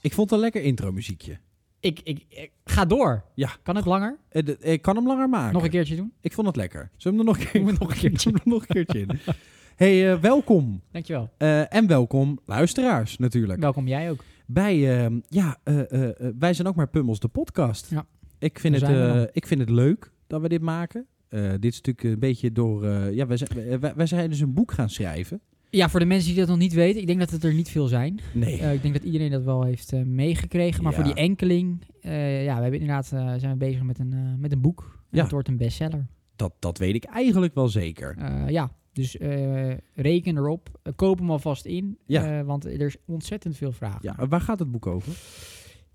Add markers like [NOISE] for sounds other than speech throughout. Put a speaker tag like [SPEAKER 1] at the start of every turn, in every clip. [SPEAKER 1] Ik vond het een lekker intro-muziekje.
[SPEAKER 2] Ik, ik, ik- ga door.
[SPEAKER 1] Ja.
[SPEAKER 2] Kan het langer?
[SPEAKER 1] Eh, de- Ik kan hem langer maken.
[SPEAKER 2] Nog een keertje doen?
[SPEAKER 1] Ik vond het lekker. Zullen we hem er nog een keer,
[SPEAKER 2] [LAUGHS] Doen we nog een keertje.
[SPEAKER 1] [LAUGHS] Zullen we er nog een keertje in?
[SPEAKER 2] [LAUGHS]
[SPEAKER 1] hey, eh, welkom.
[SPEAKER 2] Dankjewel.
[SPEAKER 1] Eh, en welkom, luisteraars natuurlijk.
[SPEAKER 2] Welkom jij ook.
[SPEAKER 1] Bij, ehm, ja, eh, eh, eh, wij zijn ook maar Pummels, de podcast.
[SPEAKER 2] Ja.
[SPEAKER 1] Ik, vind het,
[SPEAKER 2] Daar zijn we
[SPEAKER 1] eh,
[SPEAKER 2] dan.
[SPEAKER 1] ik vind het leuk dat we dit maken. Eh, dit is natuurlijk een beetje door... eh, ja, wij zijn, wij, wij zijn dus een boek gaan schrijven.
[SPEAKER 2] Ja, voor de mensen die dat nog niet weten, ik denk dat het er niet veel zijn.
[SPEAKER 1] Nee.
[SPEAKER 2] Eh, ik denk dat iedereen dat wel heeft eh, meegekregen. Maar
[SPEAKER 1] Ja.
[SPEAKER 2] voor die enkeling, eh, ja, we hebben inderdaad, eh, zijn we bezig met een, eh, met een boek. En
[SPEAKER 1] Ja.
[SPEAKER 2] Het wordt een bestseller.
[SPEAKER 1] dat, dat weet ik eigenlijk wel zeker.
[SPEAKER 2] Eh, ja, dus eh, reken erop. Eh, koop hem alvast in,
[SPEAKER 1] Ja.
[SPEAKER 2] eh, want er is ontzettend veel vraag.
[SPEAKER 1] Ja, waar gaat het boek over?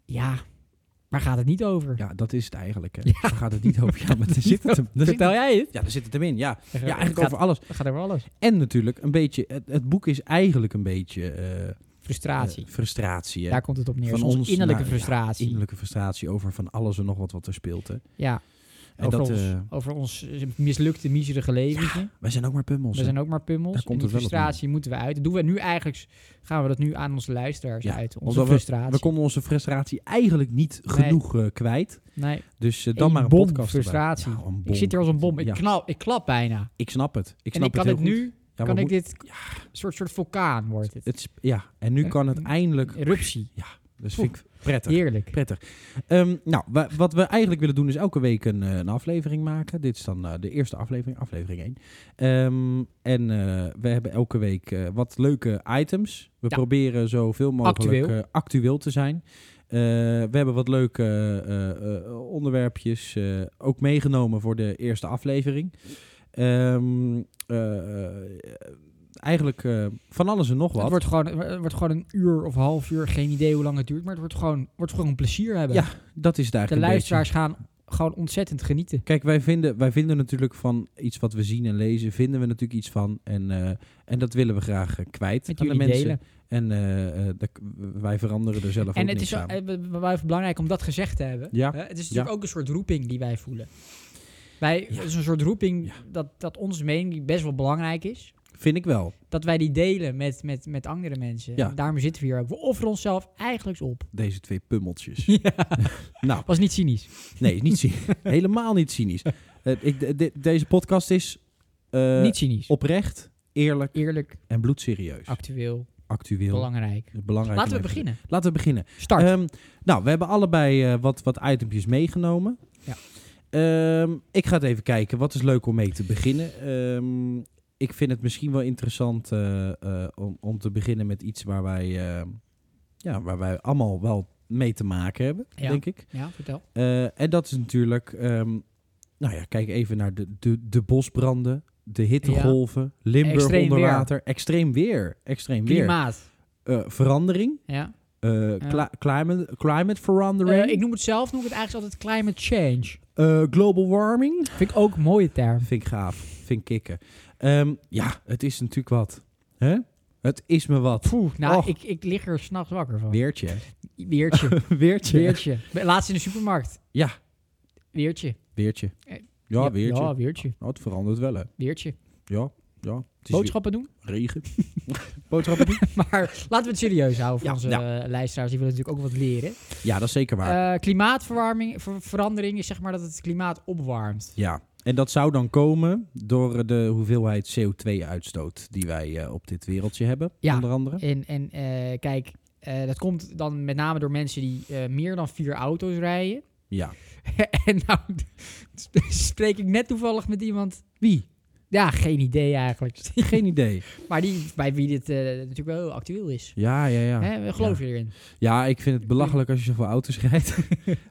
[SPEAKER 2] Ja, waar gaat het niet over?
[SPEAKER 1] Ja, dat is het eigenlijk. Hè. Daar gaat het niet over. Ja, maar daar zit
[SPEAKER 2] [LAUGHS]
[SPEAKER 1] het hem. Daar zit
[SPEAKER 2] Vertel jij het?
[SPEAKER 1] ja, daar zit het hem in. Ja,
[SPEAKER 2] Ja,
[SPEAKER 1] ja eigenlijk
[SPEAKER 2] gaat,
[SPEAKER 1] over alles.
[SPEAKER 2] gaat over alles.
[SPEAKER 1] En natuurlijk een beetje... Het, het boek is eigenlijk een beetje... eh,
[SPEAKER 2] Frustratie.
[SPEAKER 1] eh, frustratie. hè.
[SPEAKER 2] Daar komt het op neer.
[SPEAKER 1] Van
[SPEAKER 2] Van onze
[SPEAKER 1] ons
[SPEAKER 2] innerlijke
[SPEAKER 1] naar- ja,
[SPEAKER 2] frustratie. Ja,
[SPEAKER 1] Innerlijke frustratie over van alles en nog wat wat er speelt. Hè. En
[SPEAKER 2] over,
[SPEAKER 1] dat,
[SPEAKER 2] ons,
[SPEAKER 1] eh,
[SPEAKER 2] over ons eh, mislukte, miserige leventje.
[SPEAKER 1] wij zijn ook maar pummels.
[SPEAKER 2] We
[SPEAKER 1] hè.
[SPEAKER 2] zijn ook maar pummels.
[SPEAKER 1] Daar komt
[SPEAKER 2] en
[SPEAKER 1] het
[SPEAKER 2] die
[SPEAKER 1] wel op neer.
[SPEAKER 2] frustratie moeten we uit. Dat doen we nu eigenlijk, s- gaan we dat nu aan onze luisteraars
[SPEAKER 1] Ja,
[SPEAKER 2] uit. Onze
[SPEAKER 1] omdat
[SPEAKER 2] frustratie.
[SPEAKER 1] We konden onze frustratie eigenlijk niet
[SPEAKER 2] Nee.
[SPEAKER 1] genoeg eh, kwijt.
[SPEAKER 2] nee,
[SPEAKER 1] Dus eh, dan
[SPEAKER 2] Een
[SPEAKER 1] maar een
[SPEAKER 2] bom
[SPEAKER 1] podcast erbij.
[SPEAKER 2] frustratie.
[SPEAKER 1] Ja, een bom.
[SPEAKER 2] ik zit hier als een bom. Ik,
[SPEAKER 1] Ja.
[SPEAKER 2] knal, ik klap bijna.
[SPEAKER 1] Ik snap het. Ik
[SPEAKER 2] en
[SPEAKER 1] snap
[SPEAKER 2] ik kan
[SPEAKER 1] het
[SPEAKER 2] het,
[SPEAKER 1] heel goed.
[SPEAKER 2] nu,
[SPEAKER 1] Ja,
[SPEAKER 2] kan
[SPEAKER 1] maar
[SPEAKER 2] ik
[SPEAKER 1] moet-
[SPEAKER 2] dit, soort, soort vulkaan wordt het.
[SPEAKER 1] het is- ja, en nu
[SPEAKER 2] Eh,
[SPEAKER 1] kan het eindelijk...
[SPEAKER 2] Eruptie.
[SPEAKER 1] Dus vind ik prettig.
[SPEAKER 2] Heerlijk.
[SPEAKER 1] Prettig. Ehm, nou, wa- wat we eigenlijk willen doen is elke week een, eh, een aflevering maken. Dit is dan eh, de eerste aflevering, aflevering 1. Ehm, en eh, we hebben elke week eh, wat leuke items. We
[SPEAKER 2] Ja.
[SPEAKER 1] proberen zoveel mogelijk
[SPEAKER 2] Actueel.
[SPEAKER 1] eh, actueel te zijn. Eh, we hebben wat leuke eh, eh, onderwerpjes eh, ook meegenomen voor de eerste aflevering. Ehm, eh, eh, eigenlijk eh, van alles en nog wat.
[SPEAKER 2] Het wordt, gewoon, het wordt gewoon een uur of half uur, geen idee hoe lang het duurt, maar het wordt gewoon, wordt gewoon een plezier hebben.
[SPEAKER 1] Ja, dat is het
[SPEAKER 2] de
[SPEAKER 1] eigenlijk een beetje.
[SPEAKER 2] luisteraars gaan gewoon ontzettend genieten.
[SPEAKER 1] Kijk, wij vinden, wij vinden natuurlijk van iets wat we zien en lezen, vinden we natuurlijk iets van. En, eh, en dat willen we graag eh, kwijt
[SPEAKER 2] Met
[SPEAKER 1] aan de
[SPEAKER 2] jullie
[SPEAKER 1] mensen.
[SPEAKER 2] delen.
[SPEAKER 1] En eh, eh, daar k- wij veranderen er zelf
[SPEAKER 2] En
[SPEAKER 1] ook
[SPEAKER 2] het
[SPEAKER 1] niks
[SPEAKER 2] is
[SPEAKER 1] aan.
[SPEAKER 2] eh, b- b- wel even belangrijk om dat gezegd te hebben.
[SPEAKER 1] Ja.
[SPEAKER 2] Hè, Het is natuurlijk
[SPEAKER 1] Ja.
[SPEAKER 2] ook een soort roeping die wij voelen. Wij,
[SPEAKER 1] Ja.
[SPEAKER 2] Het is een soort roeping
[SPEAKER 1] Ja.
[SPEAKER 2] dat, dat onze mening best wel belangrijk is.
[SPEAKER 1] Vind ik wel.
[SPEAKER 2] Dat wij die delen met, met, met andere mensen.
[SPEAKER 1] Ja.
[SPEAKER 2] En Daarom zitten we hier ook. We offeren onszelf eigenlijk
[SPEAKER 1] [LAUGHS]
[SPEAKER 2] op.
[SPEAKER 1] Deze twee
[SPEAKER 2] [LAUGHS]
[SPEAKER 1] pummeltjes. nou,
[SPEAKER 2] Was niet cynisch.
[SPEAKER 1] nee, niet cy- [LAUGHS] helemaal niet cynisch. Eh, ik, de- de- deze podcast is eh,
[SPEAKER 2] niet cynisch.
[SPEAKER 1] oprecht, eerlijk
[SPEAKER 2] Eerlijk,
[SPEAKER 1] en bloedserieus.
[SPEAKER 2] actueel,
[SPEAKER 1] Actueel.
[SPEAKER 2] belangrijk.
[SPEAKER 1] Belangrijk
[SPEAKER 2] Ah. Laten
[SPEAKER 1] om
[SPEAKER 2] we
[SPEAKER 1] even-
[SPEAKER 2] beginnen.
[SPEAKER 1] Laten we beginnen.
[SPEAKER 2] Start.
[SPEAKER 1] Ehm, nou, we hebben allebei eh, wat, wat itempjes meegenomen.
[SPEAKER 2] Ja.
[SPEAKER 1] Ehm, ik ga het even kijken. Wat is leuk om mee te beginnen? Ehm, ik vind het misschien wel interessant eh, eh, om, om te beginnen met iets waar wij, eh, ja, waar wij allemaal wel mee te maken hebben,
[SPEAKER 2] Ja.
[SPEAKER 1] denk ik.
[SPEAKER 2] ja, vertel.
[SPEAKER 1] Eh, en dat is natuurlijk, ehm, nou ja, kijk even naar de, de, de bosbranden, de hittegolven, Limburg
[SPEAKER 2] Extreem
[SPEAKER 1] onder
[SPEAKER 2] weer.
[SPEAKER 1] water, extreem weer, extreem weer,
[SPEAKER 2] Klimaat.
[SPEAKER 1] Eh, verandering.
[SPEAKER 2] Ja.
[SPEAKER 1] Eh, cli- climate, climate verandering.
[SPEAKER 2] Eh, ik noem het zelf, noem ik het eigenlijk altijd climate change.
[SPEAKER 1] Eh, global warming.
[SPEAKER 2] Vind ik ook een mooie term.
[SPEAKER 1] Vind ik gaaf. Vind ik kicken. Ehm, ja, het is natuurlijk wat. Hè? Het is me wat.
[SPEAKER 2] Poeh, nou,
[SPEAKER 1] Och.
[SPEAKER 2] ik, ik lig er s'nachts wakker van.
[SPEAKER 1] Weertje. hè?
[SPEAKER 2] Weertje.
[SPEAKER 1] [LAUGHS] Weertje.
[SPEAKER 2] Weertje. Bij- Laatst in de supermarkt.
[SPEAKER 1] Ja.
[SPEAKER 2] Weertje.
[SPEAKER 1] Weertje.
[SPEAKER 2] Eh,
[SPEAKER 1] Ja, weertje.
[SPEAKER 2] Ja, weertje.
[SPEAKER 1] Nou, het verandert wel, hè.
[SPEAKER 2] Weertje.
[SPEAKER 1] Ja, ja. Het is
[SPEAKER 2] Boodschappen doen. [LAUGHS]
[SPEAKER 1] weer regen. [LAUGHS] Boodschappen doen?
[SPEAKER 2] Maar laten we het serieus houden voor
[SPEAKER 1] Ja,
[SPEAKER 2] onze
[SPEAKER 1] ja.
[SPEAKER 2] eh, luisteraars. Die willen natuurlijk ook wat leren.
[SPEAKER 1] Ja, dat is zeker waar.
[SPEAKER 2] Eh, klimaatverwarming, ver- verandering is zeg maar dat het klimaat opwarmt.
[SPEAKER 1] ja. En dat zou dan komen door eh, de hoeveelheid CO2-uitstoot die wij eh, op dit wereldje hebben,
[SPEAKER 2] Ja.
[SPEAKER 1] onder andere.
[SPEAKER 2] En, en eh, kijk, eh, dat komt dan met name door mensen die eh, meer dan vier auto's rijden. [LAUGHS]
[SPEAKER 1] Ja.
[SPEAKER 2] en nou [LAUGHS] spreek ik net toevallig met iemand.
[SPEAKER 1] Wie?
[SPEAKER 2] Ja, geen idee eigenlijk. [LAUGHS]
[SPEAKER 1] Geen idee.
[SPEAKER 2] maar die, bij wie dit eh, natuurlijk wel heel actueel is.
[SPEAKER 1] Ja, ja, ja.
[SPEAKER 2] Hè, geloof je erin?
[SPEAKER 1] Ja, ik vind het belachelijk als je zoveel auto's
[SPEAKER 2] [LAUGHS]
[SPEAKER 1] rijdt.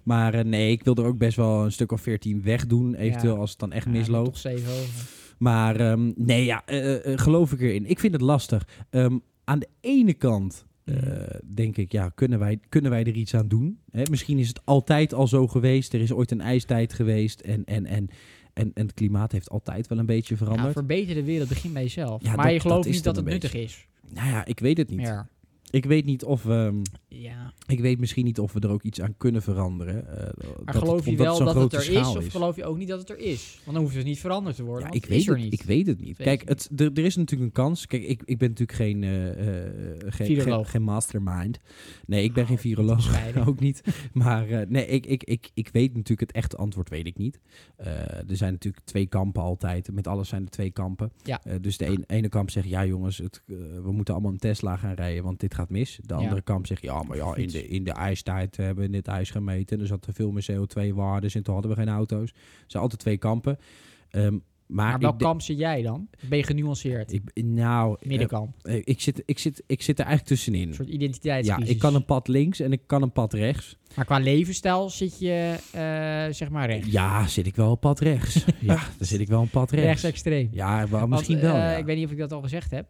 [SPEAKER 1] maar eh, nee, ik wil er ook best wel een stuk of veertien wegdoen. Eventueel
[SPEAKER 2] Ja.
[SPEAKER 1] als het dan echt
[SPEAKER 2] Ja,
[SPEAKER 1] misloopt.
[SPEAKER 2] toch zeven over.
[SPEAKER 1] Maar ehm, nee, ja, eh, eh, geloof ik erin. Ik vind het lastig. Ehm, aan de ene kant eh,
[SPEAKER 2] Mm.
[SPEAKER 1] denk ik, ja, kunnen wij, kunnen wij er iets aan doen? Hè, misschien is het altijd al zo geweest. Er is ooit een ijstijd geweest. En, en, en, en, en het klimaat heeft altijd wel een beetje veranderd.
[SPEAKER 2] Ja, verbeter de wereld, begin bij jezelf.
[SPEAKER 1] Ja,
[SPEAKER 2] maar
[SPEAKER 1] dat-
[SPEAKER 2] je gelooft
[SPEAKER 1] dat is
[SPEAKER 2] niet dat
[SPEAKER 1] het
[SPEAKER 2] het
[SPEAKER 1] een
[SPEAKER 2] nuttig is.
[SPEAKER 1] Nou ja, ik weet het niet.
[SPEAKER 2] Meer.
[SPEAKER 1] Ik weet niet of ehm, we...
[SPEAKER 2] Ja.
[SPEAKER 1] Ik weet misschien niet of we er ook iets aan kunnen veranderen. eh,
[SPEAKER 2] Maar
[SPEAKER 1] dat
[SPEAKER 2] geloof
[SPEAKER 1] het-
[SPEAKER 2] je
[SPEAKER 1] omdat
[SPEAKER 2] wel
[SPEAKER 1] zo'n
[SPEAKER 2] dat het
[SPEAKER 1] grote
[SPEAKER 2] er
[SPEAKER 1] schaal
[SPEAKER 2] is, of geloof je ook niet dat het er is? Want dan hoeft het niet veranderd te worden.
[SPEAKER 1] Ja,
[SPEAKER 2] want
[SPEAKER 1] ik
[SPEAKER 2] het
[SPEAKER 1] weet
[SPEAKER 2] is er
[SPEAKER 1] het,
[SPEAKER 2] niet.
[SPEAKER 1] ik weet het niet.
[SPEAKER 2] Weet
[SPEAKER 1] Kijk,
[SPEAKER 2] je
[SPEAKER 1] het, er, er is natuurlijk een kans. Kijk, ik, ik ben natuurlijk geen, eh, eh, geen, geen,
[SPEAKER 2] Viroloog.
[SPEAKER 1] geen mastermind. Nee, ik ben
[SPEAKER 2] Oh,
[SPEAKER 1] geen viroloog.
[SPEAKER 2] bescheiden.
[SPEAKER 1] [LAUGHS] ook niet. Maar eh, nee, ik, ik, ik, ik weet natuurlijk het echte antwoord, weet ik niet. Eh, er zijn natuurlijk twee kampen altijd. Met alles zijn er twee kampen.
[SPEAKER 2] Ja.
[SPEAKER 1] Eh, dus de een- ene kamp zegt, ja jongens, het, eh, we moeten allemaal een Tesla gaan rijden, want dit gaat mis. De
[SPEAKER 2] Ja.
[SPEAKER 1] andere kamp zegt, ja, maar ja, in
[SPEAKER 2] [LAUGHS]
[SPEAKER 1] de, in de ijstijd hebben we dit ijs gemeten. En er zat te veel meer CO2-waardes en toen hadden we geen auto's. Er zijn altijd twee kampen. Ehm, maar
[SPEAKER 2] Maar
[SPEAKER 1] ik
[SPEAKER 2] welk
[SPEAKER 1] de-
[SPEAKER 2] kamp zit jij dan? Ben je genuanceerd?
[SPEAKER 1] ik, nou, eh,
[SPEAKER 2] Middenkamp.
[SPEAKER 1] eh, ik, zit, ik, zit, ik zit er eigenlijk tussenin.
[SPEAKER 2] Een soort
[SPEAKER 1] Ja,
[SPEAKER 2] identiteitscrisis.
[SPEAKER 1] ik kan een pad links en ik kan een pad rechts.
[SPEAKER 2] Maar qua levensstijl zit je, eh, zeg maar, rechts.
[SPEAKER 1] Ja, zit ik wel een pad
[SPEAKER 2] [LAUGHS]
[SPEAKER 1] rechts. ja, dan zit ik wel een pad rechts.
[SPEAKER 2] Rechtsextreem.
[SPEAKER 1] Ja, wel,
[SPEAKER 2] Want,
[SPEAKER 1] misschien wel.
[SPEAKER 2] eh,
[SPEAKER 1] ja.
[SPEAKER 2] Ik weet niet of ik dat al gezegd heb.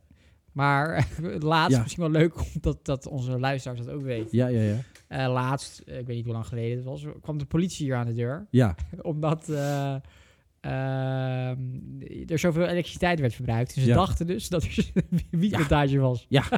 [SPEAKER 2] Maar [LAUGHS] laatst,
[SPEAKER 1] Ja.
[SPEAKER 2] misschien wel leuk [LAUGHS] omdat dat onze luisteraars dat ook weten.
[SPEAKER 1] ja, ja, ja.
[SPEAKER 2] Eh, laatst, eh, ik weet niet hoe lang geleden het was, kwam de politie hier aan de deur. [LAUGHS]
[SPEAKER 1] Ja,
[SPEAKER 2] Omdat eh, ehm, er zoveel elektriciteit werd verbruikt. Dus ze
[SPEAKER 1] Ja.
[SPEAKER 2] dachten dus dat er een [LAUGHS] wietplantage was.
[SPEAKER 1] terwijl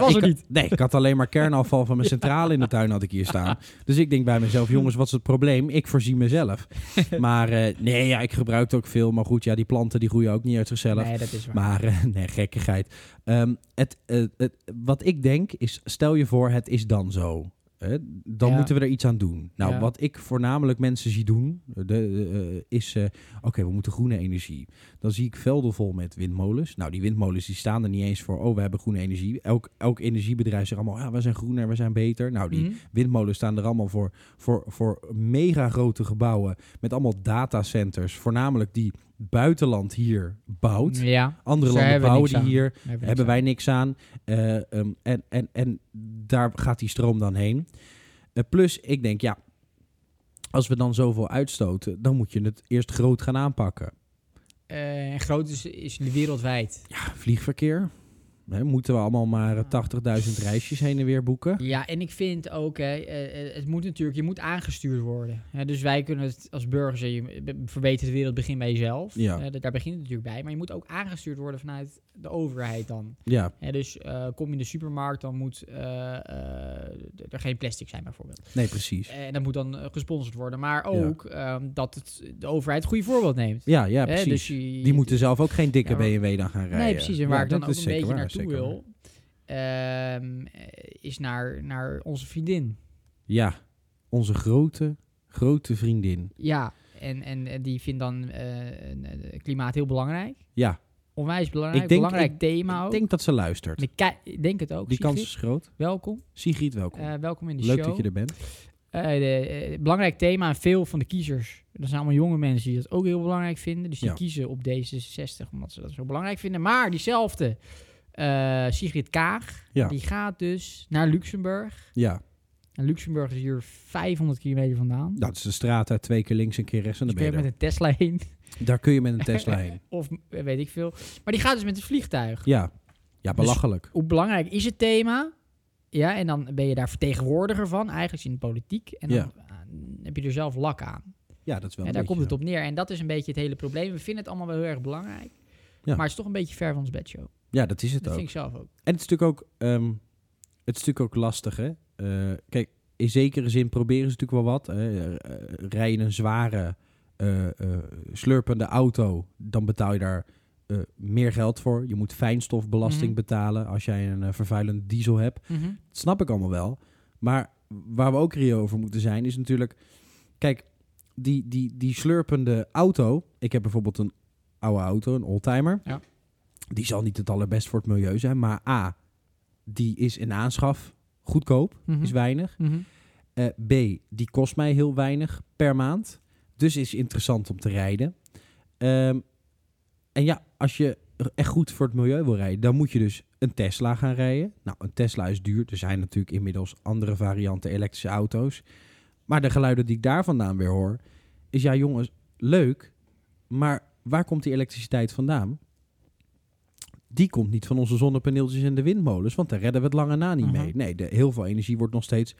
[SPEAKER 2] Dat was
[SPEAKER 1] ik,
[SPEAKER 2] er
[SPEAKER 1] Nee, ik had alleen maar kernafval van
[SPEAKER 2] [LAUGHS]
[SPEAKER 1] mijn centrale in de tuin had ik hier staan. Dus ik denk bij mezelf, jongens, wat is het probleem? Ik voorzie mezelf.
[SPEAKER 2] [LAUGHS]
[SPEAKER 1] Maar eh, nee, ja, ik gebruik ook veel. Maar goed, ja, die planten die groeien ook niet uit zichzelf.
[SPEAKER 2] Nee, dat is waar.
[SPEAKER 1] Maar eh, [LAUGHS] nee, gekkigheid. Ehm, het, eh, het- wat ik denk is, stel je voor, het is dan zo. Eh, dan
[SPEAKER 2] Ja.
[SPEAKER 1] moeten we er iets aan doen. Nou,
[SPEAKER 2] Ja.
[SPEAKER 1] wat ik voornamelijk mensen zie doen, de, eh, is, eh, oké, we moeten groene energie. Dan zie ik velden vol met windmolens. Nou, die windmolens die staan er niet eens voor, oh, we hebben groene energie. Elk, elk energiebedrijf zegt allemaal, ja, we zijn groener, we zijn beter. Nou, die
[SPEAKER 2] Mhm.
[SPEAKER 1] windmolens staan er allemaal voor, voor, voor mega grote gebouwen met allemaal datacenters. Voornamelijk die buitenland hier bouwt.
[SPEAKER 2] Ja,
[SPEAKER 1] Andere
[SPEAKER 2] Ze
[SPEAKER 1] landen
[SPEAKER 2] hebben
[SPEAKER 1] bouwen
[SPEAKER 2] niks
[SPEAKER 1] die
[SPEAKER 2] aan.
[SPEAKER 1] hier,
[SPEAKER 2] daar
[SPEAKER 1] hebben wij niks aan. Eh, ehm, en, en, en daar gaat die stroom dan heen. Eh, plus, ik denk, ja, als we dan zoveel uitstoten, dan moet je het eerst groot gaan aanpakken.
[SPEAKER 2] Eh, en groot is, is wereldwijd.
[SPEAKER 1] Ja, vliegverkeer. Hè, moeten we allemaal maar eh, 80.000 reisjes heen en weer boeken?
[SPEAKER 2] Ja, en ik vind ook, hè, eh, eh, het moet natuurlijk, je moet aangestuurd worden. Hè, dus wij kunnen het als burgers, eh, je be- verbeter de wereld, begin bij jezelf.
[SPEAKER 1] Ja.
[SPEAKER 2] Eh, da- daar begint het natuurlijk bij. Maar je moet ook aangestuurd worden vanuit de overheid dan.
[SPEAKER 1] Ja,
[SPEAKER 2] Hè, dus eh, kom je in de supermarkt, dan moet eh, eh, d- er geen plastic zijn bijvoorbeeld.
[SPEAKER 1] nee, precies.
[SPEAKER 2] En dat moet dan eh, gesponsord worden. Maar ook ehm, dat het, de overheid het goede voorbeeld neemt.
[SPEAKER 1] Ja, ja,
[SPEAKER 2] Hè,
[SPEAKER 1] precies.
[SPEAKER 2] dus je-
[SPEAKER 1] Die moeten zelf ook geen dikke
[SPEAKER 2] Ja, maar-
[SPEAKER 1] BMW dan gaan rijden.
[SPEAKER 2] Nee, precies. En
[SPEAKER 1] Ja,
[SPEAKER 2] waar ik dan
[SPEAKER 1] dat
[SPEAKER 2] ook
[SPEAKER 1] is
[SPEAKER 2] een
[SPEAKER 1] zeker
[SPEAKER 2] beetje
[SPEAKER 1] waar,
[SPEAKER 2] naartoe
[SPEAKER 1] zeker waar.
[SPEAKER 2] wil, ehm, eh, is naar, naar onze vriendin.
[SPEAKER 1] Ja, onze grote, grote vriendin.
[SPEAKER 2] Ja, en, en eh, die vindt dan eh, een- een klimaat heel belangrijk.
[SPEAKER 1] Ja,
[SPEAKER 2] Onwijs belangrijk,
[SPEAKER 1] Ik denk-
[SPEAKER 2] belangrijk
[SPEAKER 1] ik-
[SPEAKER 2] thema
[SPEAKER 1] ik
[SPEAKER 2] ook.
[SPEAKER 1] denk dat ze luistert.
[SPEAKER 2] Ik kei- ik denk het ook,
[SPEAKER 1] Die
[SPEAKER 2] Sigrid.
[SPEAKER 1] kans is groot.
[SPEAKER 2] Welkom,
[SPEAKER 1] Sigrid, welkom.
[SPEAKER 2] Eh, welkom in de
[SPEAKER 1] Leuk
[SPEAKER 2] show.
[SPEAKER 1] dat je er bent.
[SPEAKER 2] Eh, de, eh, belangrijk thema en veel van de kiezers, dat zijn allemaal jonge mensen die dat ook heel belangrijk vinden. Dus die
[SPEAKER 1] Ja.
[SPEAKER 2] kiezen op D66 omdat ze dat zo belangrijk vinden. Maar diezelfde eh, Sigrid Kaag,
[SPEAKER 1] Ja.
[SPEAKER 2] die gaat dus naar Luxemburg.
[SPEAKER 1] Ja,
[SPEAKER 2] En Luxemburg is hier 500 kilometer vandaan.
[SPEAKER 1] dat is de straat uit twee keer links en keer rechts en
[SPEAKER 2] dus
[SPEAKER 1] dan
[SPEAKER 2] ben je
[SPEAKER 1] ben je
[SPEAKER 2] met een Tesla heen. [LAUGHS]
[SPEAKER 1] er. Daar kun je met een Tesla heen.
[SPEAKER 2] Of eh, weet ik veel. Maar die gaat dus met het vliegtuig.
[SPEAKER 1] Ja, ja
[SPEAKER 2] Dus-
[SPEAKER 1] belachelijk.
[SPEAKER 2] Hoe belangrijk is het thema? Ja, en dan ben je daar vertegenwoordiger van, eigenlijk in de politiek. En dan ah, heb je er zelf lak aan.
[SPEAKER 1] Ja, dat is wel
[SPEAKER 2] En
[SPEAKER 1] een
[SPEAKER 2] daar komt het
[SPEAKER 1] beetje-
[SPEAKER 2] op neer. En dat is een beetje het hele probleem. We vinden het allemaal wel heel erg
[SPEAKER 1] Ja.
[SPEAKER 2] belangrijk. Maar het is toch een beetje ver van ons bedshow.
[SPEAKER 1] Ja, dat is
[SPEAKER 2] Dat
[SPEAKER 1] het ook.
[SPEAKER 2] vind ik zelf ook.
[SPEAKER 1] En het is natuurlijk ook, ehm, het is natuurlijk ook lastig, hè. Eh, kijk, in zekere zin proberen ze natuurlijk wel wat. Hè. Eh, eh, Rij je een zware, eh, eh, slurpende auto, dan betaal je daar eh, meer geld voor. Je moet fijnstofbelasting
[SPEAKER 2] Mhm.
[SPEAKER 1] betalen als jij een eh, vervuilend diesel hebt. Dat snap ik allemaal wel. Maar waar we ook reëel over moeten zijn, is natuurlijk... Kijk, die, die, die slurpende auto... Ik heb bijvoorbeeld een oude auto, een oldtimer.
[SPEAKER 2] Ja.
[SPEAKER 1] Die zal niet het allerbest voor het milieu zijn. Maar A, die is in aanschaf goedkoop,
[SPEAKER 2] Mhm.
[SPEAKER 1] is weinig.
[SPEAKER 2] Mhm.
[SPEAKER 1] Eh, B, die kost mij heel weinig per maand. Dus is interessant om te rijden. Ehm, en ja, als je echt goed voor het milieu wil rijden, dan moet je dus een Tesla gaan rijden. Nou, een Tesla is duur. Er zijn natuurlijk inmiddels andere varianten elektrische auto's. Maar de geluiden die ik daar vandaan weer hoor, is ja, jongens, leuk. Maar waar komt die elektriciteit vandaan? Die komt niet van onze zonnepaneeltjes en de windmolens, want daar redden we het lange na niet
[SPEAKER 2] Mhm.
[SPEAKER 1] mee. Nee, de, heel veel energie wordt nog steeds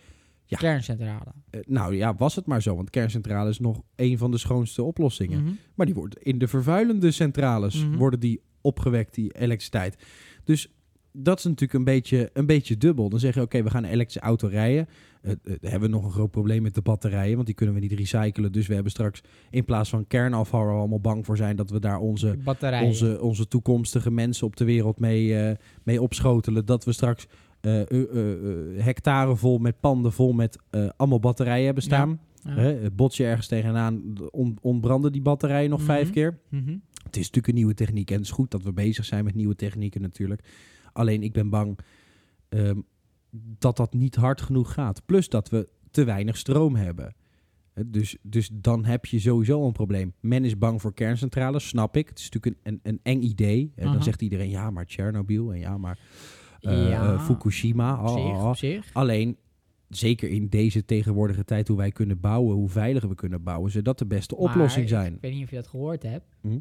[SPEAKER 1] Ja.
[SPEAKER 2] Kerncentrale.
[SPEAKER 1] eh, nou ja, was het maar zo. Want kerncentrale is nog een van de schoonste oplossingen.
[SPEAKER 2] Mhm.
[SPEAKER 1] Maar die wordt in de vervuilende centrales
[SPEAKER 2] Mhm.
[SPEAKER 1] worden die opgewekt, die elektriciteit. Dus dat is natuurlijk een beetje, een beetje dubbel. Dan zeg je, oké, we gaan een elektrische auto rijden. Eh, eh, dan hebben we nog een groot probleem met de batterijen, want die kunnen we niet recyclen. Dus we hebben straks in plaats van kernafval waar we allemaal bang voor zijn dat we daar onze
[SPEAKER 2] batterijen.
[SPEAKER 1] onze, onze toekomstige mensen op de wereld mee, eh, mee opschotelen. Dat we straks eh, eh, eh, eh, hectare vol met panden vol met eh, allemaal batterijen hebben staan.
[SPEAKER 2] Ja, ja.
[SPEAKER 1] Hè, het bots je ergens tegenaan, on- ontbranden die batterijen nog vijf
[SPEAKER 2] Mhm.
[SPEAKER 1] keer.
[SPEAKER 2] Mhm.
[SPEAKER 1] Het is natuurlijk een nieuwe techniek en het is goed dat we bezig zijn met nieuwe technieken natuurlijk. Alleen ik ben bang ehm, dat dat niet hard genoeg gaat. Plus dat we te weinig stroom hebben. Eh, Dus, dus dan heb je sowieso een probleem. Men is bang voor kerncentrales, snap ik. Het is natuurlijk een, een, een eng idee. En
[SPEAKER 2] Aha.
[SPEAKER 1] dan zegt iedereen, ja, maar Tsjernobyl en ja, maar eh,
[SPEAKER 2] Ja,
[SPEAKER 1] eh, Fukushima.
[SPEAKER 2] Op
[SPEAKER 1] ah,
[SPEAKER 2] zich,
[SPEAKER 1] ah, ah.
[SPEAKER 2] op zich.
[SPEAKER 1] Alleen, zeker in deze tegenwoordige tijd, hoe wij kunnen bouwen, hoe veilig we kunnen bouwen, zou dat de beste
[SPEAKER 2] Maar
[SPEAKER 1] oplossing zijn.
[SPEAKER 2] Ik weet niet of je dat gehoord hebt.
[SPEAKER 1] Hm?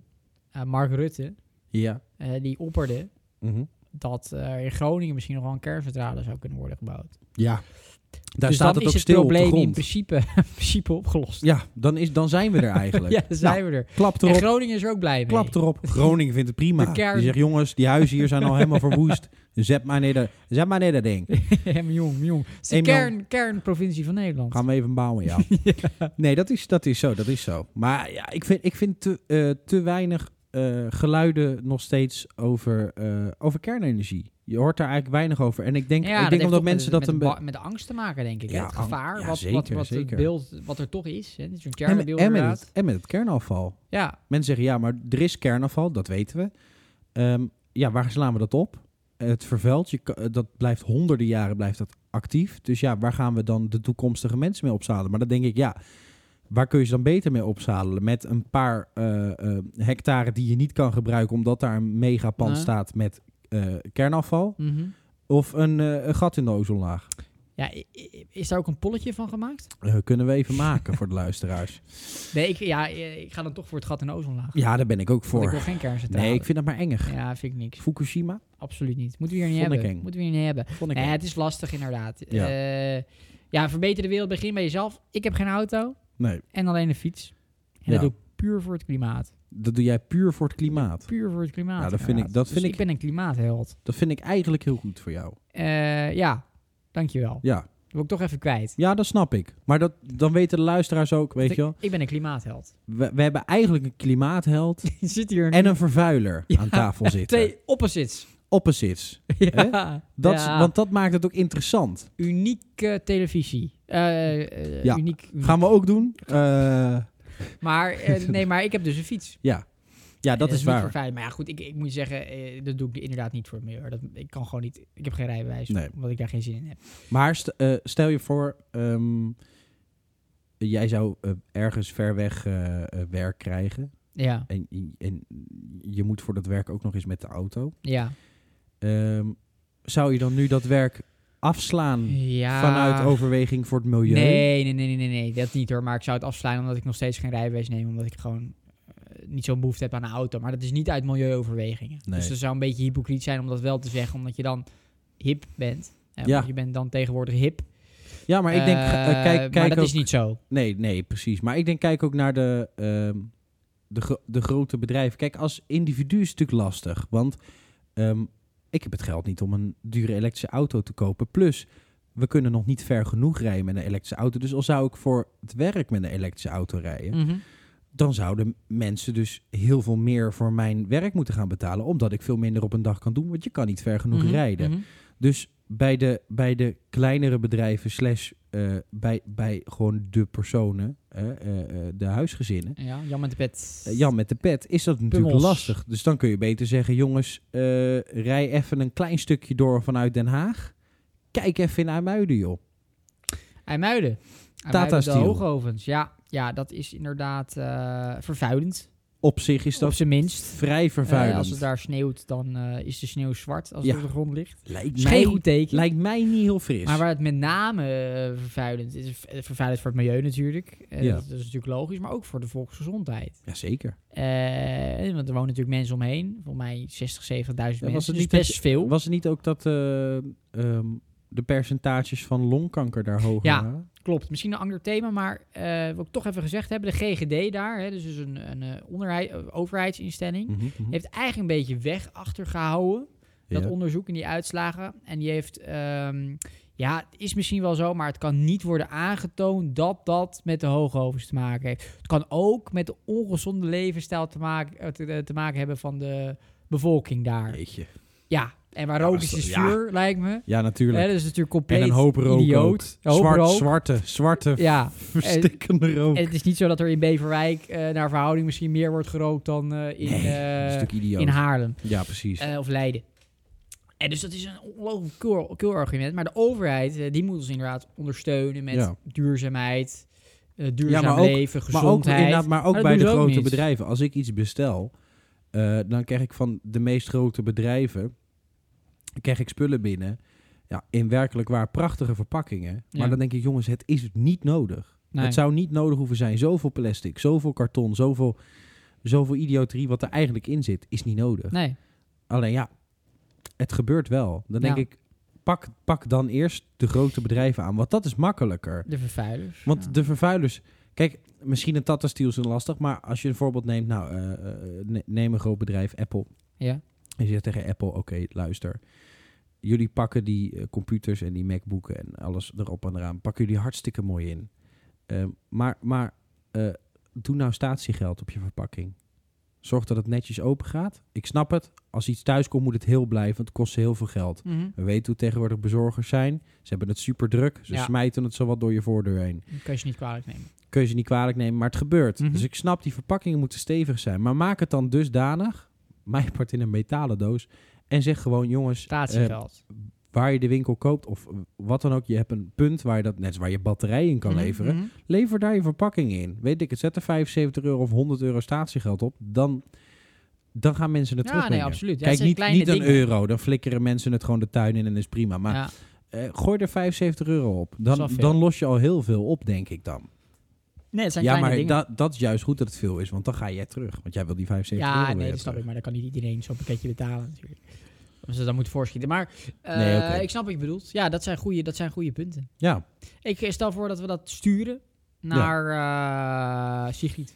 [SPEAKER 2] Eh, Mark Rutte,
[SPEAKER 1] Ja.
[SPEAKER 2] eh, die opperde
[SPEAKER 1] Mhm.
[SPEAKER 2] dat er in Groningen misschien nog wel een kerncentrale zou kunnen worden gebouwd.
[SPEAKER 1] Ja. Daar
[SPEAKER 2] dus
[SPEAKER 1] staat
[SPEAKER 2] dan
[SPEAKER 1] het ook
[SPEAKER 2] is het
[SPEAKER 1] stil op de
[SPEAKER 2] probleem in
[SPEAKER 1] grond.
[SPEAKER 2] principe, [LAUGHS] in principe opgelost.
[SPEAKER 1] Ja, dan, is, dan zijn we er
[SPEAKER 2] [LAUGHS]
[SPEAKER 1] eigenlijk.
[SPEAKER 2] Ja, dan zijn we er.
[SPEAKER 1] Klap
[SPEAKER 2] En
[SPEAKER 1] erop,
[SPEAKER 2] Groningen is er ook blij mee.
[SPEAKER 1] klap erop. Groningen vindt het
[SPEAKER 2] De
[SPEAKER 1] prima.
[SPEAKER 2] kern.
[SPEAKER 1] Die zegt, jongens, die huizen hier zijn al helemaal verwoest. Zet maar neer dat- zet maar neer dat ding.
[SPEAKER 2] [LAUGHS] Ja, maar jong, maar jong. Het is de
[SPEAKER 1] Hey, man.
[SPEAKER 2] kern, kernprovincie van Nederland.
[SPEAKER 1] Gaan we even bouwen,
[SPEAKER 2] [LAUGHS]
[SPEAKER 1] ja. Nee, dat is, dat is zo, dat is zo. Maar ja, ik vind, ik vind te, eh, te weinig eh, geluiden nog steeds over, eh, over kernenergie. Je hoort daar eigenlijk weinig over. En ik denk,
[SPEAKER 2] Ja,
[SPEAKER 1] ik denk
[SPEAKER 2] heeft
[SPEAKER 1] omdat
[SPEAKER 2] ook met-
[SPEAKER 1] mensen
[SPEAKER 2] met,
[SPEAKER 1] dat een...
[SPEAKER 2] de
[SPEAKER 1] be-
[SPEAKER 2] ba- met de angst te maken, denk ik.
[SPEAKER 1] Ja,
[SPEAKER 2] hè? het gevaar,
[SPEAKER 1] ang- ja,
[SPEAKER 2] wat, wat,
[SPEAKER 1] zeker,
[SPEAKER 2] wat het
[SPEAKER 1] zeker.
[SPEAKER 2] beeld, wat er toch is. hè? Zo'n
[SPEAKER 1] en, met-
[SPEAKER 2] Chernobyl
[SPEAKER 1] en, met
[SPEAKER 2] inderdaad.
[SPEAKER 1] het, en met het kernafval.
[SPEAKER 2] Ja,
[SPEAKER 1] Mensen zeggen, ja, maar er is kernafval, dat weten we. Ehm, ja, waar slaan we dat op? Eh, Het vervuilt, je, ka- eh, dat blijft honderden jaren blijft dat actief. Dus ja, waar gaan we dan de toekomstige mensen mee opzadelen? Maar dan denk ik, ja, waar kun je ze dan beter mee opzadelen? Met een paar eh, eh, hectare die je niet kan gebruiken... omdat daar een megapand
[SPEAKER 2] Nee.
[SPEAKER 1] staat met eh, kernafval?
[SPEAKER 2] mhm.
[SPEAKER 1] Of een, eh, een gat in de ozonlaag?
[SPEAKER 2] ja, i- i- is daar ook een polletje van gemaakt?
[SPEAKER 1] Eh, kunnen we even maken voor de luisteraars.
[SPEAKER 2] Nee, ik, ja, eh, ik ga dan toch voor het gat in de ozonlaag.
[SPEAKER 1] [LAUGHS] Ja, daar ben ik ook
[SPEAKER 2] Want ik
[SPEAKER 1] voor.
[SPEAKER 2] wil geen kerncentrale.
[SPEAKER 1] Nee, ik vind dat maar engig.
[SPEAKER 2] Ja, vind ik niks.
[SPEAKER 1] Fukushima?
[SPEAKER 2] Absoluut niet. Moeten we hier niet
[SPEAKER 1] Vond ik
[SPEAKER 2] hebben.
[SPEAKER 1] eng.
[SPEAKER 2] Moeten we hier niet hebben.
[SPEAKER 1] Vond ik
[SPEAKER 2] Nee,
[SPEAKER 1] eng.
[SPEAKER 2] het is lastig inderdaad.
[SPEAKER 1] Ja.
[SPEAKER 2] Eh, ja, verbeter de wereld, begin bij jezelf. Ik heb geen auto
[SPEAKER 1] Nee,
[SPEAKER 2] en alleen een fiets. En
[SPEAKER 1] Ja.
[SPEAKER 2] dat doe ik puur voor het klimaat.
[SPEAKER 1] dat doe jij puur voor het klimaat.
[SPEAKER 2] Puur voor het klimaat.
[SPEAKER 1] Ja, Nou, dat vind
[SPEAKER 2] inderdaad.
[SPEAKER 1] ik- dat
[SPEAKER 2] Dus
[SPEAKER 1] vind
[SPEAKER 2] ik
[SPEAKER 1] ik-
[SPEAKER 2] ben een klimaatheld.
[SPEAKER 1] Dat vind ik eigenlijk heel goed voor jou.
[SPEAKER 2] Eh, ja, dankjewel. Dat
[SPEAKER 1] Ja,
[SPEAKER 2] wil ik toch even kwijt.
[SPEAKER 1] ja dat snap ik. Maar dat, dan weten de luisteraars ook, weet
[SPEAKER 2] ik,
[SPEAKER 1] je wel.
[SPEAKER 2] ik ben een klimaatheld. [LAUGHS]
[SPEAKER 1] We, we hebben eigenlijk een klimaatheld
[SPEAKER 2] Je zit hier
[SPEAKER 1] en een vervuiler
[SPEAKER 2] Ja,
[SPEAKER 1] aan
[SPEAKER 2] [LAUGHS]
[SPEAKER 1] tafel zitten.
[SPEAKER 2] twee opposites.
[SPEAKER 1] [LAUGHS] Opposites.
[SPEAKER 2] ja.
[SPEAKER 1] Dat, is-
[SPEAKER 2] Ja.
[SPEAKER 1] Want dat maakt het ook interessant.
[SPEAKER 2] Unieke televisie. Eh, eh,
[SPEAKER 1] Ja.
[SPEAKER 2] Uniek. uniek.
[SPEAKER 1] Gaan we ook doen? Eh,
[SPEAKER 2] Maar,
[SPEAKER 1] [LAUGHS]
[SPEAKER 2] eh, nee, maar ik heb dus een fiets.
[SPEAKER 1] ja, dat
[SPEAKER 2] En
[SPEAKER 1] is
[SPEAKER 2] niet
[SPEAKER 1] waar.
[SPEAKER 2] vervuilend. Maar ja, goed, ik, ik moet zeggen, eh, dat doe ik inderdaad niet voor meer. Dat, ik kan gewoon niet. Ik heb geen rijbewijs,
[SPEAKER 1] Nee.
[SPEAKER 2] omdat ik daar geen zin in heb.
[SPEAKER 1] Maar st- eh, stel je voor, ehm, jij zou eh, ergens ver weg eh, eh, werk krijgen.
[SPEAKER 2] Ja,
[SPEAKER 1] En, en je moet voor dat werk ook nog eens met de auto.
[SPEAKER 2] ja.
[SPEAKER 1] Ehm, zou je dan nu dat werk afslaan
[SPEAKER 2] ja.
[SPEAKER 1] Hmm. vanuit overweging voor het milieu?
[SPEAKER 2] Nee, nee, nee, nee, nee, nee, dat niet hoor. Maar ik zou het afslaan omdat ik nog steeds geen rijbewijs neem, omdat ik gewoon eh, niet zo'n behoefte heb aan een auto. Maar dat is niet uit milieuoverwegingen.
[SPEAKER 1] Nee.
[SPEAKER 2] Dus dat zou een beetje hypocriet zijn om dat wel te zeggen, omdat je dan hip bent. Eh,
[SPEAKER 1] Ja.
[SPEAKER 2] want Je bent dan tegenwoordig hip.
[SPEAKER 1] Ja, maar ik denk,
[SPEAKER 2] Eh,
[SPEAKER 1] eh, kijk, kijk
[SPEAKER 2] maar dat
[SPEAKER 1] ook,
[SPEAKER 2] is niet zo.
[SPEAKER 1] Nee, nee, precies. Maar ik denk, kijk ook naar de, ehm, de, gro- de grote bedrijven. Kijk, als individu is het natuurlijk lastig, want ehm, ik heb het geld niet om een dure elektrische auto te kopen. Plus, we kunnen nog niet ver genoeg rijden met een elektrische auto. Dus al zou ik voor het werk met een elektrische auto rijden,
[SPEAKER 2] Mhm.
[SPEAKER 1] dan zouden mensen dus heel veel meer voor mijn werk moeten gaan betalen, omdat ik veel minder op een dag kan doen, want je kan niet ver genoeg
[SPEAKER 2] Mhm,
[SPEAKER 1] rijden.
[SPEAKER 2] mhm.
[SPEAKER 1] Dus bij de, bij de kleinere bedrijven, slash eh, bij, bij gewoon de personen, eh, eh, eh, de huisgezinnen.
[SPEAKER 2] Ja, Jan met de pet.
[SPEAKER 1] eh, Jan met de pet, is dat natuurlijk
[SPEAKER 2] Pummels.
[SPEAKER 1] lastig. Dus dan kun je beter zeggen, jongens, eh, rij even een klein stukje door vanuit Den Haag. Kijk even in IJmuiden, joh.
[SPEAKER 2] IJmuiden.
[SPEAKER 1] Tata
[SPEAKER 2] IJmuiden,
[SPEAKER 1] Steel.
[SPEAKER 2] De Hoogovens, ja. Ja, dat is inderdaad eh, vervuilend.
[SPEAKER 1] Op zich is
[SPEAKER 2] op
[SPEAKER 1] dat
[SPEAKER 2] zijn minst.
[SPEAKER 1] vrij
[SPEAKER 2] Eh,
[SPEAKER 1] vervuilend.
[SPEAKER 2] als het daar sneeuwt, dan eh, is de sneeuw zwart als
[SPEAKER 1] Ja.
[SPEAKER 2] het op de grond ligt.
[SPEAKER 1] lijkt,
[SPEAKER 2] Dat is geen
[SPEAKER 1] mij,
[SPEAKER 2] goed teken.
[SPEAKER 1] lijkt mij niet heel fris.
[SPEAKER 2] maar waar het met name eh, vervuilend is, is, eh, vervuilend voor het milieu natuurlijk. Eh,
[SPEAKER 1] Ja.
[SPEAKER 2] dat, dat is natuurlijk logisch, maar ook voor de volksgezondheid.
[SPEAKER 1] Jazeker.
[SPEAKER 2] Eh, want er wonen natuurlijk mensen omheen. Volgens mij 60, 70.000 mensen.
[SPEAKER 1] was het
[SPEAKER 2] dus
[SPEAKER 1] niet dat
[SPEAKER 2] best
[SPEAKER 1] je-
[SPEAKER 2] veel.
[SPEAKER 1] Was het niet ook dat eh, ehm, de percentages van longkanker daar hoger
[SPEAKER 2] Ja.
[SPEAKER 1] waren?
[SPEAKER 2] Klopt, misschien een ander thema, maar eh wil ik toch even gezegd hebben. De GGD daar, hè, dus is een, een eh, onderhei- eh, overheidsinstelling,
[SPEAKER 1] Mhm, mhm.
[SPEAKER 2] heeft eigenlijk een beetje weg achtergehouden dat
[SPEAKER 1] Ja.
[SPEAKER 2] onderzoek en die uitslagen. En die heeft, ehm, ja, het is misschien wel zo, maar het kan niet worden aangetoond dat dat met de hoogovens te maken heeft. Het kan ook met de ongezonde levensstijl te maken, eh, te, te maken hebben van de bevolking daar.
[SPEAKER 1] Jeetje.
[SPEAKER 2] Ja, en waar
[SPEAKER 1] Ja,
[SPEAKER 2] rook
[SPEAKER 1] maar
[SPEAKER 2] is,
[SPEAKER 1] zo-
[SPEAKER 2] is
[SPEAKER 1] ja.
[SPEAKER 2] vuur, lijkt me.
[SPEAKER 1] Ja,
[SPEAKER 2] Hè,
[SPEAKER 1] natuurlijk.
[SPEAKER 2] dat is natuurlijk
[SPEAKER 1] En
[SPEAKER 2] compleet
[SPEAKER 1] een hoop rook. ook.
[SPEAKER 2] Eh, idioot. Een hoop
[SPEAKER 1] Zwart,
[SPEAKER 2] rook.
[SPEAKER 1] Zwarte,
[SPEAKER 2] [LAUGHS]
[SPEAKER 1] zwarte, [LAUGHS]
[SPEAKER 2] Ja,
[SPEAKER 1] verstikkende rook.
[SPEAKER 2] en het is niet zo dat er in Beverwijk eh, naar verhouding misschien meer wordt gerookt dan eh,
[SPEAKER 1] Nee,
[SPEAKER 2] in, eh,
[SPEAKER 1] dat is natuurlijk idioot.
[SPEAKER 2] in Haarlem.
[SPEAKER 1] ja, precies.
[SPEAKER 2] Eh, of Leiden. En dus dat is een ongelooflijk cool, cool argument. Maar de overheid, eh, die moet ons inderdaad ondersteunen met
[SPEAKER 1] Ja.
[SPEAKER 2] duurzaamheid, eh, duurzaam
[SPEAKER 1] maar ook-
[SPEAKER 2] leven,
[SPEAKER 1] maar ook,
[SPEAKER 2] gezondheid.
[SPEAKER 1] inderdaad, maar ook
[SPEAKER 2] Maar dat
[SPEAKER 1] bij
[SPEAKER 2] doen
[SPEAKER 1] de
[SPEAKER 2] ze ook
[SPEAKER 1] grote
[SPEAKER 2] niet.
[SPEAKER 1] bedrijven. Als ik iets bestel, eh, dan krijg ik van de meest grote bedrijven krijg ik spullen binnen. Ja, in werkelijk waar prachtige verpakkingen. Maar
[SPEAKER 2] Ja.
[SPEAKER 1] dan denk ik, jongens, het is niet nodig.
[SPEAKER 2] Nee.
[SPEAKER 1] Het zou niet nodig hoeven zijn. Zoveel plastic, zoveel karton, zoveel, zoveel idioterie wat er eigenlijk in zit, is niet nodig.
[SPEAKER 2] Nee,
[SPEAKER 1] Alleen ja, het gebeurt wel. Dan denk
[SPEAKER 2] Ja.
[SPEAKER 1] ik, pak, pak dan eerst de grote bedrijven aan. Want dat is makkelijker.
[SPEAKER 2] de vervuilers.
[SPEAKER 1] Want
[SPEAKER 2] ja.
[SPEAKER 1] de vervuilers. Kijk, misschien een Tata Steel is een lastig, maar als je een voorbeeld neemt, nou, eh, eh, ne- neem een groot bedrijf, Apple.
[SPEAKER 2] Ja.
[SPEAKER 1] En je zegt tegen Apple, oké, luister. Jullie pakken die eh, computers en die MacBooken en alles erop en eraan, pakken jullie hartstikke mooi in. Ehm, maar maar eh, doe nou statiegeld op je verpakking. Zorg dat het netjes open gaat. Ik snap het. Als iets thuis komt, moet het heel blijven. want Het kost heel veel geld.
[SPEAKER 2] Mhm.
[SPEAKER 1] We weten hoe tegenwoordig bezorgers zijn. Ze hebben het super druk. Ze
[SPEAKER 2] Ja.
[SPEAKER 1] smijten het zowat door je voordeur heen
[SPEAKER 2] Dat kan je ze niet kwalijk nemen.
[SPEAKER 1] kun je ze niet kwalijk nemen, maar het gebeurt.
[SPEAKER 2] Mhm.
[SPEAKER 1] Dus ik snap, die verpakkingen moeten stevig zijn. Maar maak het dan dusdanig, mij part in een metalen doos... en zeg gewoon, jongens, eh,
[SPEAKER 2] Statiegeld.
[SPEAKER 1] waar je de winkel koopt of wat dan ook... je hebt een punt waar je, dat, net als waar je batterij in kan
[SPEAKER 2] Mhm,
[SPEAKER 1] leveren...
[SPEAKER 2] mhm.
[SPEAKER 1] lever daar je verpakking in. Weet ik het, zet er 75 euro of 100 euro statiegeld op... dan, dan gaan mensen het
[SPEAKER 2] Ja, nee,
[SPEAKER 1] terugbrengen.
[SPEAKER 2] absoluut. Ja, het
[SPEAKER 1] Kijk,
[SPEAKER 2] zijn
[SPEAKER 1] niet,
[SPEAKER 2] kleine
[SPEAKER 1] niet een
[SPEAKER 2] dingen.
[SPEAKER 1] euro, dan flikkeren mensen het gewoon de tuin in en is prima. Maar
[SPEAKER 2] Ja.
[SPEAKER 1] eh, gooi er 75 euro op.
[SPEAKER 2] is wel
[SPEAKER 1] Dan,
[SPEAKER 2] veel.
[SPEAKER 1] dan los je al heel veel op, denk ik dan.
[SPEAKER 2] Nee, het zijn
[SPEAKER 1] Ja,
[SPEAKER 2] kleine
[SPEAKER 1] maar
[SPEAKER 2] dingen.
[SPEAKER 1] da- dat is juist goed dat het veel is, want dan ga jij terug. Want jij wil die 75
[SPEAKER 2] Ja,
[SPEAKER 1] euro
[SPEAKER 2] nee,
[SPEAKER 1] weer
[SPEAKER 2] dat snap ik.
[SPEAKER 1] terug.
[SPEAKER 2] Maar dan kan niet iedereen zo'n pakketje betalen natuurlijk. Omdat ze dan moeten voorschieten. Maar eh,
[SPEAKER 1] Nee, oké.
[SPEAKER 2] ik snap wat je bedoelt. Ja, dat zijn goede, dat zijn goede punten.
[SPEAKER 1] Ja,
[SPEAKER 2] Ik eh, stel voor dat we dat sturen naar eh, Sigrid.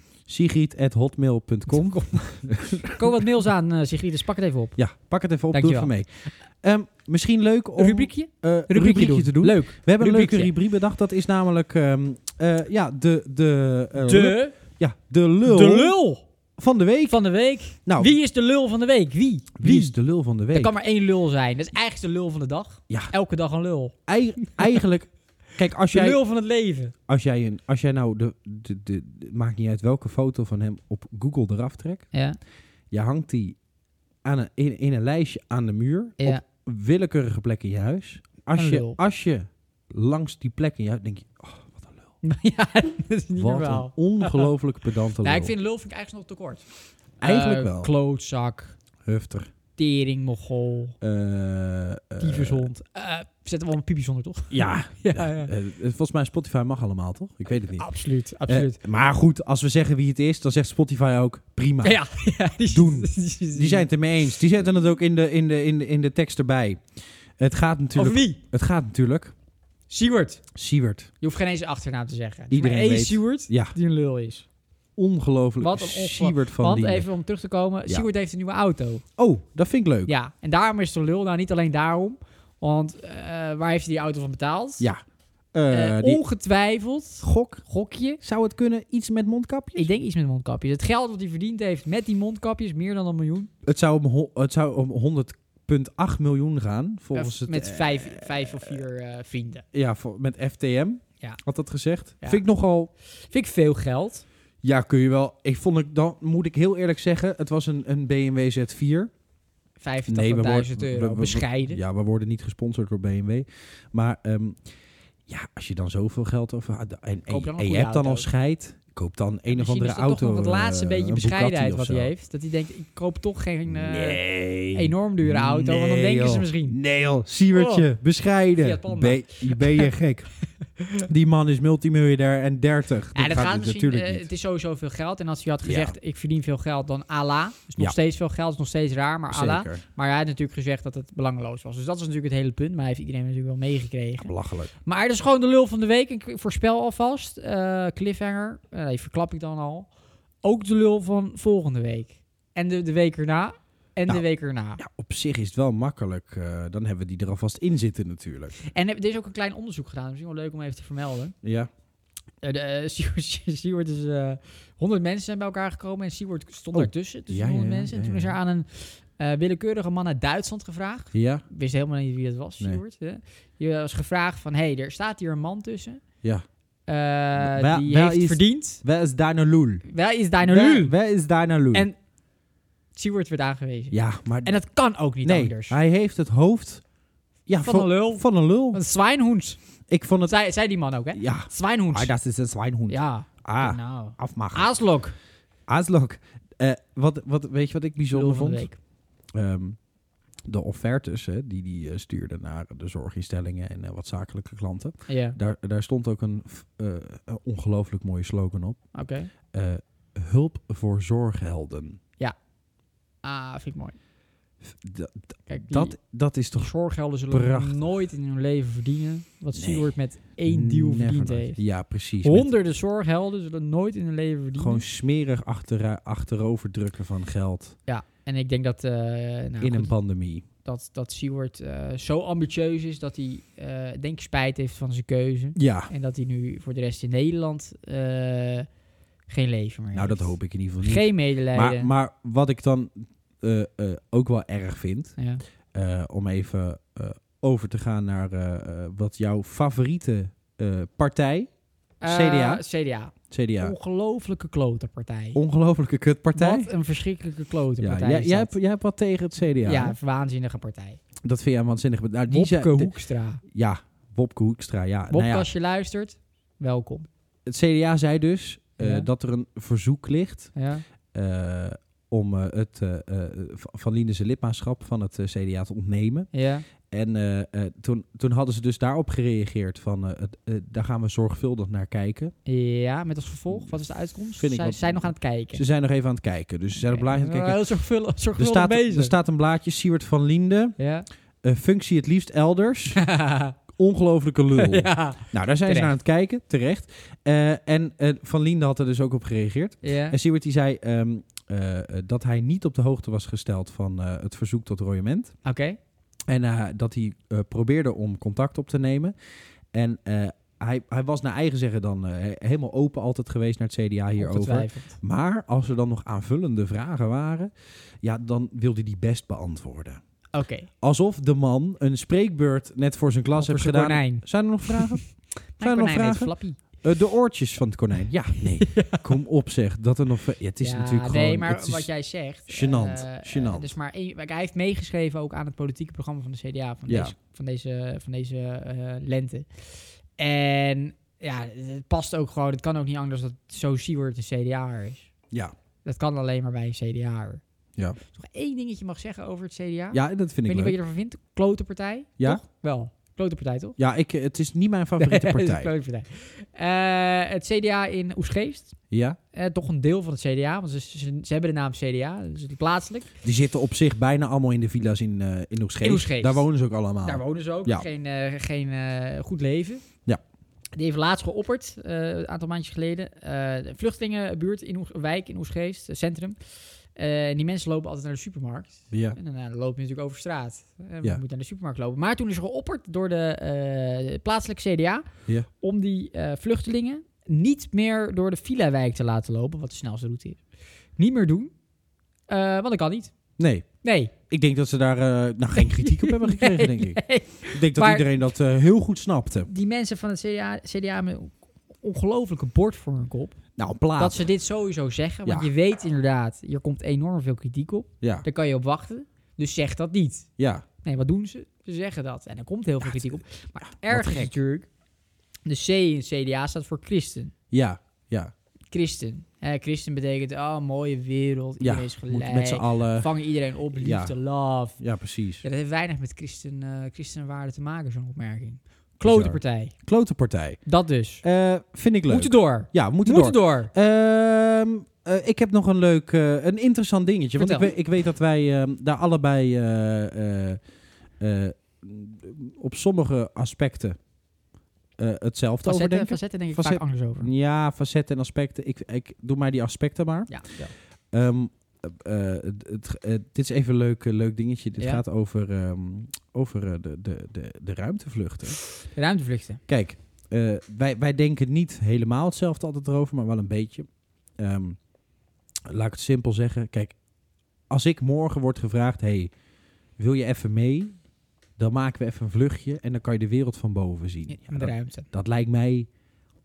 [SPEAKER 2] [LAUGHS]
[SPEAKER 1] sigrid.hotmail.com.
[SPEAKER 2] Kom wat mails aan, eh, Sigrid, dus pak het even op.
[SPEAKER 1] Ja, pak het even op,
[SPEAKER 2] Dankjewel.
[SPEAKER 1] doe het even mee. Ehm, misschien leuk om
[SPEAKER 2] Een rubriekje?
[SPEAKER 1] eh,
[SPEAKER 2] Rubriekje doen.
[SPEAKER 1] te doen.
[SPEAKER 2] Leuk.
[SPEAKER 1] We hebben een leuke
[SPEAKER 2] Rubriekje.
[SPEAKER 1] rubriek bedacht. Dat is namelijk ehm, eh, ja, de, de, eh, lul-
[SPEAKER 2] De,
[SPEAKER 1] ja, de lul
[SPEAKER 2] lul. de lul
[SPEAKER 1] van de week.
[SPEAKER 2] van de week.
[SPEAKER 1] Nou,
[SPEAKER 2] Wie is de lul van de week? Wie?
[SPEAKER 1] wie is de lul van de
[SPEAKER 2] Er
[SPEAKER 1] week?
[SPEAKER 2] kan maar één lul zijn. Dat is eigenlijk de lul van de dag.
[SPEAKER 1] Ja.
[SPEAKER 2] Elke dag een lul.
[SPEAKER 1] Ei-
[SPEAKER 2] [LAUGHS]
[SPEAKER 1] eigenlijk, kijk, als
[SPEAKER 2] De
[SPEAKER 1] jij,
[SPEAKER 2] lul van het leven.
[SPEAKER 1] als jij, een, als jij nou, de, de, de, de- maakt niet uit welke foto van hem op Google eraf trekt.
[SPEAKER 2] Ja.
[SPEAKER 1] Je hangt die aan een, in, in een lijstje aan de muur.
[SPEAKER 2] Ja.
[SPEAKER 1] Op willekeurige plekken in je huis. Als
[SPEAKER 2] Een
[SPEAKER 1] je,
[SPEAKER 2] lul.
[SPEAKER 1] als je langs die plekken in je huis... denk je, oh, wat een lul.
[SPEAKER 2] ja, [LAUGHS] dat is niet
[SPEAKER 1] wat een
[SPEAKER 2] normaal. [LAUGHS]
[SPEAKER 1] ongelooflijk pedante lul.
[SPEAKER 2] Ja, ik vind lul vind ik eigenlijk nog te kort.
[SPEAKER 1] Eigenlijk
[SPEAKER 2] Eh,
[SPEAKER 1] wel.
[SPEAKER 2] Klootzak,
[SPEAKER 1] Hufter.
[SPEAKER 2] tering, mogol,
[SPEAKER 1] Eh, eh,
[SPEAKER 2] tyfushond. Eh zetten we allemaal piepjes onder, toch? [LAUGHS]
[SPEAKER 1] ja.
[SPEAKER 2] Ja,
[SPEAKER 1] ja,
[SPEAKER 2] ja.
[SPEAKER 1] eh, volgens mij Spotify mag allemaal, toch? Ik weet het niet.
[SPEAKER 2] Absoluut, absoluut.
[SPEAKER 1] Eh, maar goed, als we zeggen wie het is, dan zegt Spotify ook prima.
[SPEAKER 2] Ja, [LAUGHS] ja, die,
[SPEAKER 1] Doen.
[SPEAKER 2] die-
[SPEAKER 1] Die zijn het ermee eens. Die zetten het ook in de, in de, in de, in de tekst erbij. Het gaat
[SPEAKER 2] Of
[SPEAKER 1] natuurlijk...
[SPEAKER 2] wie?
[SPEAKER 1] Het gaat natuurlijk...
[SPEAKER 2] Siewert.
[SPEAKER 1] Siewert.
[SPEAKER 2] Je hoeft geen eens een achternaam te zeggen. Het is
[SPEAKER 1] Iedereen
[SPEAKER 2] maar één
[SPEAKER 1] weet.
[SPEAKER 2] Siewert
[SPEAKER 1] Ja,
[SPEAKER 2] die een lul is.
[SPEAKER 1] ongelooflijk.
[SPEAKER 2] Wat een ongelooflijk-
[SPEAKER 1] Siewert van
[SPEAKER 2] Want
[SPEAKER 1] Diemen.
[SPEAKER 2] even om terug te komen,
[SPEAKER 1] Ja.
[SPEAKER 2] Siewert heeft een nieuwe auto.
[SPEAKER 1] Oh, dat vind ik leuk.
[SPEAKER 2] Ja, en daarom is het een lul. Nou, niet alleen daarom. Want eh, waar heeft hij die auto van betaald?
[SPEAKER 1] Ja.
[SPEAKER 2] Eh,
[SPEAKER 1] Eh, die
[SPEAKER 2] Ongetwijfeld.
[SPEAKER 1] gok.
[SPEAKER 2] Gokje.
[SPEAKER 1] Zou het kunnen? Iets met mondkapjes?
[SPEAKER 2] Ik denk iets met mondkapjes. Het geld wat hij verdiend heeft met die mondkapjes, meer dan een miljoen.
[SPEAKER 1] Het zou om, ho- het zou om 100,8 miljoen gaan. Volgens
[SPEAKER 2] Eh,
[SPEAKER 1] het,
[SPEAKER 2] met
[SPEAKER 1] eh,
[SPEAKER 2] vijf, vijf of vier eh, vrienden.
[SPEAKER 1] ja, vol- met FTM.
[SPEAKER 2] Ja.
[SPEAKER 1] Had dat gezegd.
[SPEAKER 2] Ja.
[SPEAKER 1] Vind ik nogal...
[SPEAKER 2] Vind ik veel geld.
[SPEAKER 1] Ja, kun je wel. Ik vond het, dan moet ik heel eerlijk zeggen, het was een, een BMW Z4.
[SPEAKER 2] 85.000
[SPEAKER 1] we-
[SPEAKER 2] euro.
[SPEAKER 1] we- we-
[SPEAKER 2] Bescheiden.
[SPEAKER 1] Ja, we worden niet gesponsord door BMW. Maar ehm, ja, als je dan zoveel geld over en, en,
[SPEAKER 2] Koop dan een
[SPEAKER 1] en je
[SPEAKER 2] goede
[SPEAKER 1] hebt dan al
[SPEAKER 2] auto.
[SPEAKER 1] scheid, koop dan een of
[SPEAKER 2] Misschien
[SPEAKER 1] andere
[SPEAKER 2] is dat
[SPEAKER 1] auto.
[SPEAKER 2] toch nog dat laatste
[SPEAKER 1] eh,
[SPEAKER 2] beetje
[SPEAKER 1] een Bugatti
[SPEAKER 2] bescheidenheid wat
[SPEAKER 1] of
[SPEAKER 2] hij
[SPEAKER 1] zo.
[SPEAKER 2] heeft. Dat hij denkt, ik koop toch geen eh,
[SPEAKER 1] nee.
[SPEAKER 2] enorm dure auto. want dan
[SPEAKER 1] Nee,
[SPEAKER 2] denken ze
[SPEAKER 1] joh.
[SPEAKER 2] misschien. Oh,
[SPEAKER 1] Nee joh, Siewertje, bescheiden.
[SPEAKER 2] Fiat Panda.
[SPEAKER 1] Ben, ben je
[SPEAKER 2] [LAUGHS]
[SPEAKER 1] gek? Die man is multimiljardair en 30.
[SPEAKER 2] Ja, dat gaat misschien,
[SPEAKER 1] dus natuurlijk
[SPEAKER 2] eh,
[SPEAKER 1] niet.
[SPEAKER 2] het is sowieso veel geld. En als hij had
[SPEAKER 1] Ja.
[SPEAKER 2] gezegd, ik verdien veel geld, dan ala. Dus nog
[SPEAKER 1] Ja.
[SPEAKER 2] steeds veel geld, is nog steeds raar, maar ala.
[SPEAKER 1] Zeker.
[SPEAKER 2] Maar hij had natuurlijk gezegd dat het belangeloos was. Dus dat is natuurlijk het hele punt. Maar hij heeft iedereen natuurlijk wel meegekregen.
[SPEAKER 1] Belachelijk.
[SPEAKER 2] Maar dat is gewoon de lul van de week. Ik voorspel alvast. eh, cliffhanger, eh, die verklap ik dan al. Ook de lul van volgende week. En de, de week erna. en
[SPEAKER 1] Nou,
[SPEAKER 2] de week erna.
[SPEAKER 1] Ja, op zich is het wel makkelijk. eh, dan hebben we die er alvast in zitten natuurlijk.
[SPEAKER 2] En er er is ook een klein onderzoek gedaan, misschien wel leuk om even te vermelden.
[SPEAKER 1] Ja.
[SPEAKER 2] Eh, de, eh, [LAUGHS] Seward- Seward is... eh 100 mensen zijn bij elkaar gekomen en Seward stond
[SPEAKER 1] Oh.
[SPEAKER 2] ertussen. Dus
[SPEAKER 1] Ja, ja,
[SPEAKER 2] 100
[SPEAKER 1] ja,
[SPEAKER 2] mensen. En
[SPEAKER 1] ja,
[SPEAKER 2] toen is
[SPEAKER 1] ja.
[SPEAKER 2] er aan een eh, willekeurige man uit Duitsland gevraagd.
[SPEAKER 1] Ja.
[SPEAKER 2] wist helemaal niet wie dat was,
[SPEAKER 1] Nee.
[SPEAKER 2] Sjoerd. hè. Je was gevraagd van, hé, hey, er staat hier een man tussen.
[SPEAKER 1] Ja.
[SPEAKER 2] eh,
[SPEAKER 1] wel-
[SPEAKER 2] die
[SPEAKER 1] wel
[SPEAKER 2] heeft
[SPEAKER 1] is-
[SPEAKER 2] verdiend.
[SPEAKER 1] Waar is Dino Loel?
[SPEAKER 2] Wel is daar nou nu?
[SPEAKER 1] Waar is Dino Loel?
[SPEAKER 2] En- Sjoerd werd aangewezen.
[SPEAKER 1] Ja, maar...
[SPEAKER 2] En dat kan ook niet
[SPEAKER 1] nee,
[SPEAKER 2] anders.
[SPEAKER 1] hij heeft het hoofd... Ja,
[SPEAKER 2] Van een lul.
[SPEAKER 1] Van een lul.
[SPEAKER 2] Een zwijnhoens.
[SPEAKER 1] Ik vond
[SPEAKER 2] Dat
[SPEAKER 1] het...
[SPEAKER 2] zei, zei die man ook, hè?
[SPEAKER 1] Ja.
[SPEAKER 2] Zwijnhoens.
[SPEAKER 1] Ah, dat is een zwijnhoend.
[SPEAKER 2] Ja,
[SPEAKER 1] Ah,
[SPEAKER 2] nou.
[SPEAKER 1] afmaken.
[SPEAKER 2] Aaslok.
[SPEAKER 1] Aaslok. Eh, wat, wat, weet je wat ik bijzonder
[SPEAKER 2] Lul van de
[SPEAKER 1] vond?
[SPEAKER 2] week.
[SPEAKER 1] Ehm, de offertes hè, die die eh, stuurde naar de zorginstellingen en eh, wat zakelijke klanten.
[SPEAKER 2] Ja,
[SPEAKER 1] Daar, daar stond ook een, f- eh, een ongelooflijk mooie slogan op.
[SPEAKER 2] oké.
[SPEAKER 1] Eh, hulp voor zorghelden.
[SPEAKER 2] Ah, vind ik mooi.
[SPEAKER 1] F- dat-
[SPEAKER 2] Kijk, die
[SPEAKER 1] dat, dat is toch
[SPEAKER 2] zorggelden zullen
[SPEAKER 1] prachtig.
[SPEAKER 2] nooit in hun leven verdienen wat
[SPEAKER 1] Nee.
[SPEAKER 2] Sjoerd met één deal
[SPEAKER 1] never
[SPEAKER 2] verdiend
[SPEAKER 1] nooit.
[SPEAKER 2] heeft.
[SPEAKER 1] Ja, precies. Met
[SPEAKER 2] Honderden zorghelden zullen nooit in hun leven verdienen.
[SPEAKER 1] Gewoon smerig achtera- achterover drukken van geld
[SPEAKER 2] Ja, en ik denk dat, eh, nou,
[SPEAKER 1] in
[SPEAKER 2] goed,
[SPEAKER 1] een pandemie.
[SPEAKER 2] dat, dat Seward eh, zo ambitieus is dat hij, eh, denk ik, spijt heeft van zijn keuze.
[SPEAKER 1] Ja,
[SPEAKER 2] En dat hij nu voor de rest in Nederland eh, geen leven meer
[SPEAKER 1] nou dat
[SPEAKER 2] heeft.
[SPEAKER 1] hoop ik in ieder geval niet.
[SPEAKER 2] Geen
[SPEAKER 1] Maar,
[SPEAKER 2] medelijden.
[SPEAKER 1] maar wat ik dan eh, eh, ook wel erg vind,
[SPEAKER 2] ja.
[SPEAKER 1] eh, om even eh, over te gaan naar eh, eh, wat jouw favoriete eh, partij, CDA?
[SPEAKER 2] Eh, CDA.
[SPEAKER 1] CDA.
[SPEAKER 2] Ongelooflijke klotenpartij.
[SPEAKER 1] Ongelofelijke kutpartij.
[SPEAKER 2] Wat een verschrikkelijke
[SPEAKER 1] Ja,
[SPEAKER 2] klotenpartij
[SPEAKER 1] jij,
[SPEAKER 2] is
[SPEAKER 1] jij,
[SPEAKER 2] dat.
[SPEAKER 1] hebt, jij hebt wat tegen het CDA.
[SPEAKER 2] ja,
[SPEAKER 1] hè?
[SPEAKER 2] een waanzinnige partij.
[SPEAKER 1] Dat vind jij waanzinnig. Nou, die
[SPEAKER 2] Wopke
[SPEAKER 1] zei- de-
[SPEAKER 2] Hoekstra.
[SPEAKER 1] ja, Wopke Hoekstra. Ja.
[SPEAKER 2] Wopke,
[SPEAKER 1] Nou ja,
[SPEAKER 2] als je luistert, welkom.
[SPEAKER 1] het CDA zei dus eh,
[SPEAKER 2] Ja.
[SPEAKER 1] dat er een verzoek ligt
[SPEAKER 2] Ja.
[SPEAKER 1] eh, om eh, het, eh, eh, van- van Lien zijn lidmaatschap van het eh, CDA te ontnemen.
[SPEAKER 2] Ja.
[SPEAKER 1] En eh, eh, toen, toen hadden ze dus daarop gereageerd van eh, het- eh, daar gaan we zorgvuldig naar kijken.
[SPEAKER 2] ja, met als vervolg, wat is de uitkomst?
[SPEAKER 1] Vind ik
[SPEAKER 2] Zij
[SPEAKER 1] wat-
[SPEAKER 2] zijn nog aan het kijken.
[SPEAKER 1] Ze zijn nog even aan het kijken, dus ze zijn op
[SPEAKER 2] Oké.
[SPEAKER 1] blaadje aan het kijken.
[SPEAKER 2] Nou, Heel zorgvuldig,
[SPEAKER 1] Er
[SPEAKER 2] zorgvuldig
[SPEAKER 1] staat,
[SPEAKER 2] bezig.
[SPEAKER 1] er staat een blaadje, Siewert van Liende,
[SPEAKER 2] Ja.
[SPEAKER 1] eh, functie het liefst
[SPEAKER 2] [LAUGHS]
[SPEAKER 1] elders, ongelofelijke lul.
[SPEAKER 2] ja.
[SPEAKER 1] Nou, daar zijn ze
[SPEAKER 2] Terecht.
[SPEAKER 1] naar aan het kijken, terecht. Eh, en eh, Van Liende had er dus ook op gereageerd.
[SPEAKER 2] Ja.
[SPEAKER 1] En Siewert die zei ehm, eh, eh, dat hij niet op de hoogte was gesteld van eh, het verzoek tot royement.
[SPEAKER 2] Oké.
[SPEAKER 1] En eh, dat hij eh, probeerde om contact op te nemen. En eh, hij, hij was naar eigen zeggen dan eh, he- helemaal open altijd geweest naar het CDA hierover.
[SPEAKER 2] Ongetwijfeld.
[SPEAKER 1] Maar als er dan nog aanvullende vragen waren, ja, dan wilde hij die best beantwoorden.
[SPEAKER 2] Oké.
[SPEAKER 1] Alsof de man een spreekbeurt net voor zijn klas
[SPEAKER 2] Over
[SPEAKER 1] heeft
[SPEAKER 2] zijn
[SPEAKER 1] gedaan.
[SPEAKER 2] konijn.
[SPEAKER 1] Zijn er nog
[SPEAKER 2] [LAUGHS]
[SPEAKER 1] vragen?
[SPEAKER 2] Mijn
[SPEAKER 1] Zijn er nog
[SPEAKER 2] konijn heet
[SPEAKER 1] vragen?
[SPEAKER 2] Flappy.
[SPEAKER 1] Eh, de oortjes van het konijn. Ja,
[SPEAKER 2] [LAUGHS]
[SPEAKER 1] nee. Kom op zeg, dat er nog... Ja, het is
[SPEAKER 2] Ja,
[SPEAKER 1] natuurlijk
[SPEAKER 2] nee,
[SPEAKER 1] gewoon...
[SPEAKER 2] maar
[SPEAKER 1] het is-
[SPEAKER 2] wat jij zegt.
[SPEAKER 1] gênant,
[SPEAKER 2] eh, eh,
[SPEAKER 1] gênant.
[SPEAKER 2] dus maar één- kijk, hij heeft meegeschreven ook aan het politieke programma van de CDA van
[SPEAKER 1] Ja.
[SPEAKER 2] deze, van deze, van deze eh, lente. En ja, het past ook gewoon. Het kan ook niet anders dat zo Seward een CDA'er is.
[SPEAKER 1] Ja.
[SPEAKER 2] Dat kan alleen maar bij een CDA'er.
[SPEAKER 1] Ja.
[SPEAKER 2] Is er nog één dingetje mag zeggen over het CDA? ik
[SPEAKER 1] Ja, dat vind
[SPEAKER 2] weet
[SPEAKER 1] ik
[SPEAKER 2] niet wat
[SPEAKER 1] leuk.
[SPEAKER 2] je ervan vindt. Klote partij?
[SPEAKER 1] Ja?
[SPEAKER 2] Toch? Wel. Klote partij, toch?
[SPEAKER 1] Ja, ik, eh, het is niet mijn favoriete
[SPEAKER 2] Nee, [LAUGHS] dat is
[SPEAKER 1] partij.
[SPEAKER 2] een grote partij. Eh, het CDA in Oesgeest.
[SPEAKER 1] Ja?
[SPEAKER 2] Eh, toch een deel van het CDA, want ze, ze, ze hebben de naam CDA, dus het is plaatselijk.
[SPEAKER 1] Die zitten op zich bijna allemaal in de villa's in, eh in Oegstgeest.
[SPEAKER 2] In Oegstgeest.
[SPEAKER 1] Daar wonen ze ook allemaal.
[SPEAKER 2] Daar wonen ze ook.
[SPEAKER 1] Ah. Ja.
[SPEAKER 2] Geen, eh, geen eh, goed leven.
[SPEAKER 1] Ja.
[SPEAKER 2] Die heeft laatst geopperd, eh, een aantal maandjes geleden. eh de vluchtelingenbuurt in Oes- wijk in Oesgeest, eh, centrum. Eh, en die mensen lopen altijd naar de supermarkt.
[SPEAKER 1] ja.
[SPEAKER 2] En daarna lopen je natuurlijk over straat. En we
[SPEAKER 1] Ja.
[SPEAKER 2] moeten naar de supermarkt lopen. Maar toen is er geopperd door de eh, plaatselijke CDA...
[SPEAKER 1] Ja.
[SPEAKER 2] om die eh, vluchtelingen niet meer door de villa-wijk te laten lopen... wat de snelste route is. Niet meer doen, Eh, want dat kan niet.
[SPEAKER 1] Nee,
[SPEAKER 2] Nee.
[SPEAKER 1] ik denk dat ze daar eh, nou,
[SPEAKER 2] [LAUGHS]
[SPEAKER 1] geen kritiek op hebben gekregen, denk ik.
[SPEAKER 2] Nee.
[SPEAKER 1] Ik denk dat
[SPEAKER 2] Maar-
[SPEAKER 1] iedereen dat eh, heel goed snapte.
[SPEAKER 2] Die mensen van het CDA, CDA met een ongelofelijke bord voor hun kop...
[SPEAKER 1] Nou, plaat.
[SPEAKER 2] dat ze dit sowieso zeggen. Want
[SPEAKER 1] Ja.
[SPEAKER 2] je weet inderdaad, hier komt enorm veel kritiek op.
[SPEAKER 1] Ja,
[SPEAKER 2] Daar kan je op wachten. Dus zeg dat niet.
[SPEAKER 1] ja.
[SPEAKER 2] Nee, wat doen ze? Ze zeggen dat. En er komt heel veel kritiek op. Maar het ergste is
[SPEAKER 1] gek.
[SPEAKER 2] natuurlijk... De C in CDA staat voor christen.
[SPEAKER 1] Ja, ja.
[SPEAKER 2] Christen. Hè, christen betekent, oh, mooie wereld.
[SPEAKER 1] Ja,
[SPEAKER 2] Iedereen is
[SPEAKER 1] Moet met z'n
[SPEAKER 2] gelijk.
[SPEAKER 1] allen...
[SPEAKER 2] Vangen iedereen op.
[SPEAKER 1] Ja.
[SPEAKER 2] Liefde, love.
[SPEAKER 1] Ja, precies.
[SPEAKER 2] Ja, dat heeft weinig met christen, eh christenwaarde te maken, zo'n opmerking. Klote
[SPEAKER 1] Bizar.
[SPEAKER 2] partij.
[SPEAKER 1] Klote partij.
[SPEAKER 2] Dat dus.
[SPEAKER 1] Eh, vind ik leuk.
[SPEAKER 2] Moeten door.
[SPEAKER 1] Ja, we moeten
[SPEAKER 2] Moeten,
[SPEAKER 1] door.
[SPEAKER 2] door.
[SPEAKER 1] Ehm, eh, ik heb nog een leuk, eh, een interessant dingetje. Want ik,
[SPEAKER 2] Vertel.
[SPEAKER 1] weet- ik weet dat wij ehm, daar allebei eh, eh, eh, op sommige aspecten eh, hetzelfde over
[SPEAKER 2] Facetten,
[SPEAKER 1] denken.
[SPEAKER 2] facetten denk ik
[SPEAKER 1] Facet-
[SPEAKER 2] vaak anders over.
[SPEAKER 1] Ja, facetten en aspecten. Ik, ik doe maar die aspecten maar.
[SPEAKER 2] Ja, ja.
[SPEAKER 1] Ehm, eh, eh, het- het- eh, dit is even een leuk, eh, leuk dingetje. Dit
[SPEAKER 2] Ja.
[SPEAKER 1] gaat over, ehm, over eh, de, de, de, de ruimtevluchten.
[SPEAKER 2] Ruimtevluchten.
[SPEAKER 1] Kijk, eh, wij, wij denken niet helemaal hetzelfde altijd erover, maar wel een beetje. Ehm, laat ik het simpel zeggen. Kijk, als ik morgen wordt gevraagd: hey, wil je even mee? Dan maken we even een vluchtje en dan kan je de wereld van boven zien.
[SPEAKER 2] In
[SPEAKER 1] Ja,
[SPEAKER 2] de
[SPEAKER 1] dat,
[SPEAKER 2] ruimte.
[SPEAKER 1] dat lijkt mij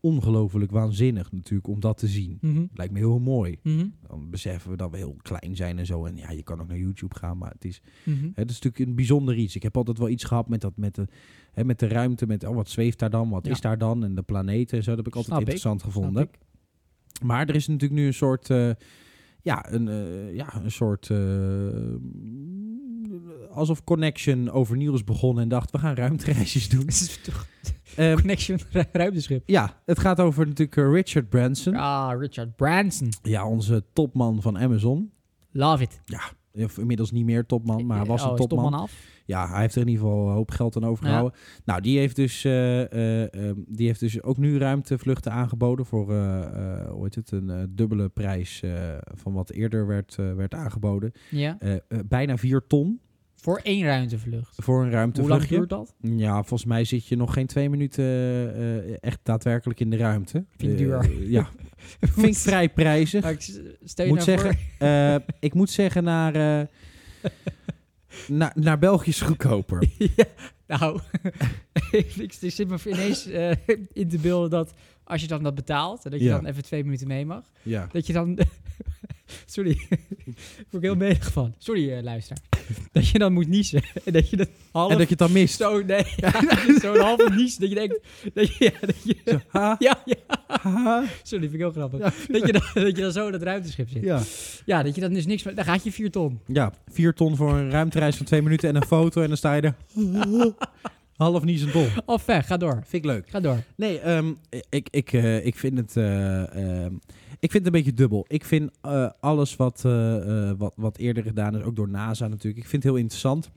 [SPEAKER 1] ongelooflijk waanzinnig natuurlijk om dat te zien.
[SPEAKER 2] Mhm.
[SPEAKER 1] Lijkt me heel mooi.
[SPEAKER 2] Mhm.
[SPEAKER 1] Dan beseffen we dat we heel klein zijn en zo. En ja, je kan ook naar YouTube gaan, maar het is
[SPEAKER 2] Mhm.
[SPEAKER 1] Hè, dat is natuurlijk een bijzonder iets. Ik heb altijd wel iets gehad met, dat, met, de, hè, met de ruimte. Met oh, wat zweeft daar dan? Wat
[SPEAKER 2] Ja.
[SPEAKER 1] is daar dan? En de planeten en zo. Dat heb ik altijd
[SPEAKER 2] Snap ik.
[SPEAKER 1] interessant
[SPEAKER 2] Snap
[SPEAKER 1] gevonden.
[SPEAKER 2] ik.
[SPEAKER 1] Maar er is natuurlijk nu een soort... eh, ja, een, eh, ja, een soort... eh, alsof Connection overnieuw is begonnen en dacht... we gaan ruimtereisjes
[SPEAKER 2] [LAUGHS]
[SPEAKER 1] doen.
[SPEAKER 2] Het is toch
[SPEAKER 1] Ehm,
[SPEAKER 2] Connection ru- ruimteschip.
[SPEAKER 1] ja, het gaat over natuurlijk eh, Richard Branson. Ja.
[SPEAKER 2] Ah, Richard Branson.
[SPEAKER 1] onze topman van Amazon.
[SPEAKER 2] Love it.
[SPEAKER 1] Of inmiddels niet meer topman, maar hij was
[SPEAKER 2] Oh,
[SPEAKER 1] een
[SPEAKER 2] is
[SPEAKER 1] topman.
[SPEAKER 2] af.
[SPEAKER 1] Ja, hij heeft er in ieder geval een hoop geld aan overgehouden. Nou, die heeft, dus, eh, eh, ehm, die heeft dus ook nu ruimtevluchten aangeboden voor eh, eh, hoe heet het, een eh, dubbele prijs eh, van wat eerder werd, eh, werd aangeboden.
[SPEAKER 2] Ja.
[SPEAKER 1] Eh, eh, bijna 4 ton
[SPEAKER 2] Voor één ruimtevlucht.
[SPEAKER 1] voor een
[SPEAKER 2] Hoe lang
[SPEAKER 1] ruimtevluchtje.
[SPEAKER 2] duurt dat?
[SPEAKER 1] Ja, volgens mij zit je nog geen twee minuten eh, eh, echt daadwerkelijk in de ruimte.
[SPEAKER 2] [LAUGHS] Vind ik
[SPEAKER 1] Eh,
[SPEAKER 2] duur.
[SPEAKER 1] ja, vind ik vrij prijzig.
[SPEAKER 2] Maar ik s- stel je
[SPEAKER 1] Moet
[SPEAKER 2] nou
[SPEAKER 1] zeggen, Eh, ik moet zeggen, naar, eh, [LAUGHS] naar, naar België is goedkoper.
[SPEAKER 2] voor- [LAUGHS] ja, nou, [LAUGHS] ik ik zit me ineens eh, in te beelden dat als je dan dat betaalt... en dat je
[SPEAKER 1] Ja.
[SPEAKER 2] dan even twee minuten mee mag...
[SPEAKER 1] Ja.
[SPEAKER 2] dat je dan... [LAUGHS] Sorry, daar word ik heel menig van. Sorry, eh, luisteraar. [LAUGHS] Dat je dan moet niezen [LAUGHS] en dat je dat half...
[SPEAKER 1] En dat je het dan mist.
[SPEAKER 2] Zo, nee,
[SPEAKER 1] [LAUGHS]
[SPEAKER 2] [LAUGHS] ja, zo'n halve nies dat je denkt... Dat je, ja, dat je,
[SPEAKER 1] Zo, ha,
[SPEAKER 2] [LAUGHS] ja, ja,
[SPEAKER 1] ha.
[SPEAKER 2] sorry, vind ik heel grappig.
[SPEAKER 1] Ja.
[SPEAKER 2] Dat, je dan, [LAUGHS] dat je dan zo in dat ruimteschip zit. Ja,
[SPEAKER 1] Ja.
[SPEAKER 2] dat je dan dus niks... meer- Dan gaat je vier ton.
[SPEAKER 1] ja, vier ton voor een ruimtereis van twee minuten en een foto. En dan sta je er [LAUGHS] half niet zijn dol.
[SPEAKER 2] Of weg, ga door.
[SPEAKER 1] Vind ik leuk.
[SPEAKER 2] Ga door.
[SPEAKER 1] Nee, ehm, ik, ik, eh, ik vind het... eh, ehm, ik vind het een beetje dubbel. Ik vind eh, alles wat, eh, eh, wat, wat eerder gedaan is, ook door NASA natuurlijk. Ik vind het heel interessant.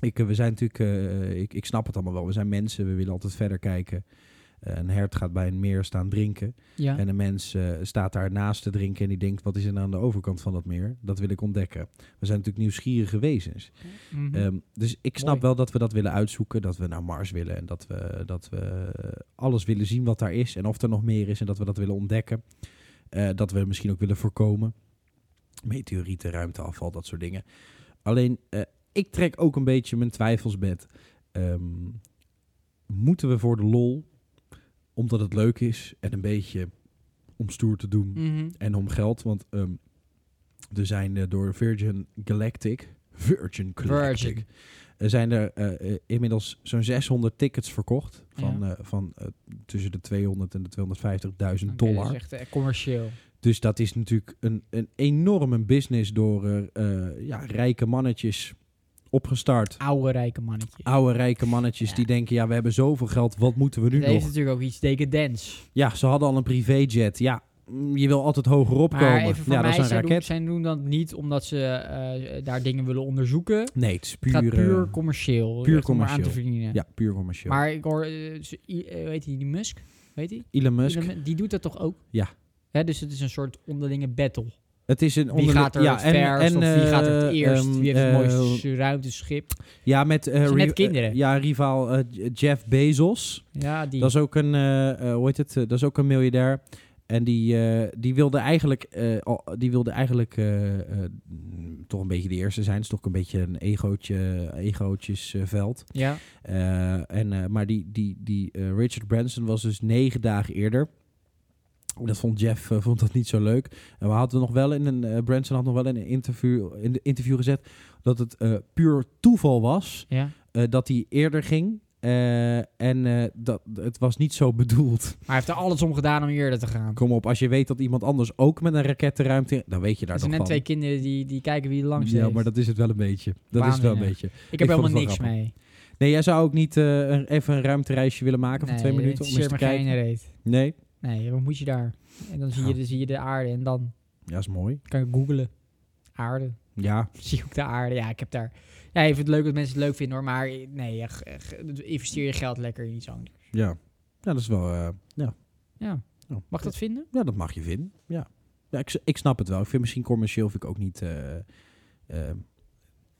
[SPEAKER 1] Ik, eh, we zijn natuurlijk... eh, ik, ik snap het allemaal wel. We zijn mensen. We willen altijd verder kijken. Eh, een hert gaat bij een meer staan drinken.
[SPEAKER 2] Ja.
[SPEAKER 1] En een mens eh, staat daar naast te drinken en die denkt, wat is er nou aan de overkant van dat meer? Dat wil ik ontdekken. We zijn natuurlijk nieuwsgierige wezens.
[SPEAKER 2] Mhm.
[SPEAKER 1] Ehm, dus ik snap
[SPEAKER 2] Mooi.
[SPEAKER 1] wel dat we dat willen uitzoeken, dat we naar Mars willen en dat we, dat we eh, alles willen zien wat daar is en of er nog meer is en dat we dat willen ontdekken. Eh, dat we misschien ook willen voorkomen. Meteorieten, ruimteafval, dat soort dingen. Alleen, eh, ik trek ook een beetje mijn twijfels met. Ehm, moeten we voor de lol, omdat het leuk is en een beetje om stoer te doen,
[SPEAKER 2] Mhm.
[SPEAKER 1] en om geld, want ehm, er zijn eh, door Virgin Galactic, Virgin Galactic,
[SPEAKER 2] Virgin.
[SPEAKER 1] er zijn er eh, eh, inmiddels zo'n 600 tickets verkocht van, eh, van eh, tussen de 200 en de 250.000
[SPEAKER 2] Oké,
[SPEAKER 1] dollar.
[SPEAKER 2] Dat is echt eh, commercieel.
[SPEAKER 1] Dus dat is natuurlijk een, een enorme business door eh, eh, ja, rijke mannetjes opgestart.
[SPEAKER 2] Oude rijke mannetje.
[SPEAKER 1] Oude rijke mannetjes
[SPEAKER 2] Ja.
[SPEAKER 1] die denken, ja, we hebben zoveel geld, wat moeten we nu
[SPEAKER 2] Dat
[SPEAKER 1] nog?
[SPEAKER 2] heeft natuurlijk ook iets decadents.
[SPEAKER 1] Ja, ze hadden al een privéjet. Ja, mm, je wil altijd hoger opkomen.
[SPEAKER 2] Maar even van
[SPEAKER 1] ja, dat
[SPEAKER 2] mij,
[SPEAKER 1] is een
[SPEAKER 2] zij doen,
[SPEAKER 1] raket.
[SPEAKER 2] zij doen dat niet omdat ze eh, daar dingen willen onderzoeken.
[SPEAKER 1] Nee, het is
[SPEAKER 2] het
[SPEAKER 1] puur...
[SPEAKER 2] gaat puur
[SPEAKER 1] eh,
[SPEAKER 2] commercieel.
[SPEAKER 1] puur
[SPEAKER 2] echt om maar aan te
[SPEAKER 1] commercieel.
[SPEAKER 2] verdienen.
[SPEAKER 1] Ja, puur commercieel.
[SPEAKER 2] Maar ik hoor, eh, ze- I- eh, weet je, die Musk, weet je?
[SPEAKER 1] Elon Musk,
[SPEAKER 2] Die doet dat toch ook?
[SPEAKER 1] Ja.
[SPEAKER 2] Hè, dus het is een soort onderlinge battle.
[SPEAKER 1] het is een
[SPEAKER 2] Wie
[SPEAKER 1] onderling-
[SPEAKER 2] gaat er
[SPEAKER 1] ja,
[SPEAKER 2] het verst of wie
[SPEAKER 1] eh,
[SPEAKER 2] gaat er het eerst?
[SPEAKER 1] ehm,
[SPEAKER 2] wie heeft het
[SPEAKER 1] eh,
[SPEAKER 2] mooiste ruimteschip?
[SPEAKER 1] Ja, met... eh,
[SPEAKER 2] Het zijn net
[SPEAKER 1] ri-
[SPEAKER 2] kinderen.
[SPEAKER 1] eh, ja, rivaal eh, J- Jeff Bezos.
[SPEAKER 2] Ja, die.
[SPEAKER 1] Dat is ook een, eh, eh, hoe heet het? Eh, dat is ook een miljardair. En die, eh, die wilde eigenlijk, eh, al- die wilde eigenlijk eh, eh, mm, toch een beetje de eerste zijn. Het is toch een beetje een egootje, egootjesveld.
[SPEAKER 2] ja.
[SPEAKER 1] Eh, en, eh, maar die, die, die eh, Richard Branson was dus negen dagen eerder. Dat vond Jeff eh, vond dat niet zo leuk. En we hadden nog wel in een eh, Branson had nog wel in een interview, in de interview gezet dat het eh, puur toeval was
[SPEAKER 2] ja.
[SPEAKER 1] eh, dat hij eerder ging. Eh, en eh, dat, het was niet zo bedoeld.
[SPEAKER 2] Maar hij heeft er alles om gedaan om eerder te gaan.
[SPEAKER 1] Kom op, als je weet dat iemand anders ook met een raket de ruimte in, dan weet je daar
[SPEAKER 2] Er zijn
[SPEAKER 1] toch
[SPEAKER 2] net
[SPEAKER 1] van.
[SPEAKER 2] twee kinderen die, die kijken wie er langs
[SPEAKER 1] ja,
[SPEAKER 2] heeft.
[SPEAKER 1] maar dat is het wel een beetje. Dat is het wel een
[SPEAKER 2] Waanzinnig.
[SPEAKER 1] beetje.
[SPEAKER 2] ik
[SPEAKER 1] ik
[SPEAKER 2] heb
[SPEAKER 1] vond
[SPEAKER 2] helemaal
[SPEAKER 1] het
[SPEAKER 2] niks
[SPEAKER 1] wel
[SPEAKER 2] mee.
[SPEAKER 1] Nee, jij zou ook niet eh, een- even een ruimtereisje willen maken van
[SPEAKER 2] Nee,
[SPEAKER 1] twee
[SPEAKER 2] het
[SPEAKER 1] minuten om eens
[SPEAKER 2] interesseert
[SPEAKER 1] te
[SPEAKER 2] me
[SPEAKER 1] kijken?
[SPEAKER 2] geen reet.
[SPEAKER 1] Nee.
[SPEAKER 2] Nee, wat moet je daar? En dan zie,
[SPEAKER 1] Ja.
[SPEAKER 2] je, dan zie je de aarde en dan
[SPEAKER 1] Ja, is mooi.
[SPEAKER 2] kan ik googlen. Aarde. [LAUGHS]
[SPEAKER 1] Ja,
[SPEAKER 2] Zie ik ook de aarde. Ja, ik heb daar... Ja, ik vind het leuk dat mensen het leuk vinden hoor. Maar nee, ja, g- g- investeer je geld lekker in iets anders.
[SPEAKER 1] ja. Ja, dat is wel... eh, oh. ja.
[SPEAKER 2] Ja.
[SPEAKER 1] Ja.
[SPEAKER 2] Mag dat vinden?
[SPEAKER 1] ja, dat mag je vinden. Ja. Ja, ik, s- ik snap het wel. Ik vind misschien commercieel vind ik ook niet eh, eh,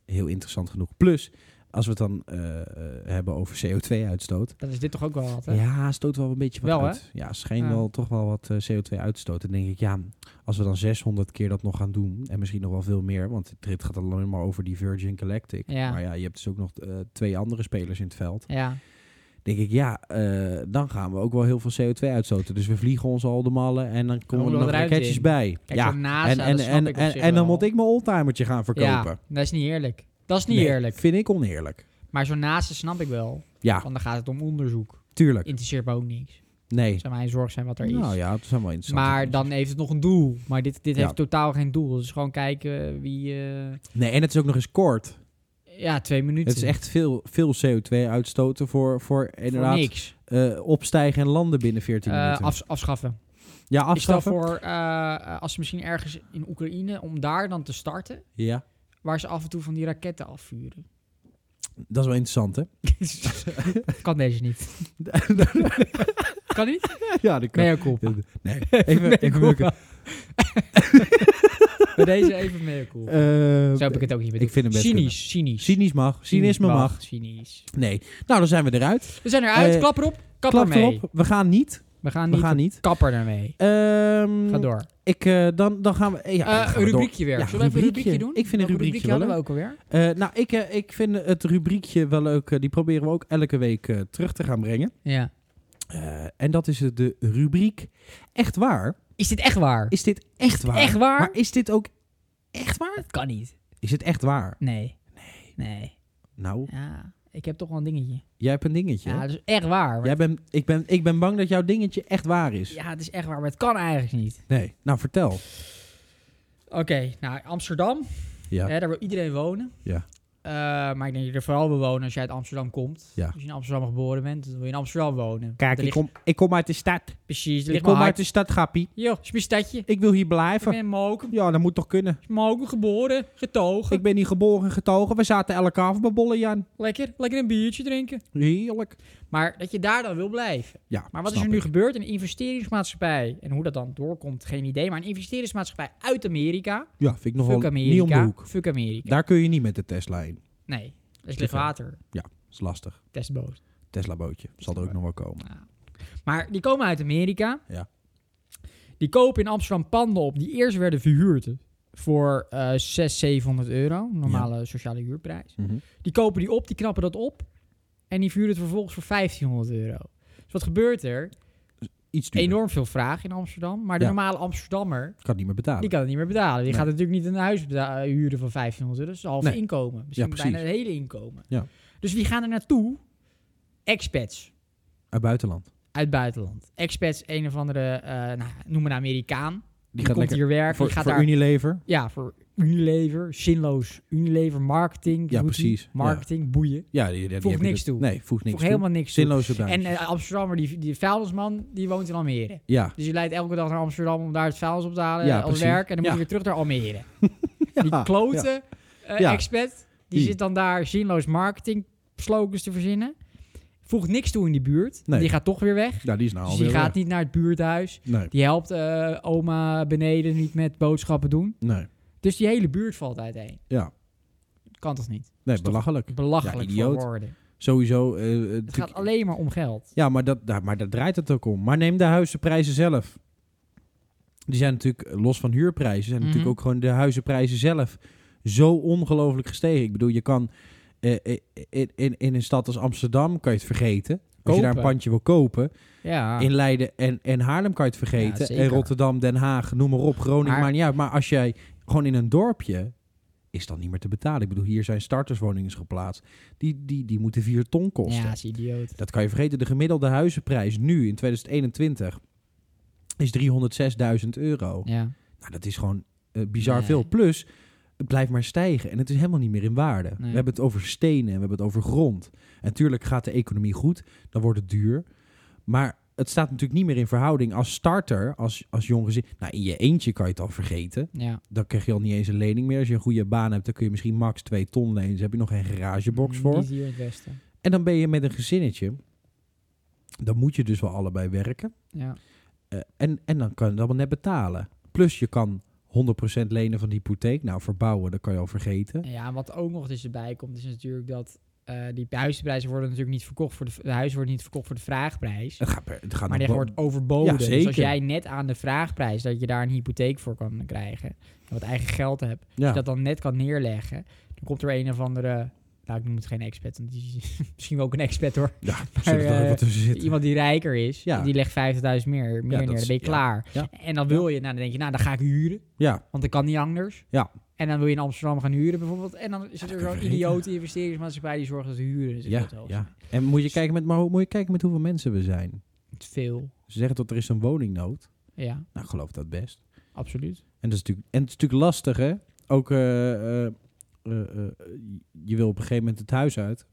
[SPEAKER 1] heel interessant genoeg. Plus, als we het dan eh, eh, hebben over CO2-uitstoot.
[SPEAKER 2] Dat is dit toch ook wel wat, hè?
[SPEAKER 1] Ja, stoot wel een beetje wat
[SPEAKER 2] Wel, hè?
[SPEAKER 1] uit. Ja, schijnt
[SPEAKER 2] Ja.
[SPEAKER 1] wel toch wel wat eh, CO2 uit te stoten. Dan denk ik, ja, als we dan 600 keer dat nog gaan doen... en misschien nog wel veel meer... want dit gaat alleen maar over die Virgin Galactic.
[SPEAKER 2] Ja.
[SPEAKER 1] Maar ja, je hebt dus ook nog eh, twee andere spelers in het veld.
[SPEAKER 2] Ja.
[SPEAKER 1] denk ik, ja, eh, dan gaan we ook wel heel veel CO2 uitstoten. Dus we vliegen ons al de mallen en dan komen
[SPEAKER 2] we
[SPEAKER 1] er nog
[SPEAKER 2] eruit
[SPEAKER 1] raketjes
[SPEAKER 2] in.
[SPEAKER 1] bij.
[SPEAKER 2] Kijk,
[SPEAKER 1] ja,
[SPEAKER 2] zo'n NASA,
[SPEAKER 1] en, en,
[SPEAKER 2] dat snap
[SPEAKER 1] en,
[SPEAKER 2] ik op
[SPEAKER 1] en,
[SPEAKER 2] zich
[SPEAKER 1] en dan
[SPEAKER 2] wel.
[SPEAKER 1] moet ik mijn oldtimertje gaan verkopen.
[SPEAKER 2] Ja, dat is niet eerlijk. Dat is niet
[SPEAKER 1] Nee,
[SPEAKER 2] eerlijk. Oh,
[SPEAKER 1] Vind ik oneerlijk.
[SPEAKER 2] Maar zo'n naaste snap ik wel.
[SPEAKER 1] Ja,
[SPEAKER 2] Want dan gaat het om onderzoek.
[SPEAKER 1] tuurlijk.
[SPEAKER 2] Interesseert me ook niks.
[SPEAKER 1] Nee.
[SPEAKER 2] Zou mijn zorg zijn wat er
[SPEAKER 1] Nou
[SPEAKER 2] is.
[SPEAKER 1] ja, het zijn wel interessant.
[SPEAKER 2] Maar dan heeft het nog een doel. Maar dit, dit
[SPEAKER 1] Ja.
[SPEAKER 2] heeft totaal geen doel. Dus gewoon kijken wie... eh,
[SPEAKER 1] Nee, en het is ook nog eens kort.
[SPEAKER 2] ja, twee minuten.
[SPEAKER 1] Het is echt veel, veel CO2 uitstoten voor, voor
[SPEAKER 2] Voor
[SPEAKER 1] inderdaad
[SPEAKER 2] niks.
[SPEAKER 1] eh, opstijgen en landen binnen 14
[SPEAKER 2] Eh,
[SPEAKER 1] minuten.
[SPEAKER 2] afs- afschaffen.
[SPEAKER 1] ja,
[SPEAKER 2] Ik stel
[SPEAKER 1] afschaffen.
[SPEAKER 2] voor, eh, als ze misschien ergens in Oekraïne, om daar dan te starten,
[SPEAKER 1] Ja,
[SPEAKER 2] waar ze af en toe van die raketten
[SPEAKER 1] [LAUGHS]
[SPEAKER 2] afvuren.
[SPEAKER 1] dat is wel interessant, hè?
[SPEAKER 2] [LAUGHS] kan deze niet.
[SPEAKER 1] [LAUGHS]
[SPEAKER 2] kan niet?
[SPEAKER 1] ja, dat kan.
[SPEAKER 2] Mea culpa.
[SPEAKER 1] Nee, even, even
[SPEAKER 2] culpa.
[SPEAKER 1] lukken.
[SPEAKER 2] Bij deze even mea culpa.
[SPEAKER 1] Eh,
[SPEAKER 2] Zo heb ik het ook niet bedoeld.
[SPEAKER 1] ik vind hem best
[SPEAKER 2] cynisch,
[SPEAKER 1] kunnen.
[SPEAKER 2] cynisch.
[SPEAKER 1] Cynisch mag. Cynisme mag.
[SPEAKER 2] Cynisch.
[SPEAKER 1] Nee. Nou, dan zijn we eruit.
[SPEAKER 2] We zijn eruit.
[SPEAKER 1] Eh,
[SPEAKER 2] klap erop. Kap
[SPEAKER 1] Klap
[SPEAKER 2] ermee.
[SPEAKER 1] erop. We gaan niet.
[SPEAKER 2] We gaan
[SPEAKER 1] We
[SPEAKER 2] niet.
[SPEAKER 1] gaan niet.
[SPEAKER 2] Kapper ermee.
[SPEAKER 1] Ehm,
[SPEAKER 2] Ga door.
[SPEAKER 1] Ik, eh, dan, dan gaan we... eh, Ja,
[SPEAKER 2] Eh,
[SPEAKER 1] dan gaan
[SPEAKER 2] een
[SPEAKER 1] we door.
[SPEAKER 2] rubriekje weer.
[SPEAKER 1] Ja,
[SPEAKER 2] Zullen we even een
[SPEAKER 1] rubriekje.
[SPEAKER 2] rubriekje doen?
[SPEAKER 1] Ik vind een
[SPEAKER 2] Welk
[SPEAKER 1] rubriekje wel
[SPEAKER 2] hadden we ook alweer.
[SPEAKER 1] Eh, nou, ik, eh, ik vind het rubriekje wel leuk. Eh, die proberen we ook elke week eh, terug te gaan brengen.
[SPEAKER 2] Ja.
[SPEAKER 1] Eh, en dat is de rubriek Echt Waar.
[SPEAKER 2] Is dit echt waar?
[SPEAKER 1] Is dit echt waar?
[SPEAKER 2] Echt waar?
[SPEAKER 1] Maar is dit ook echt waar?
[SPEAKER 2] Dat kan niet.
[SPEAKER 1] Is het echt waar?
[SPEAKER 2] Nee. Nee. Nee.
[SPEAKER 1] Nou,
[SPEAKER 2] Ja. Ik heb toch wel een dingetje.
[SPEAKER 1] jij hebt een dingetje. hè?
[SPEAKER 2] Ja, dat is echt waar. maar-
[SPEAKER 1] jij bent, ik, ben, ik ben bang dat jouw dingetje echt waar is.
[SPEAKER 2] Ja, het is echt waar, maar het kan eigenlijk niet.
[SPEAKER 1] Nee, nou vertel.
[SPEAKER 2] Oké, nou, Amsterdam,
[SPEAKER 1] Ja.
[SPEAKER 2] hè, daar wil iedereen wonen.
[SPEAKER 1] Ja.
[SPEAKER 2] Eh, maar ik denk dat je er vooral wil wonen als je uit Amsterdam komt.
[SPEAKER 1] Ja.
[SPEAKER 2] Als je in Amsterdam geboren bent, dan wil je in Amsterdam wonen.
[SPEAKER 1] Kijk,
[SPEAKER 2] Er
[SPEAKER 1] ik
[SPEAKER 2] ligt,
[SPEAKER 1] kom, ik kom uit de stad.
[SPEAKER 2] Precies, er
[SPEAKER 1] Ik
[SPEAKER 2] ligt mijn
[SPEAKER 1] kom uit
[SPEAKER 2] hart.
[SPEAKER 1] de stad, Gappie.
[SPEAKER 2] Yo, is mijn stadje. Ik
[SPEAKER 1] Ik wil hier
[SPEAKER 2] ben
[SPEAKER 1] blijven.
[SPEAKER 2] in Moken.
[SPEAKER 1] Ja, dat moet toch kunnen.
[SPEAKER 2] Is Moken geboren, getogen.
[SPEAKER 1] Ik ben hier geboren en getogen. We zaten elke avond bij bollen, Jan.
[SPEAKER 2] Lekker, lekker een biertje drinken.
[SPEAKER 1] Heerlijk.
[SPEAKER 2] Maar dat je daar dan wil blijven.
[SPEAKER 1] Ja,
[SPEAKER 2] Maar wat is
[SPEAKER 1] snap
[SPEAKER 2] er nu
[SPEAKER 1] ik.
[SPEAKER 2] gebeurd? Een investeringsmaatschappij, en hoe dat dan doorkomt, geen idee. Maar een investeringsmaatschappij uit Amerika.
[SPEAKER 1] Ja, vind ik nog wel
[SPEAKER 2] Fuck
[SPEAKER 1] niet om de
[SPEAKER 2] Amerika.
[SPEAKER 1] hoek.
[SPEAKER 2] Fuck Amerika.
[SPEAKER 1] Daar kun je niet met de Tesla in.
[SPEAKER 2] Nee, dat is licht water.
[SPEAKER 1] Dat is lastig.
[SPEAKER 2] Testboot.
[SPEAKER 1] Tesla bootje. Zal er ook nog wel komen.
[SPEAKER 2] Maar die komen uit Amerika.
[SPEAKER 1] Ja.
[SPEAKER 2] Die kopen in Amsterdam panden op die eerst werden verhuurd voor eh 600, 700 euro. Normale sociale huurprijs.
[SPEAKER 1] Mhm.
[SPEAKER 2] Die kopen die op, die knappen dat op. En die verhuren het vervolgens voor 1500 euro. Dus wat gebeurt er?
[SPEAKER 1] Iets duurder.
[SPEAKER 2] Enorm veel vraag in Amsterdam. Maar de
[SPEAKER 1] Ja.
[SPEAKER 2] normale Amsterdammer,
[SPEAKER 1] Kan niet meer
[SPEAKER 2] die
[SPEAKER 1] betalen.
[SPEAKER 2] kan het niet meer betalen. Die
[SPEAKER 1] Ah, Nee.
[SPEAKER 2] gaat natuurlijk niet een huis beta- eh, huren van 1500 euro. Dat is een half
[SPEAKER 1] Nee.
[SPEAKER 2] inkomen. Misschien
[SPEAKER 1] precies.
[SPEAKER 2] bijna het hele inkomen.
[SPEAKER 1] Ja.
[SPEAKER 2] Dus wie gaan er naartoe? Expats.
[SPEAKER 1] Uit buitenland.
[SPEAKER 2] uit buitenland. Expats, een of andere, eh, nou, noem een Amerikaan. Die,
[SPEAKER 1] Die,
[SPEAKER 2] komt
[SPEAKER 1] gaat lekker
[SPEAKER 2] hier werken.
[SPEAKER 1] voor,
[SPEAKER 2] die gaat
[SPEAKER 1] voor
[SPEAKER 2] daar,
[SPEAKER 1] Unilever.
[SPEAKER 2] ja, voor Unilever, zinloos Unilever, marketing.
[SPEAKER 1] Ja,
[SPEAKER 2] doet die.
[SPEAKER 1] preks, ja.
[SPEAKER 2] Marketing, boeien.
[SPEAKER 1] Ja, die, die- die
[SPEAKER 2] Voegt
[SPEAKER 1] heb je
[SPEAKER 2] niks
[SPEAKER 1] dat-
[SPEAKER 2] toe.
[SPEAKER 1] Nee, voegt niks
[SPEAKER 2] Voor helemaal niks
[SPEAKER 1] toe.
[SPEAKER 2] toe.
[SPEAKER 1] Zinloze
[SPEAKER 2] En
[SPEAKER 1] bedrijven.
[SPEAKER 2] eh, Amsterdammer, die, die vuilnisman, die woont in Almere.
[SPEAKER 1] ja.
[SPEAKER 2] Dus die leidt elke dag naar Amsterdam om daar het vuilnis op te halen
[SPEAKER 1] Ja,
[SPEAKER 2] als
[SPEAKER 1] precies.
[SPEAKER 2] werk. En dan moet
[SPEAKER 1] Ja.
[SPEAKER 2] hij weer terug naar Almere.
[SPEAKER 1] Ja,
[SPEAKER 2] Die klote eh,
[SPEAKER 1] Ja.
[SPEAKER 2] expat, die,
[SPEAKER 1] Die.
[SPEAKER 2] zit dan daar zinloos marketing slogans te verzinnen. Voegt niks toe in die buurt.
[SPEAKER 1] Nee.
[SPEAKER 2] Die gaat toch weer weg.
[SPEAKER 1] Ja, die is nou
[SPEAKER 2] Dus
[SPEAKER 1] alweer
[SPEAKER 2] die gaat
[SPEAKER 1] weg.
[SPEAKER 2] niet naar het buurthuis.
[SPEAKER 1] Nee,
[SPEAKER 2] Die helpt eh, oma beneden niet met boodschappen doen.
[SPEAKER 1] nee.
[SPEAKER 2] Dus die hele buurt valt uiteen.
[SPEAKER 1] Ja.
[SPEAKER 2] Kan toch niet?
[SPEAKER 1] Nee,
[SPEAKER 2] Is toch-
[SPEAKER 1] belachelijk.
[SPEAKER 2] Belachelijk
[SPEAKER 1] Ja, idioot.
[SPEAKER 2] voor woorden.
[SPEAKER 1] Sowieso. eh, eh,
[SPEAKER 2] Het
[SPEAKER 1] natuurlijk-
[SPEAKER 2] gaat alleen maar om geld.
[SPEAKER 1] Ja, maar dat, daar, maar daar draait het ook om. Maar neem de huizenprijzen zelf. Die zijn natuurlijk, eh, los van huurprijzen, zijn
[SPEAKER 2] Mhm.
[SPEAKER 1] natuurlijk ook gewoon de huizenprijzen zelf zo ongelooflijk gestegen. Ik bedoel, je kan eh, eh, in, in, in een stad als Amsterdam, kan je het vergeten. Als je daar een
[SPEAKER 2] Kopen.
[SPEAKER 1] pandje wil kopen.
[SPEAKER 2] Ja.
[SPEAKER 1] In Leiden en, en Haarlem kan je het
[SPEAKER 2] Ja,
[SPEAKER 1] vergeten.
[SPEAKER 2] zeker.
[SPEAKER 1] en Rotterdam, Den Haag, noem maar op. Groningen,
[SPEAKER 2] Maar-
[SPEAKER 1] maakt niet uit. Maar als jij gewoon in een dorpje... is dat niet meer te betalen. Ik bedoel, hier zijn starterswoningen geplaatst. Die, die, die moeten vier ton kosten.
[SPEAKER 2] ja, dat is idioot.
[SPEAKER 1] Dat kan je vergeten. De gemiddelde huizenprijs nu in 2021 is 306.000 euro.
[SPEAKER 2] Ja.
[SPEAKER 1] Nou, dat is gewoon eh, bizar
[SPEAKER 2] Nee.
[SPEAKER 1] veel. Plus, het blijft maar stijgen en het is helemaal niet meer in waarde.
[SPEAKER 2] Nee.
[SPEAKER 1] We hebben het over stenen en we hebben het over grond. En tuurlijk gaat de economie goed, dan wordt het duur. Maar het staat natuurlijk niet meer in verhouding als starter, als, als jong gezin. Nou, in je eentje kan je het al vergeten.
[SPEAKER 2] ja.
[SPEAKER 1] Dan krijg je al niet eens een lening meer. Als je een goede baan hebt, dan kun je misschien max 2 ton lenen. Dus heb je nog geen garagebox voor.
[SPEAKER 2] Niet hier in het Westen.
[SPEAKER 1] En dan ben je met een gezinnetje. Dan moet je dus wel allebei werken.
[SPEAKER 2] Ja.
[SPEAKER 1] Eh, en, en dan kan je dat wel net betalen. Plus je kan 100% lenen van de hypotheek. Nou, verbouwen, dat kan je al vergeten.
[SPEAKER 2] Ja, wat ook nog dus erbij komt, is natuurlijk dat eh, die huizenprijzen worden natuurlijk niet verkocht voor de, de huizen worden niet verkocht voor de vraagprijs.
[SPEAKER 1] Het gaat, per- het gaat
[SPEAKER 2] Maar
[SPEAKER 1] nog
[SPEAKER 2] die
[SPEAKER 1] wel-
[SPEAKER 2] wordt overboden.
[SPEAKER 1] Ja,
[SPEAKER 2] Dus
[SPEAKER 1] zeker.
[SPEAKER 2] als jij net aan de vraagprijs dat je daar een hypotheek voor kan krijgen, en wat eigen geld hebt, als
[SPEAKER 1] ja.
[SPEAKER 2] je dat dan net kan neerleggen, dan komt er een of andere. Nou, ik noem het geen expert, want die is [LAUGHS] misschien wel ook een expert hoor. [LAUGHS]
[SPEAKER 1] Ja, zullen er
[SPEAKER 2] eh,
[SPEAKER 1] ook wat tussen zitten.
[SPEAKER 2] Iemand die rijker is,
[SPEAKER 1] Ja.
[SPEAKER 2] die legt 50.000 meer, meer
[SPEAKER 1] dat
[SPEAKER 2] neer, dan
[SPEAKER 1] is-
[SPEAKER 2] ben je
[SPEAKER 1] ja.
[SPEAKER 2] klaar.
[SPEAKER 1] Ja.
[SPEAKER 2] En dan wil je, nou, dan denk je, nou, dan ga ik huren,
[SPEAKER 1] Ja,
[SPEAKER 2] want dat kan niet anders.
[SPEAKER 1] Ja.
[SPEAKER 2] En dan wil je in Amsterdam gaan huren bijvoorbeeld. En dan zit er
[SPEAKER 1] kan je
[SPEAKER 2] zo'n
[SPEAKER 1] vergeten.
[SPEAKER 2] idiote investeringsmaatschappij die zorgt dat ze huren. Dus
[SPEAKER 1] ja,
[SPEAKER 2] dat wel
[SPEAKER 1] ja. En moet je, kijken met, maar hoe- moet je kijken met hoeveel mensen we zijn.
[SPEAKER 2] te Veel.
[SPEAKER 1] Ze zeggen dat er is een woningnood.
[SPEAKER 2] Ja,
[SPEAKER 1] Nou, ik geloof dat best.
[SPEAKER 2] absoluut.
[SPEAKER 1] En, dat is natuurlijk, en het is natuurlijk lastig, hè? Ook, eh, eh, eh, eh, je wil op een gegeven moment het huis uit.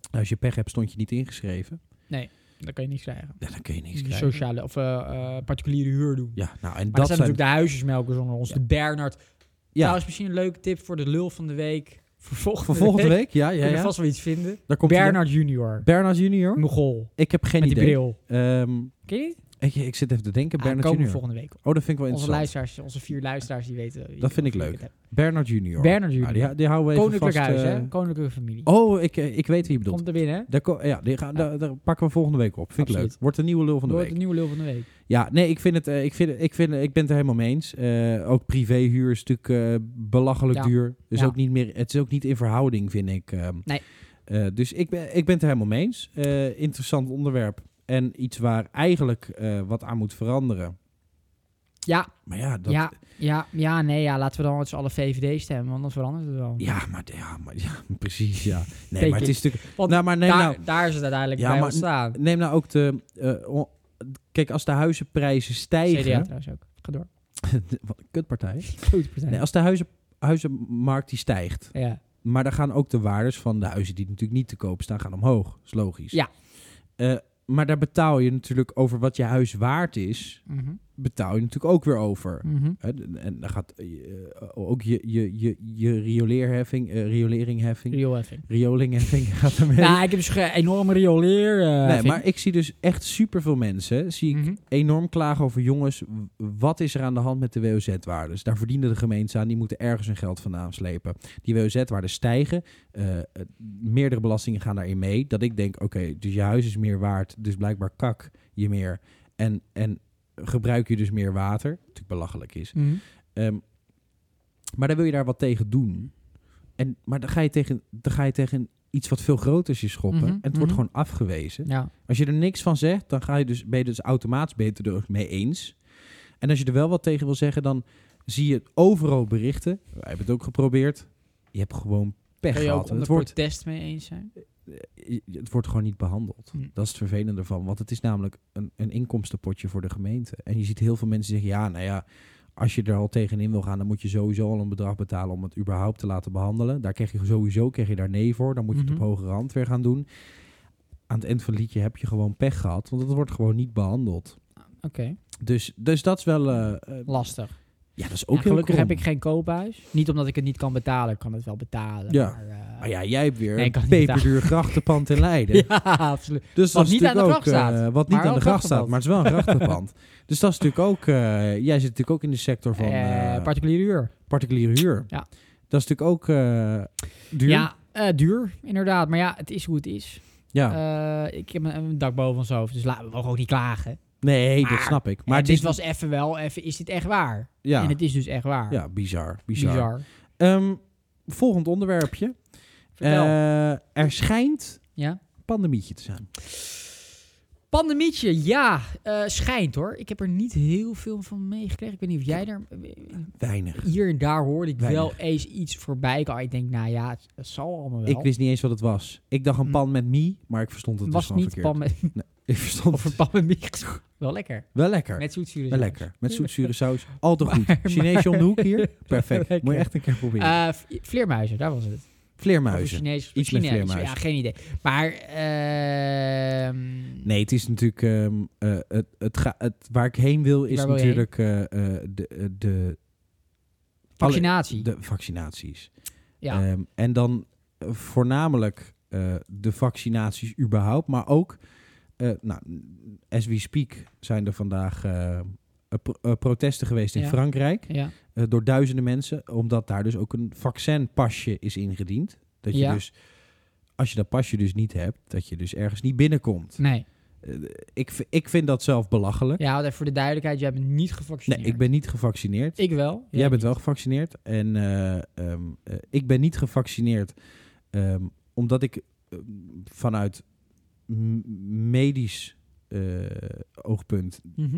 [SPEAKER 1] Nou, Als je pech hebt, stond je niet ingeschreven.
[SPEAKER 2] Dan kan je niks krijgen.
[SPEAKER 1] Ja, dan kun je niks
[SPEAKER 2] Die
[SPEAKER 1] krijgen.
[SPEAKER 2] sociale of eh, eh, particuliere huur doen.
[SPEAKER 1] Ja, nou, en
[SPEAKER 2] Maar
[SPEAKER 1] dat
[SPEAKER 2] dat
[SPEAKER 1] zijn...
[SPEAKER 2] zijn natuurlijk de huisjesmelkers onder ons.
[SPEAKER 1] Ja.
[SPEAKER 2] De Bernard.
[SPEAKER 1] ja,
[SPEAKER 2] Trouwens, misschien een leuke tip voor de lul van de week. Voor volgende,
[SPEAKER 1] voor volgende week? Ja,
[SPEAKER 2] Kun
[SPEAKER 1] ja,
[SPEAKER 2] je
[SPEAKER 1] ja.
[SPEAKER 2] vast wel iets vinden.
[SPEAKER 1] Daar komt
[SPEAKER 2] Bernard junior.
[SPEAKER 1] Bernard junior?
[SPEAKER 2] Mogol.
[SPEAKER 1] Ik heb geen
[SPEAKER 2] Met die
[SPEAKER 1] idee.
[SPEAKER 2] bril.
[SPEAKER 1] Ehm,
[SPEAKER 2] Ken je die?
[SPEAKER 1] ik, ik zit even te denken.
[SPEAKER 2] Ah,
[SPEAKER 1] Bernard
[SPEAKER 2] komen we
[SPEAKER 1] junior.
[SPEAKER 2] volgende week.
[SPEAKER 1] Oh, dat vind ik wel
[SPEAKER 2] Onze
[SPEAKER 1] interessant.
[SPEAKER 2] luisteraars, onze vier luisteraars, die weten. wie-
[SPEAKER 1] Dat vind ik
[SPEAKER 2] wie
[SPEAKER 1] leuk.
[SPEAKER 2] het heb.
[SPEAKER 1] Bernard junior.
[SPEAKER 2] Bernard
[SPEAKER 1] Nou,
[SPEAKER 2] junior.
[SPEAKER 1] die, die houden we even
[SPEAKER 2] Koninklijk
[SPEAKER 1] vast,
[SPEAKER 2] huis,
[SPEAKER 1] eh,
[SPEAKER 2] hè? Koninklijke familie.
[SPEAKER 1] Oh, ik, eh, ik weet wie je bedoelt.
[SPEAKER 2] Komt er binnen.
[SPEAKER 1] Daar, ko- ja, die gaan, Daar, daar pakken we volgende week op. Vind ik
[SPEAKER 2] Absoluut.
[SPEAKER 1] leuk. Wordt een nieuwe lul van de
[SPEAKER 2] Door
[SPEAKER 1] week.
[SPEAKER 2] de nieuwe lul van de week.
[SPEAKER 1] Ja, nee, ik, vind het, eh, ik, vind, het- ik, vind, ik ben het er helemaal mee eens. Eh, ook privéhuur is natuurlijk eh, belachelijk
[SPEAKER 2] Ja.
[SPEAKER 1] duur. Dus
[SPEAKER 2] Ja.
[SPEAKER 1] ook niet meer, het is ook niet in verhouding, vind ik. ehm.
[SPEAKER 2] Nee.
[SPEAKER 1] Eh, dus ik ben, ik ben het er helemaal mee eens. Eh, interessant onderwerp. En iets waar eigenlijk eh, wat aan moet veranderen.
[SPEAKER 2] Ja,
[SPEAKER 1] Maar ja, dat,
[SPEAKER 2] ja, ja, ja, nee, ja. Laten we dan met z'n allen VVD stemmen, want dan verandert het wel.
[SPEAKER 1] ja, maar, ja, maar ja, [LAUGHS] precies, ja. Nee,
[SPEAKER 2] Denk
[SPEAKER 1] maar het
[SPEAKER 2] ik.
[SPEAKER 1] is natuurlijk...
[SPEAKER 2] Want
[SPEAKER 1] nou, maar neem,
[SPEAKER 2] daar,
[SPEAKER 1] nou,
[SPEAKER 2] daar is het uiteindelijk
[SPEAKER 1] Ja,
[SPEAKER 2] bij
[SPEAKER 1] maar-
[SPEAKER 2] ontstaan.
[SPEAKER 1] neem nou ook de... eh, on- kijk, als de huizenprijzen
[SPEAKER 2] CDA
[SPEAKER 1] stijgen...
[SPEAKER 2] trouwens ook.
[SPEAKER 1] [LAUGHS]
[SPEAKER 2] Ga door.
[SPEAKER 1] Wat een kutpartij.
[SPEAKER 2] Goed partij.
[SPEAKER 1] Nee, als de huizen, huizenmarkt die stijgt...
[SPEAKER 2] ja.
[SPEAKER 1] Maar daar gaan ook de waardes van de huizen die natuurlijk niet te koop staan, gaan omhoog. is logisch.
[SPEAKER 2] Ja.
[SPEAKER 1] Eh, maar daar betaal je natuurlijk over wat je huis waard is,
[SPEAKER 2] Mhm.
[SPEAKER 1] betaal je natuurlijk ook weer over.
[SPEAKER 2] Mhm.
[SPEAKER 1] Hè, d- en dan gaat eh, ook je, je, je, je rioleerheffing, eh, rioleringheffing,
[SPEAKER 2] Rioolheffing.
[SPEAKER 1] rioleringheffing [LAUGHS] gaat er mee.
[SPEAKER 2] Nou, ik heb dus een enorme rioleer. eh,
[SPEAKER 1] nee,
[SPEAKER 2] heffing.
[SPEAKER 1] maar ik zie dus echt superveel mensen, zie ik
[SPEAKER 2] Mhm.
[SPEAKER 1] enorm klagen over jongens, w- wat is er aan de hand met de WOZ-waardes? Dus Daar verdienen de gemeenten aan, die moeten ergens hun geld vandaan slepen. Die WOZ-waarden stijgen, eh, eh, meerdere belastingen gaan daarin mee. Dat ik denk, oké, dus je huis is meer waard, dus blijkbaar kak je meer. En, en gebruik je dus meer water, wat natuurlijk belachelijk is.
[SPEAKER 2] Mhm.
[SPEAKER 1] Ehm, maar dan wil je daar wat tegen doen. En, maar dan ga, je tegen, dan ga je tegen iets wat veel groter is je schoppen.
[SPEAKER 2] Mhm,
[SPEAKER 1] en het
[SPEAKER 2] mhm.
[SPEAKER 1] wordt gewoon afgewezen.
[SPEAKER 2] Ja.
[SPEAKER 1] Als je er niks van zegt, dan ga je dus, ben je dus automatisch beter er ook mee eens. En als je er wel wat tegen wil zeggen, dan zie je overal berichten. Wij hebben het ook geprobeerd. Je hebt gewoon pech
[SPEAKER 2] Kun je ook
[SPEAKER 1] gehad. Het
[SPEAKER 2] onder het
[SPEAKER 1] wordt,
[SPEAKER 2] protest mee eens zijn?
[SPEAKER 1] eh, het wordt gewoon niet behandeld.
[SPEAKER 2] Hm.
[SPEAKER 1] Dat is het vervelende ervan. Want het is namelijk een, een inkomstenpotje voor de gemeente. En je ziet heel veel mensen zeggen, ja, nou ja... Als je er al tegenin wil gaan, dan moet je sowieso al een bedrag betalen om het überhaupt te laten behandelen. Daar krijg je sowieso krijg je daar nee voor. Dan moet je het
[SPEAKER 2] Mhm.
[SPEAKER 1] op hogere hand weer gaan doen. Aan het eind van het liedje heb je gewoon pech gehad, want het wordt gewoon niet behandeld.
[SPEAKER 2] Oké,
[SPEAKER 1] Dus, dus dat is wel. eh, eh,
[SPEAKER 2] lastig.
[SPEAKER 1] ja, dat is ook
[SPEAKER 2] Ook
[SPEAKER 1] heel
[SPEAKER 2] gelukkig
[SPEAKER 1] krom.
[SPEAKER 2] heb ik geen koophuis. Niet omdat ik het niet kan betalen, ik kan het wel betalen.
[SPEAKER 1] Ja.
[SPEAKER 2] Maar, eh, [LAUGHS]
[SPEAKER 1] Maar ja, jij hebt weer
[SPEAKER 2] Nee, ik kan
[SPEAKER 1] een
[SPEAKER 2] niet betalen.
[SPEAKER 1] peperduur grachtenpand in
[SPEAKER 2] [LAUGHS]
[SPEAKER 1] Leiden.
[SPEAKER 2] ja, absoluut.
[SPEAKER 1] Dus
[SPEAKER 2] Wat
[SPEAKER 1] dat is
[SPEAKER 2] niet
[SPEAKER 1] natuurlijk
[SPEAKER 2] aan de
[SPEAKER 1] ook,
[SPEAKER 2] gracht
[SPEAKER 1] eh,
[SPEAKER 2] staat.
[SPEAKER 1] wat niet
[SPEAKER 2] Maar
[SPEAKER 1] aan
[SPEAKER 2] wel
[SPEAKER 1] de
[SPEAKER 2] een
[SPEAKER 1] gracht staat,
[SPEAKER 2] grachtenpand.
[SPEAKER 1] maar het is wel een grachtenpand.
[SPEAKER 2] [LAUGHS]
[SPEAKER 1] dus dat is natuurlijk ook... eh, jij zit natuurlijk ook in de sector van
[SPEAKER 2] Eh,
[SPEAKER 1] eh,
[SPEAKER 2] particuliere huur.
[SPEAKER 1] particuliere huur.
[SPEAKER 2] Ja.
[SPEAKER 1] Dat is natuurlijk ook eh, duur.
[SPEAKER 2] Ja, eh, duur, inderdaad. Maar ja, het is hoe het is.
[SPEAKER 1] Ja. Oh.
[SPEAKER 2] Eh, ik heb een, een dak boven ons hoofd, dus laten we mogen ook niet klagen.
[SPEAKER 1] nee, dat
[SPEAKER 2] maar-
[SPEAKER 1] snap ik. Maar
[SPEAKER 2] Maar
[SPEAKER 1] het
[SPEAKER 2] dit
[SPEAKER 1] is,
[SPEAKER 2] was even wel, even is dit echt waar?
[SPEAKER 1] ja,
[SPEAKER 2] En het is dus echt waar.
[SPEAKER 1] ja, bizar. Bizar.
[SPEAKER 2] bizar.
[SPEAKER 1] Ehm, volgend onderwerpje.
[SPEAKER 2] Vertel.
[SPEAKER 1] Eh, er schijnt
[SPEAKER 2] ja?
[SPEAKER 1] een pandemietje te zijn.
[SPEAKER 2] Pandemietje, ja, eh, schijnt hoor. Ik weet niet of jij er niet heel veel van meegekregen. Ik weet niet of jij daar...
[SPEAKER 1] Weinig.
[SPEAKER 2] Hier en daar hoorde ik
[SPEAKER 1] Weinig.
[SPEAKER 2] wel eens iets voorbij komen. Ik denk, nou ja, het, het zal allemaal wel.
[SPEAKER 1] Ik wist niet eens wat het was. Ik dacht een
[SPEAKER 2] Hm.
[SPEAKER 1] pan met mie, maar ik verstond het
[SPEAKER 2] het
[SPEAKER 1] dus
[SPEAKER 2] was
[SPEAKER 1] gewoon
[SPEAKER 2] niet
[SPEAKER 1] verkeerd.
[SPEAKER 2] pan met,
[SPEAKER 1] Ik
[SPEAKER 2] [LAUGHS]
[SPEAKER 1] verstond
[SPEAKER 2] of een
[SPEAKER 1] het
[SPEAKER 2] pan met mix. Wel lekker.
[SPEAKER 1] wel lekker.
[SPEAKER 2] Met zoetzuur.
[SPEAKER 1] Wel lekker. Met
[SPEAKER 2] [LAUGHS]
[SPEAKER 1] zoetzure saus. Al te goed. Chinees
[SPEAKER 2] maar-
[SPEAKER 1] om de hoek
[SPEAKER 2] [LAUGHS]
[SPEAKER 1] hier. Perfect.
[SPEAKER 2] Lekker. Eh,
[SPEAKER 1] Moet je echt een keer proberen.
[SPEAKER 2] vleermuizen, daar was het. Of
[SPEAKER 1] Vleermuizen.
[SPEAKER 2] Chinees,
[SPEAKER 1] Iets met
[SPEAKER 2] Chinees,
[SPEAKER 1] vleermuizen.
[SPEAKER 2] Ja, geen idee. Maar ehm,
[SPEAKER 1] Nee, het is natuurlijk... ehm, eh, het, het ga- het, waar ik heen wil is
[SPEAKER 2] Waar wil je
[SPEAKER 1] natuurlijk eh, eh, de, eh, de,
[SPEAKER 2] vaccinatie.
[SPEAKER 1] de vaccinaties.
[SPEAKER 2] ja.
[SPEAKER 1] Ehm, en dan eh, voornamelijk eh, de vaccinaties überhaupt. Maar ook, eh, nou, as we speak zijn er vandaag... eh, eh, pro- eh, protesten geweest in
[SPEAKER 2] Ja.
[SPEAKER 1] Frankrijk
[SPEAKER 2] Ja.
[SPEAKER 1] eh, door duizenden mensen, omdat daar dus ook een vaccinpasje is ingediend. Dat je
[SPEAKER 2] Ja.
[SPEAKER 1] dus, als je dat pasje dus niet hebt, dat je dus ergens niet binnenkomt.
[SPEAKER 2] Nee.
[SPEAKER 1] Eh, ik, v- ik vind dat zelf belachelijk.
[SPEAKER 2] Ja, want even voor de duidelijkheid, jij bent niet gevaccineerd.
[SPEAKER 1] nee, ik ben niet gevaccineerd.
[SPEAKER 2] Ik wel.
[SPEAKER 1] Jij bent wel gevaccineerd. En eh, ehm, eh, ik ben niet gevaccineerd ehm, omdat ik eh, vanuit m- medisch eh, oogpunt
[SPEAKER 2] wel.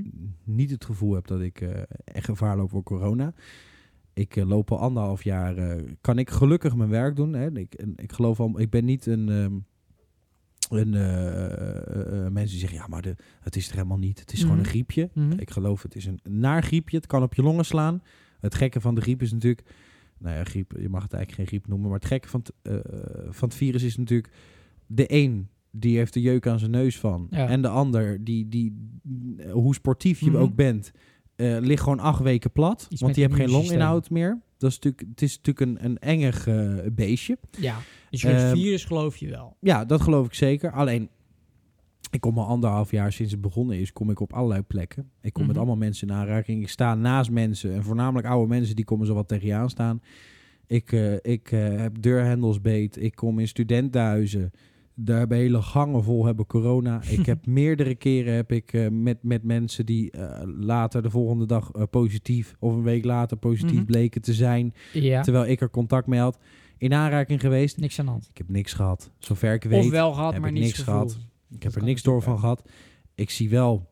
[SPEAKER 1] niet het gevoel heb dat ik eh, echt gevaar loop voor corona. Ik eh, loop al anderhalf jaar, eh, kan ik gelukkig mijn werk doen. Hè? Ik, en ik geloof al, ik ben niet een, ehm, een eh, eh, eh, mensen die zeggen, ja maar de, het is er helemaal niet. Het is gewoon
[SPEAKER 2] Mhm.
[SPEAKER 1] een griepje. Ik geloof het is een naar griepje. Het kan op je longen slaan. Het gekke van de griep is natuurlijk... Nou ja, griep, je mag het eigenlijk geen griep noemen. Maar het gekke van het, eh, van het virus is natuurlijk... De een, die heeft de jeuk aan zijn neus van.
[SPEAKER 2] Ja.
[SPEAKER 1] En de ander, die, die, eh, hoe sportief je
[SPEAKER 2] Mhm.
[SPEAKER 1] ook bent... eh, ligt gewoon acht weken plat.
[SPEAKER 2] Iets
[SPEAKER 1] want
[SPEAKER 2] met
[SPEAKER 1] die heeft geen
[SPEAKER 2] immuunsysteem.
[SPEAKER 1] longinhoud meer. Dat is natuurlijk, het is natuurlijk een, een engig eh, beestje.
[SPEAKER 2] Ja. Dus je het
[SPEAKER 1] Ehm,
[SPEAKER 2] virus geloof je wel.
[SPEAKER 1] Ja, dat geloof ik zeker. Alleen, ik kom al anderhalf jaar sinds het begonnen is, kom ik op allerlei plekken. Ik kom met
[SPEAKER 2] Mhm.
[SPEAKER 1] allemaal mensen in aanraking. Ik sta naast mensen en voornamelijk oude mensen, die komen zo wat tegen je aan staan. Ik, eh, ik eh, heb deurhendels beet. Ik kom in studentenhuizen. Daar hebben hele gangen vol hebben
[SPEAKER 2] [LAUGHS]
[SPEAKER 1] corona. Ik heb meerdere keren heb ik, eh, met, met mensen die eh, later de volgende dag eh, positief of een week later positief
[SPEAKER 2] Mhm.
[SPEAKER 1] bleken te zijn.
[SPEAKER 2] Ja.
[SPEAKER 1] Terwijl ik er contact mee had. In aanraking geweest.
[SPEAKER 2] Niks aan de hand.
[SPEAKER 1] Ik heb niks gehad. Zover ik weet.
[SPEAKER 2] Of wel gehad,
[SPEAKER 1] heb
[SPEAKER 2] maar
[SPEAKER 1] ik
[SPEAKER 2] niets
[SPEAKER 1] niks gehad.
[SPEAKER 2] gevoeld.
[SPEAKER 1] Ik
[SPEAKER 2] Dat
[SPEAKER 1] heb er
[SPEAKER 2] kan
[SPEAKER 1] niks door van
[SPEAKER 2] natuurlijk
[SPEAKER 1] gehad. Ik zie wel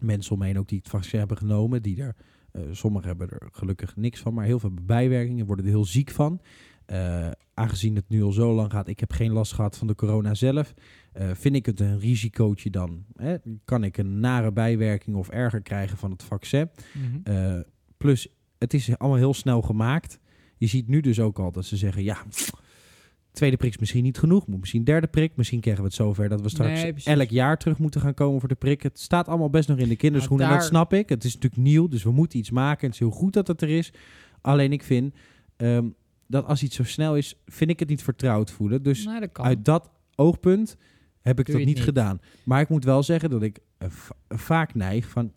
[SPEAKER 1] mensen om me heen ook die het vaccin hebben genomen. Die er, eh, sommigen hebben er gelukkig niks van, maar heel veel bijwerkingen worden er heel ziek van. Eh, aangezien het nu al zo lang gaat, ik heb geen last gehad van de corona zelf. eh, vind ik het een risicootje dan? Hè? Kan ik een nare bijwerking of erger krijgen van het vaccin?
[SPEAKER 2] Mhm.
[SPEAKER 1] Eh, plus, het is allemaal heel snel gemaakt. Je ziet nu dus ook al dat ze zeggen, ja, tweede prik is misschien niet genoeg. Moet misschien derde prik. Misschien krijgen we het zover dat we straks
[SPEAKER 2] Nee, precies.
[SPEAKER 1] elk jaar terug moeten gaan komen voor de prik. Het staat allemaal best nog in de kinderschoenen.
[SPEAKER 2] Nou,
[SPEAKER 1] En dat snap ik. Het is natuurlijk nieuw, dus we moeten iets maken. Het is heel goed dat het er is. Alleen ik vind ehm, dat als iets zo snel is, vind ik het niet vertrouwd voelen. Dus
[SPEAKER 2] Nee, Nou, dat kan.
[SPEAKER 1] uit dat oogpunt heb ik
[SPEAKER 2] Doe
[SPEAKER 1] dat
[SPEAKER 2] je
[SPEAKER 1] niet,
[SPEAKER 2] het niet.
[SPEAKER 1] gedaan. Maar ik moet wel zeggen dat ik eh, va- vaak neig van...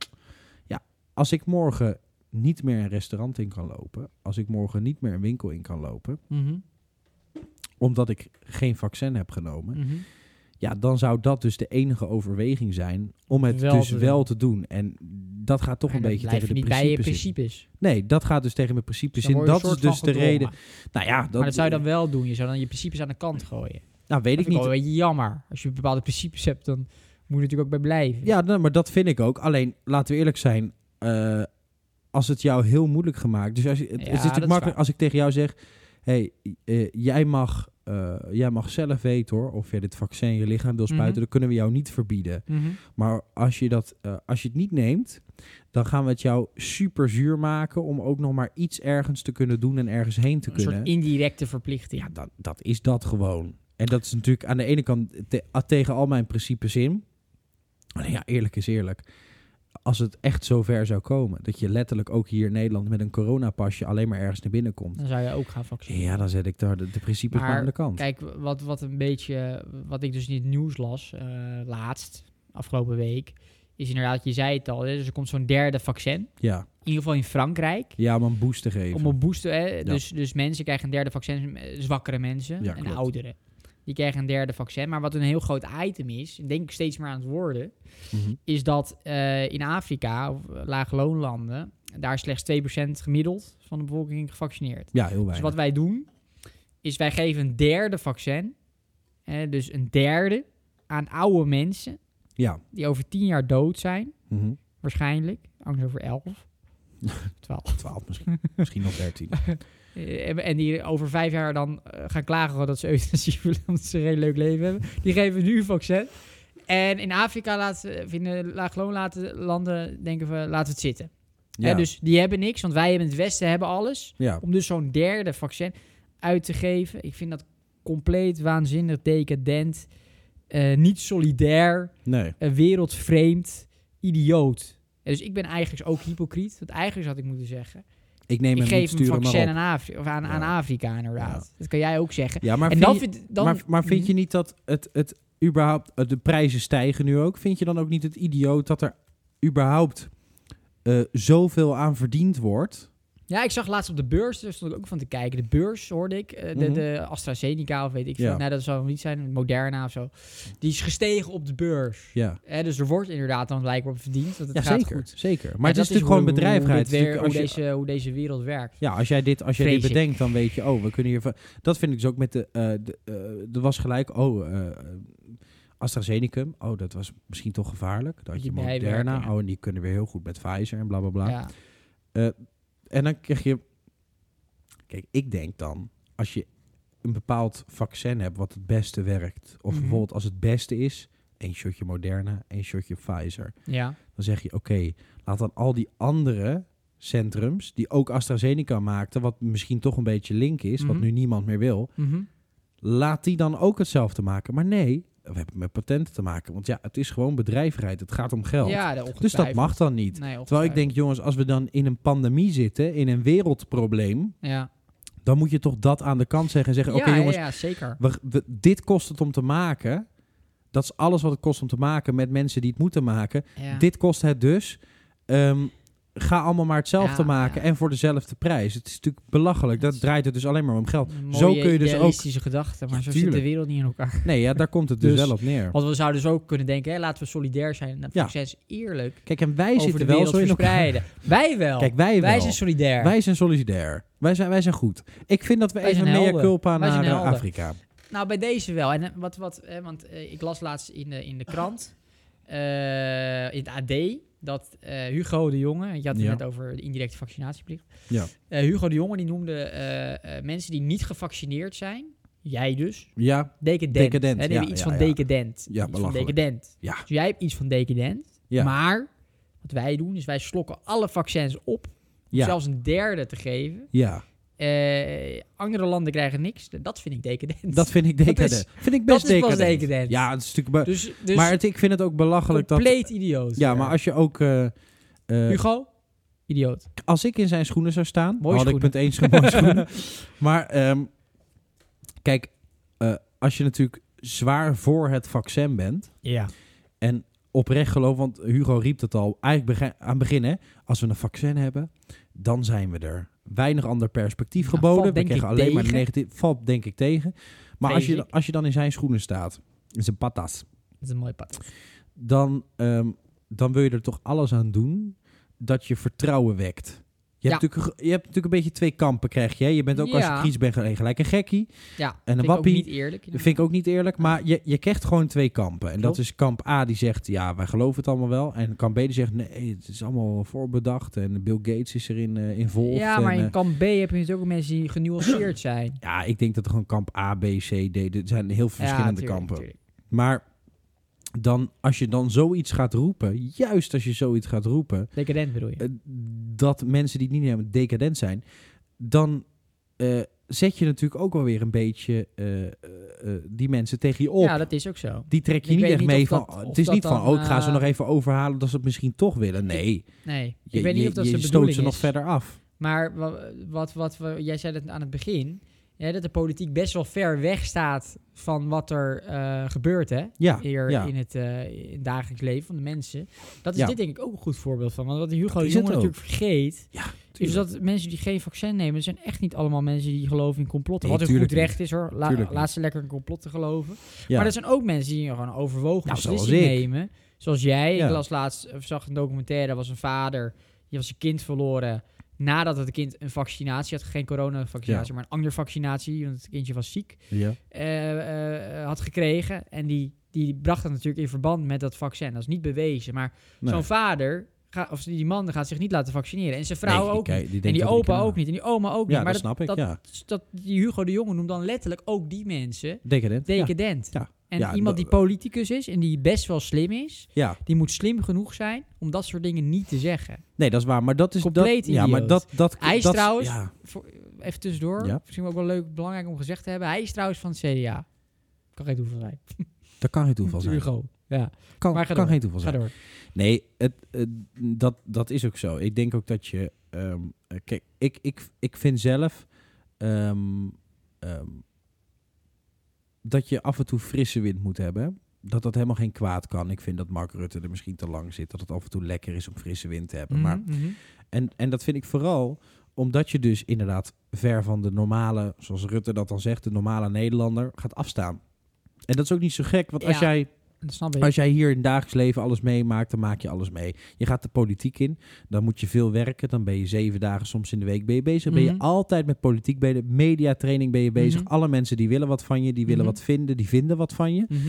[SPEAKER 1] Ja, als ik morgen niet meer een restaurant in kan lopen... als ik morgen niet meer een winkel in kan lopen...
[SPEAKER 2] Mhm.
[SPEAKER 1] omdat ik geen vaccin heb genomen...
[SPEAKER 2] Mhm.
[SPEAKER 1] ja, dan zou dat dus de enige overweging zijn... om het
[SPEAKER 2] Wel
[SPEAKER 1] dus
[SPEAKER 2] te doen.
[SPEAKER 1] wel te doen. En dat gaat toch
[SPEAKER 2] Maar
[SPEAKER 1] een
[SPEAKER 2] dan
[SPEAKER 1] beetje
[SPEAKER 2] blijf
[SPEAKER 1] tegen de
[SPEAKER 2] je niet
[SPEAKER 1] principes
[SPEAKER 2] bij je
[SPEAKER 1] in.
[SPEAKER 2] principes.
[SPEAKER 1] Nee, dat gaat dus tegen mijn principes
[SPEAKER 2] Dan
[SPEAKER 1] in.
[SPEAKER 2] word je
[SPEAKER 1] Dat
[SPEAKER 2] een
[SPEAKER 1] is
[SPEAKER 2] soort
[SPEAKER 1] dus
[SPEAKER 2] van
[SPEAKER 1] de
[SPEAKER 2] gedwongen.
[SPEAKER 1] reden... Nou ja, dat,
[SPEAKER 2] Maar dat zou je dan wel doen. Je zou dan je principes aan de kant gooien.
[SPEAKER 1] nou, weet
[SPEAKER 2] Dat
[SPEAKER 1] ik
[SPEAKER 2] vind ik
[SPEAKER 1] niet.
[SPEAKER 2] wel een beetje jammer. Als je bepaalde principes hebt, dan moet je er natuurlijk ook bij blijven.
[SPEAKER 1] Ja, nou, maar dat vind ik ook. Alleen, laten we eerlijk zijn, eh, als het jou heel moeilijk gemaakt... Dus als, je- het, het
[SPEAKER 2] Ja,
[SPEAKER 1] is
[SPEAKER 2] dat is
[SPEAKER 1] natuurlijk makkelijk
[SPEAKER 2] waar.
[SPEAKER 1] als ik tegen jou zeg... hey, eh, jij, mag, eh, jij mag zelf weten hoor, of je dit vaccin in je lichaam wil spuiten.
[SPEAKER 2] Mhm.
[SPEAKER 1] Dat kunnen we jou niet verbieden.
[SPEAKER 2] Mhm.
[SPEAKER 1] Maar als je, dat, eh, als je het niet neemt, dan gaan we het jou super zuur maken... om ook nog maar iets ergens te kunnen doen en ergens heen te
[SPEAKER 2] Een
[SPEAKER 1] kunnen.
[SPEAKER 2] soort indirecte verplichting.
[SPEAKER 1] Ja, dat, dat is dat gewoon. En dat is natuurlijk aan de ene kant te- a- tegen al mijn principes in. Maar ja, eerlijk is eerlijk. Als het echt zover zou komen, dat je letterlijk ook hier in Nederland met een coronapasje alleen maar ergens naar binnen komt.
[SPEAKER 2] Dan zou je ook gaan vaccineren.
[SPEAKER 1] Ja, dan zet ik daar de, de principes maar,
[SPEAKER 2] Maar
[SPEAKER 1] aan de kant.
[SPEAKER 2] Kijk, wat, wat een beetje, wat ik dus in het nieuws las, eh, laatst, afgelopen week, is inderdaad, je zei het al, hè, dus er komt zo'n derde vaccin.
[SPEAKER 1] ja.
[SPEAKER 2] In ieder geval in Frankrijk.
[SPEAKER 1] ja, om een boost te geven.
[SPEAKER 2] Om op boosten, hè, dus, dus mensen krijgen een derde vaccin, eh, zwakkere mensen
[SPEAKER 1] Ja,
[SPEAKER 2] en
[SPEAKER 1] klopt.
[SPEAKER 2] ouderen. Die krijgen een derde vaccin. Maar wat een heel groot item is, en denk ik steeds meer aan het worden,
[SPEAKER 1] Mhm.
[SPEAKER 2] is dat eh, in Afrika, of eh, laagloonlanden, daar slechts 2% gemiddeld van de bevolking gevaccineerd.
[SPEAKER 1] Ja, heel
[SPEAKER 2] Dus
[SPEAKER 1] weinig.
[SPEAKER 2] wat wij doen, is wij geven een derde vaccin. Hè, dus een derde aan oude mensen
[SPEAKER 1] Ja.
[SPEAKER 2] die over tien jaar dood zijn.
[SPEAKER 1] Mhm.
[SPEAKER 2] Waarschijnlijk. Angst over elf. Twaalf.
[SPEAKER 1] 12
[SPEAKER 2] [LAUGHS]
[SPEAKER 1] misschien. misschien nog 13.
[SPEAKER 2] Eh, En en die over vijf jaar dan eh, gaan klagen dat ze [LAUGHS] euthanasie willen, omdat ze een redelijk leuk leven hebben. Die geven nu een vaccin. En in Afrika laten, vinden laagloonlanden landen, denken we, laten we het zitten. Hè,
[SPEAKER 1] Ja,
[SPEAKER 2] dus die hebben niks, want wij in het Westen hebben alles.
[SPEAKER 1] ja.
[SPEAKER 2] om dus zo'n derde vaccin uit te geven. Ik vind dat compleet waanzinnig decadent, eh, niet solidair,
[SPEAKER 1] nee.
[SPEAKER 2] eh, wereldvreemd, idioot. En dus ik ben eigenlijk ook hypocriet. Want eigenlijk had ik moeten zeggen.
[SPEAKER 1] Ik neem
[SPEAKER 2] ik
[SPEAKER 1] hem niet,
[SPEAKER 2] geef een
[SPEAKER 1] stuur hem maar
[SPEAKER 2] vaccin
[SPEAKER 1] op.
[SPEAKER 2] aan, Afri- of aan, aan
[SPEAKER 1] Ja.
[SPEAKER 2] Afrika inderdaad. Dat kan jij ook zeggen.
[SPEAKER 1] Ja, maar
[SPEAKER 2] en
[SPEAKER 1] vind
[SPEAKER 2] dan
[SPEAKER 1] je-
[SPEAKER 2] vind, dan,
[SPEAKER 1] maar, maar vind je
[SPEAKER 2] Mhm.
[SPEAKER 1] niet dat het, het eh, überhaupt, de prijzen stijgen nu ook? Vind je dan ook niet het idioot dat er überhaupt eh, zoveel aan verdiend wordt.
[SPEAKER 2] Ja, ik zag laatst op de beurs, daar stond ik ook van te kijken. De beurs hoorde ik, eh, de,
[SPEAKER 1] Mhm.
[SPEAKER 2] de AstraZeneca of weet ik veel.
[SPEAKER 1] Ja.
[SPEAKER 2] Nou, dat zou niet zijn, Moderna of zo. Die is gestegen op de beurs.
[SPEAKER 1] Ja,
[SPEAKER 2] Hè, dus er wordt inderdaad dan blijkbaar op verdiend, want het
[SPEAKER 1] ja
[SPEAKER 2] gaat
[SPEAKER 1] zeker,
[SPEAKER 2] goed.
[SPEAKER 1] zeker. Maar het
[SPEAKER 2] Ja,
[SPEAKER 1] is
[SPEAKER 2] dat
[SPEAKER 1] natuurlijk gewoon
[SPEAKER 2] hoe- hoe-
[SPEAKER 1] bedrijvigheid.
[SPEAKER 2] Hoe,
[SPEAKER 1] Het is
[SPEAKER 2] dit weer- hoe,
[SPEAKER 1] natuurlijk als je-
[SPEAKER 2] deze, hoe deze wereld werkt.
[SPEAKER 1] Ja, als jij dit, als jij dit
[SPEAKER 2] Vrees ik.
[SPEAKER 1] bedenkt, dan weet je, oh, we kunnen hier. van- Dat vind ik dus ook met de. eh, de eh, er was gelijk, oh, eh AstraZeneca, oh, dat was misschien toch gevaarlijk. Dat had je
[SPEAKER 2] Die bijwerkingen.
[SPEAKER 1] Moderna, oh, en die kunnen weer heel goed met Pfizer en bla bla bla.
[SPEAKER 2] Ja.
[SPEAKER 1] En dan krijg je. Kijk, ik denk dan, als je een bepaald vaccin hebt wat het beste werkt, of
[SPEAKER 2] Mhm.
[SPEAKER 1] bijvoorbeeld als het beste is, één shotje Moderna, één shotje Pfizer,
[SPEAKER 2] ja.
[SPEAKER 1] dan zeg je, oké, laat dan al die andere centrums, die ook AstraZeneca maakten, wat misschien toch een beetje link is,
[SPEAKER 2] Mhm.
[SPEAKER 1] wat nu niemand meer wil,
[SPEAKER 2] Mhm.
[SPEAKER 1] laat die dan ook hetzelfde maken. Maar nee, we hebben met patenten te maken, want ja, het is gewoon bedrijvigheid, het gaat om geld.
[SPEAKER 2] Ja, de
[SPEAKER 1] dus dat mag dan niet. Terwijl ik denk, jongens, als we dan in een pandemie zitten, in een wereldprobleem,
[SPEAKER 2] Ja,
[SPEAKER 1] dan moet je toch dat aan de kant zeggen en zeggen:
[SPEAKER 2] Ja,
[SPEAKER 1] Oké, jongens,
[SPEAKER 2] ja, ja, zeker.
[SPEAKER 1] we, we- dit kost het om te maken. Dat is alles wat het kost om te maken met mensen die het moeten maken.
[SPEAKER 2] Ja.
[SPEAKER 1] Dit kost het dus. Ehm, ga allemaal maar hetzelfde
[SPEAKER 2] Ja,
[SPEAKER 1] maken
[SPEAKER 2] ja.
[SPEAKER 1] en voor dezelfde prijs. Het is natuurlijk belachelijk.
[SPEAKER 2] Dat
[SPEAKER 1] Dat
[SPEAKER 2] is-
[SPEAKER 1] draait het dus alleen maar om geld.
[SPEAKER 2] Een
[SPEAKER 1] Zo
[SPEAKER 2] mooie
[SPEAKER 1] kun je dus ook-
[SPEAKER 2] idealistische gedachten, maar
[SPEAKER 1] Ja,
[SPEAKER 2] zo zit
[SPEAKER 1] tuurlijk.
[SPEAKER 2] de wereld niet in elkaar.
[SPEAKER 1] Nee, ja, daar komt het dus,
[SPEAKER 2] Dus-
[SPEAKER 1] wel op neer.
[SPEAKER 2] Want we zouden dus ook kunnen denken, hè, laten we solidair zijn. Dat
[SPEAKER 1] Ja.
[SPEAKER 2] proces eerlijk
[SPEAKER 1] Kijk, en wij
[SPEAKER 2] over de
[SPEAKER 1] zitten wel
[SPEAKER 2] wereld
[SPEAKER 1] zo in elkaar.
[SPEAKER 2] verspreiden. Wij wel.
[SPEAKER 1] Kijk, wij
[SPEAKER 2] wij
[SPEAKER 1] wel.
[SPEAKER 2] zijn solidair.
[SPEAKER 1] Wij zijn solidair. Wij zijn, wij zijn goed. Ik vind dat we
[SPEAKER 2] Wij
[SPEAKER 1] even
[SPEAKER 2] zijn
[SPEAKER 1] mea
[SPEAKER 2] helden.
[SPEAKER 1] culpa
[SPEAKER 2] Wij zijn
[SPEAKER 1] naar eh,
[SPEAKER 2] helden.
[SPEAKER 1] Afrika.
[SPEAKER 2] Nou, bij deze wel. En eh, wat, wat, eh, want eh, ik las laatst in de, in de krant, eh, in het AD, dat eh, Hugo de Jonge, want je had het
[SPEAKER 1] Ja.
[SPEAKER 2] net over de indirecte vaccinatieplicht.
[SPEAKER 1] Ja.
[SPEAKER 2] Eh, Hugo de Jonge die noemde eh, eh, mensen die niet gevaccineerd zijn, jij dus,
[SPEAKER 1] Ja,
[SPEAKER 2] decadent.
[SPEAKER 1] Decadent,
[SPEAKER 2] Hè, die
[SPEAKER 1] ja,
[SPEAKER 2] hebben iets
[SPEAKER 1] ja,
[SPEAKER 2] van
[SPEAKER 1] ja.
[SPEAKER 2] decadent.
[SPEAKER 1] Ja,
[SPEAKER 2] iets van
[SPEAKER 1] belachelijk.
[SPEAKER 2] decadent.
[SPEAKER 1] Ja.
[SPEAKER 2] Dus jij hebt iets van decadent.
[SPEAKER 1] ja.
[SPEAKER 2] Maar wat wij doen is wij slokken alle vaccins op, om
[SPEAKER 1] ja.
[SPEAKER 2] zelfs een derde te geven.
[SPEAKER 1] Ja,
[SPEAKER 2] Eh, andere landen krijgen niks. Dat vind ik decadent.
[SPEAKER 1] dat vind ik decadent.
[SPEAKER 2] is-
[SPEAKER 1] vind ik
[SPEAKER 2] dat
[SPEAKER 1] best
[SPEAKER 2] is pas
[SPEAKER 1] decadent.
[SPEAKER 2] decadent.
[SPEAKER 1] Ja, het is natuurlijk... be-
[SPEAKER 2] Dus, dus
[SPEAKER 1] maar het, ik vind het ook belachelijk dat...
[SPEAKER 2] compleet idioot.
[SPEAKER 1] Ja, maar als je ook... eh, eh,
[SPEAKER 2] Hugo, idioot.
[SPEAKER 1] als ik in zijn schoenen zou staan...
[SPEAKER 2] Mooie
[SPEAKER 1] had
[SPEAKER 2] schoenen.
[SPEAKER 1] ik punt 1 schoenen.
[SPEAKER 2] [LAUGHS]
[SPEAKER 1] schoenen. Maar ehm, kijk, eh, als je natuurlijk zwaar voor het vaccin bent...
[SPEAKER 2] Ja.
[SPEAKER 1] En oprecht geloof, want Hugo riep dat al eigenlijk begin- aan het begin. Hè, als we een vaccin hebben, dan zijn we er. Weinig ander perspectief
[SPEAKER 2] Nou,
[SPEAKER 1] geboden.
[SPEAKER 2] valt
[SPEAKER 1] we
[SPEAKER 2] denk
[SPEAKER 1] krijgen
[SPEAKER 2] ik
[SPEAKER 1] alleen maar de
[SPEAKER 2] tegen.
[SPEAKER 1] negatief. Valt denk ik tegen. Maar als
[SPEAKER 2] Vrees
[SPEAKER 1] je,
[SPEAKER 2] ik.
[SPEAKER 1] als je dan in zijn schoenen staat, in zijn patas,
[SPEAKER 2] Dat is een mooi pad.
[SPEAKER 1] dan, ehm, dan wil je er toch alles aan doen dat je vertrouwen wekt. Je hebt,
[SPEAKER 2] Ja.
[SPEAKER 1] natuurlijk, ge- je hebt natuurlijk een beetje twee kampen, krijg je. hè. Je bent ook als je
[SPEAKER 2] Ja.
[SPEAKER 1] kies bent gelijk- gelijk een gekkie.
[SPEAKER 2] Ja, en
[SPEAKER 1] een
[SPEAKER 2] een
[SPEAKER 1] wappie
[SPEAKER 2] wappie. Niet eerlijk.
[SPEAKER 1] Dat vind ik ook niet eerlijk, maar je, je krijgt gewoon twee kampen. En dat
[SPEAKER 2] Klopt.
[SPEAKER 1] is kamp A die zegt, ja, wij geloven het allemaal wel. En kamp B die zegt, nee, het is allemaal voorbedacht. En Bill Gates is erin eh involved.
[SPEAKER 2] ja, maar
[SPEAKER 1] en,
[SPEAKER 2] in
[SPEAKER 1] eh,
[SPEAKER 2] kamp B heb je natuurlijk ook mensen die [CLEARS THROAT] genuanceerd zijn.
[SPEAKER 1] ja, ik denk dat er gewoon kamp A, B, C, D... Er zijn heel veel
[SPEAKER 2] Ja,
[SPEAKER 1] verschillende
[SPEAKER 2] tuurlijk,
[SPEAKER 1] kampen.
[SPEAKER 2] tuurlijk.
[SPEAKER 1] Maar dan, als je dan zoiets gaat roepen, juist als je zoiets gaat roepen...
[SPEAKER 2] Decadent bedoel je.
[SPEAKER 1] eh, dat mensen die het niet hebben decadent zijn, dan eh, zet je natuurlijk ook wel weer een beetje eh, eh, eh, die mensen tegen je op.
[SPEAKER 2] Ja, dat is ook zo.
[SPEAKER 1] die trek je
[SPEAKER 2] ik
[SPEAKER 1] niet
[SPEAKER 2] weet
[SPEAKER 1] echt
[SPEAKER 2] niet
[SPEAKER 1] mee
[SPEAKER 2] of
[SPEAKER 1] van.
[SPEAKER 2] dat- of
[SPEAKER 1] het is
[SPEAKER 2] dat
[SPEAKER 1] niet van,
[SPEAKER 2] dan,
[SPEAKER 1] oh, ik ga ze
[SPEAKER 2] eh,
[SPEAKER 1] nog even overhalen dat ze het misschien toch willen. Nee,
[SPEAKER 2] Nee, ik
[SPEAKER 1] je,
[SPEAKER 2] weet niet
[SPEAKER 1] je-
[SPEAKER 2] of dat
[SPEAKER 1] je
[SPEAKER 2] zijn
[SPEAKER 1] stoot
[SPEAKER 2] bedoeling
[SPEAKER 1] ze
[SPEAKER 2] is.
[SPEAKER 1] nog verder af.
[SPEAKER 2] Maar wa- wat, wat, we- jij zei dat aan het begin, hè, dat de politiek best wel ver weg staat van wat er eh, gebeurt hè,
[SPEAKER 1] Ja,
[SPEAKER 2] hier
[SPEAKER 1] Ah, ja.
[SPEAKER 2] in, het, eh, in het dagelijks leven van de mensen. Dat is
[SPEAKER 1] Ja.
[SPEAKER 2] dit denk ik ook een goed voorbeeld van. Want wat Hugo
[SPEAKER 1] Dat
[SPEAKER 2] de
[SPEAKER 1] is
[SPEAKER 2] Jonge
[SPEAKER 1] het ook.
[SPEAKER 2] natuurlijk vergeet, is
[SPEAKER 1] tuurlijk.
[SPEAKER 2] dat mensen die geen vaccin nemen, dat zijn echt niet allemaal mensen die geloven in complotten.
[SPEAKER 1] Nee,
[SPEAKER 2] wat een goed
[SPEAKER 1] tuurlijk
[SPEAKER 2] recht is hoor, La-
[SPEAKER 1] Tuurlijk
[SPEAKER 2] laat ze lekker in complotten geloven.
[SPEAKER 1] ja.
[SPEAKER 2] Maar er zijn ook mensen die gewoon overwogen
[SPEAKER 1] Nou,
[SPEAKER 2] beslissingen
[SPEAKER 1] zoals ik.
[SPEAKER 2] nemen. Zoals jij.
[SPEAKER 1] Ja.
[SPEAKER 2] Ik las laatst, of zag een documentaire, er was een vader. Die was een kind verloren nadat het kind een vaccinatie had. Geen coronavaccinatie, maar een andere vaccinatie. Want het kindje was ziek.
[SPEAKER 1] ja.
[SPEAKER 2] eh, eh, had gekregen. En die, die bracht dat natuurlijk in verband met dat vaccin. Dat is niet bewezen. Maar
[SPEAKER 1] Nee.
[SPEAKER 2] zo'n vader, ga, of die man, gaat zich niet laten vaccineren. En zijn vrouw
[SPEAKER 1] Nee, die
[SPEAKER 2] ook
[SPEAKER 1] kei-
[SPEAKER 2] niet.
[SPEAKER 1] die
[SPEAKER 2] En
[SPEAKER 1] denkt
[SPEAKER 2] die
[SPEAKER 1] dat ik
[SPEAKER 2] opa
[SPEAKER 1] erna-
[SPEAKER 2] ook niet. En die oma ook
[SPEAKER 1] Ja,
[SPEAKER 2] niet. Maar
[SPEAKER 1] dat
[SPEAKER 2] dat,
[SPEAKER 1] snap ik.
[SPEAKER 2] dat,
[SPEAKER 1] ja.
[SPEAKER 2] dat, die Hugo de Jonge noemt dan letterlijk ook die mensen
[SPEAKER 1] Decadent. ja.
[SPEAKER 2] decadent.
[SPEAKER 1] Ja.
[SPEAKER 2] En
[SPEAKER 1] Ja,
[SPEAKER 2] iemand
[SPEAKER 1] dat-
[SPEAKER 2] die politicus is en die best wel slim is,
[SPEAKER 1] Ja.
[SPEAKER 2] die moet slim genoeg zijn om dat soort dingen niet te zeggen.
[SPEAKER 1] Nee, dat is waar. Maar dat is
[SPEAKER 2] Compleet
[SPEAKER 1] dat, Ja, maar
[SPEAKER 2] idioot.
[SPEAKER 1] dat dat
[SPEAKER 2] Hij is
[SPEAKER 1] dat,
[SPEAKER 2] trouwens-
[SPEAKER 1] Ja,
[SPEAKER 2] Voor, even tussendoor,
[SPEAKER 1] Ja.
[SPEAKER 2] misschien ook wel leuk, belangrijk om gezegd te hebben. Hij is trouwens van het CDA. Kan geen toeval zijn.
[SPEAKER 1] dat kan geen
[SPEAKER 2] [LAUGHS]
[SPEAKER 1] toeval zijn.
[SPEAKER 2] Hugo. Ja,
[SPEAKER 1] Kan,
[SPEAKER 2] Maar ga
[SPEAKER 1] kan
[SPEAKER 2] door.
[SPEAKER 1] geen toeval
[SPEAKER 2] ga
[SPEAKER 1] zijn.
[SPEAKER 2] door.
[SPEAKER 1] Nee, het, het- dat, dat is ook zo. Ik denk ook dat je. ehm, eh, kijk, ik, ik, ik vind zelf. ehm, ehm, dat je af en toe frisse wind moet hebben. dat dat helemaal geen kwaad kan. Ik vind dat Mark Rutte er misschien te lang zit. Dat het af en toe lekker is om frisse wind te hebben. Maar,
[SPEAKER 2] Mhm, mhm.
[SPEAKER 1] en, en dat vind ik vooral omdat je dus inderdaad ver van de normale, zoals Rutte dat dan zegt, de normale Nederlander gaat afstaan. En dat is ook niet zo gek, want als
[SPEAKER 2] Ja.
[SPEAKER 1] jij
[SPEAKER 2] Dat snap ik.
[SPEAKER 1] als jij hier in het dagelijks leven alles meemaakt, dan maak je alles mee. Je gaat de politiek in, dan moet je veel werken. Dan ben je zeven dagen soms in de week ben je bezig. Ben
[SPEAKER 2] Mhm.
[SPEAKER 1] je altijd met politiek bezig. Mediatraining ben je bezig.
[SPEAKER 2] Mhm.
[SPEAKER 1] Alle mensen die willen wat van je, die willen
[SPEAKER 2] Mhm.
[SPEAKER 1] wat vinden, die vinden wat van je.
[SPEAKER 2] Mhm.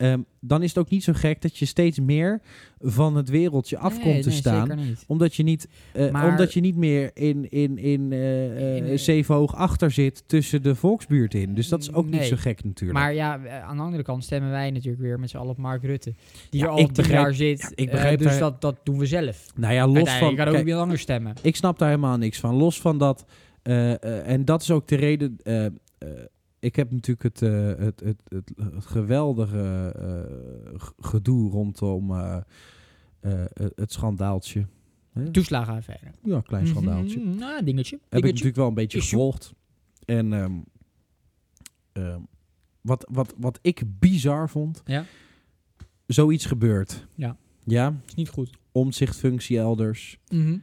[SPEAKER 1] Ehm, dan is het ook niet zo gek dat je steeds meer van het wereldje af
[SPEAKER 2] Nee,
[SPEAKER 1] komt te
[SPEAKER 2] nee,
[SPEAKER 1] staan.
[SPEAKER 2] Zeker niet.
[SPEAKER 1] Omdat je niet, eh,
[SPEAKER 2] Maar-
[SPEAKER 1] omdat je niet meer in, in, in, eh eh,
[SPEAKER 2] In- in-
[SPEAKER 1] zevenhoog achter zit tussen de volksbuurt in. Dus dat is ook niet
[SPEAKER 2] Nee.
[SPEAKER 1] zo gek natuurlijk.
[SPEAKER 2] Maar ja, eh, aan de andere kant stemmen wij natuurlijk weer met z'n allen op Mark Rutte. Die
[SPEAKER 1] Ja,
[SPEAKER 2] er al
[SPEAKER 1] ik
[SPEAKER 2] tien
[SPEAKER 1] begrijp-
[SPEAKER 2] jaar zit.
[SPEAKER 1] ja, ik
[SPEAKER 2] eh,
[SPEAKER 1] begrijp
[SPEAKER 2] dus
[SPEAKER 1] daar-
[SPEAKER 2] dat, dat doen we zelf.
[SPEAKER 1] nou ja, los van...
[SPEAKER 2] Je kan ook
[SPEAKER 1] kijk,
[SPEAKER 2] weer anders stemmen.
[SPEAKER 1] Ik snap daar helemaal niks van. Los van dat. eh, eh, en dat is ook de reden. eh, eh, ik heb natuurlijk het, eh, het, het, het, het geweldige eh, g- gedoe rondom eh, eh, het schandaaltje. Hè?
[SPEAKER 2] Toeslagenaffaire.
[SPEAKER 1] Ja, klein schandaaltje.
[SPEAKER 2] Mhm, Nou, dingetje.
[SPEAKER 1] Heb ik
[SPEAKER 2] dingetje.
[SPEAKER 1] natuurlijk wel een beetje
[SPEAKER 2] Issue.
[SPEAKER 1] gevolgd. En ehm, ehm, wat, wat, wat ik bizar vond.
[SPEAKER 2] Ja.
[SPEAKER 1] Zoiets gebeurt.
[SPEAKER 2] Ja.
[SPEAKER 1] Ja.
[SPEAKER 2] Is niet goed.
[SPEAKER 1] Omzichtfunctie elders.
[SPEAKER 2] Mhm.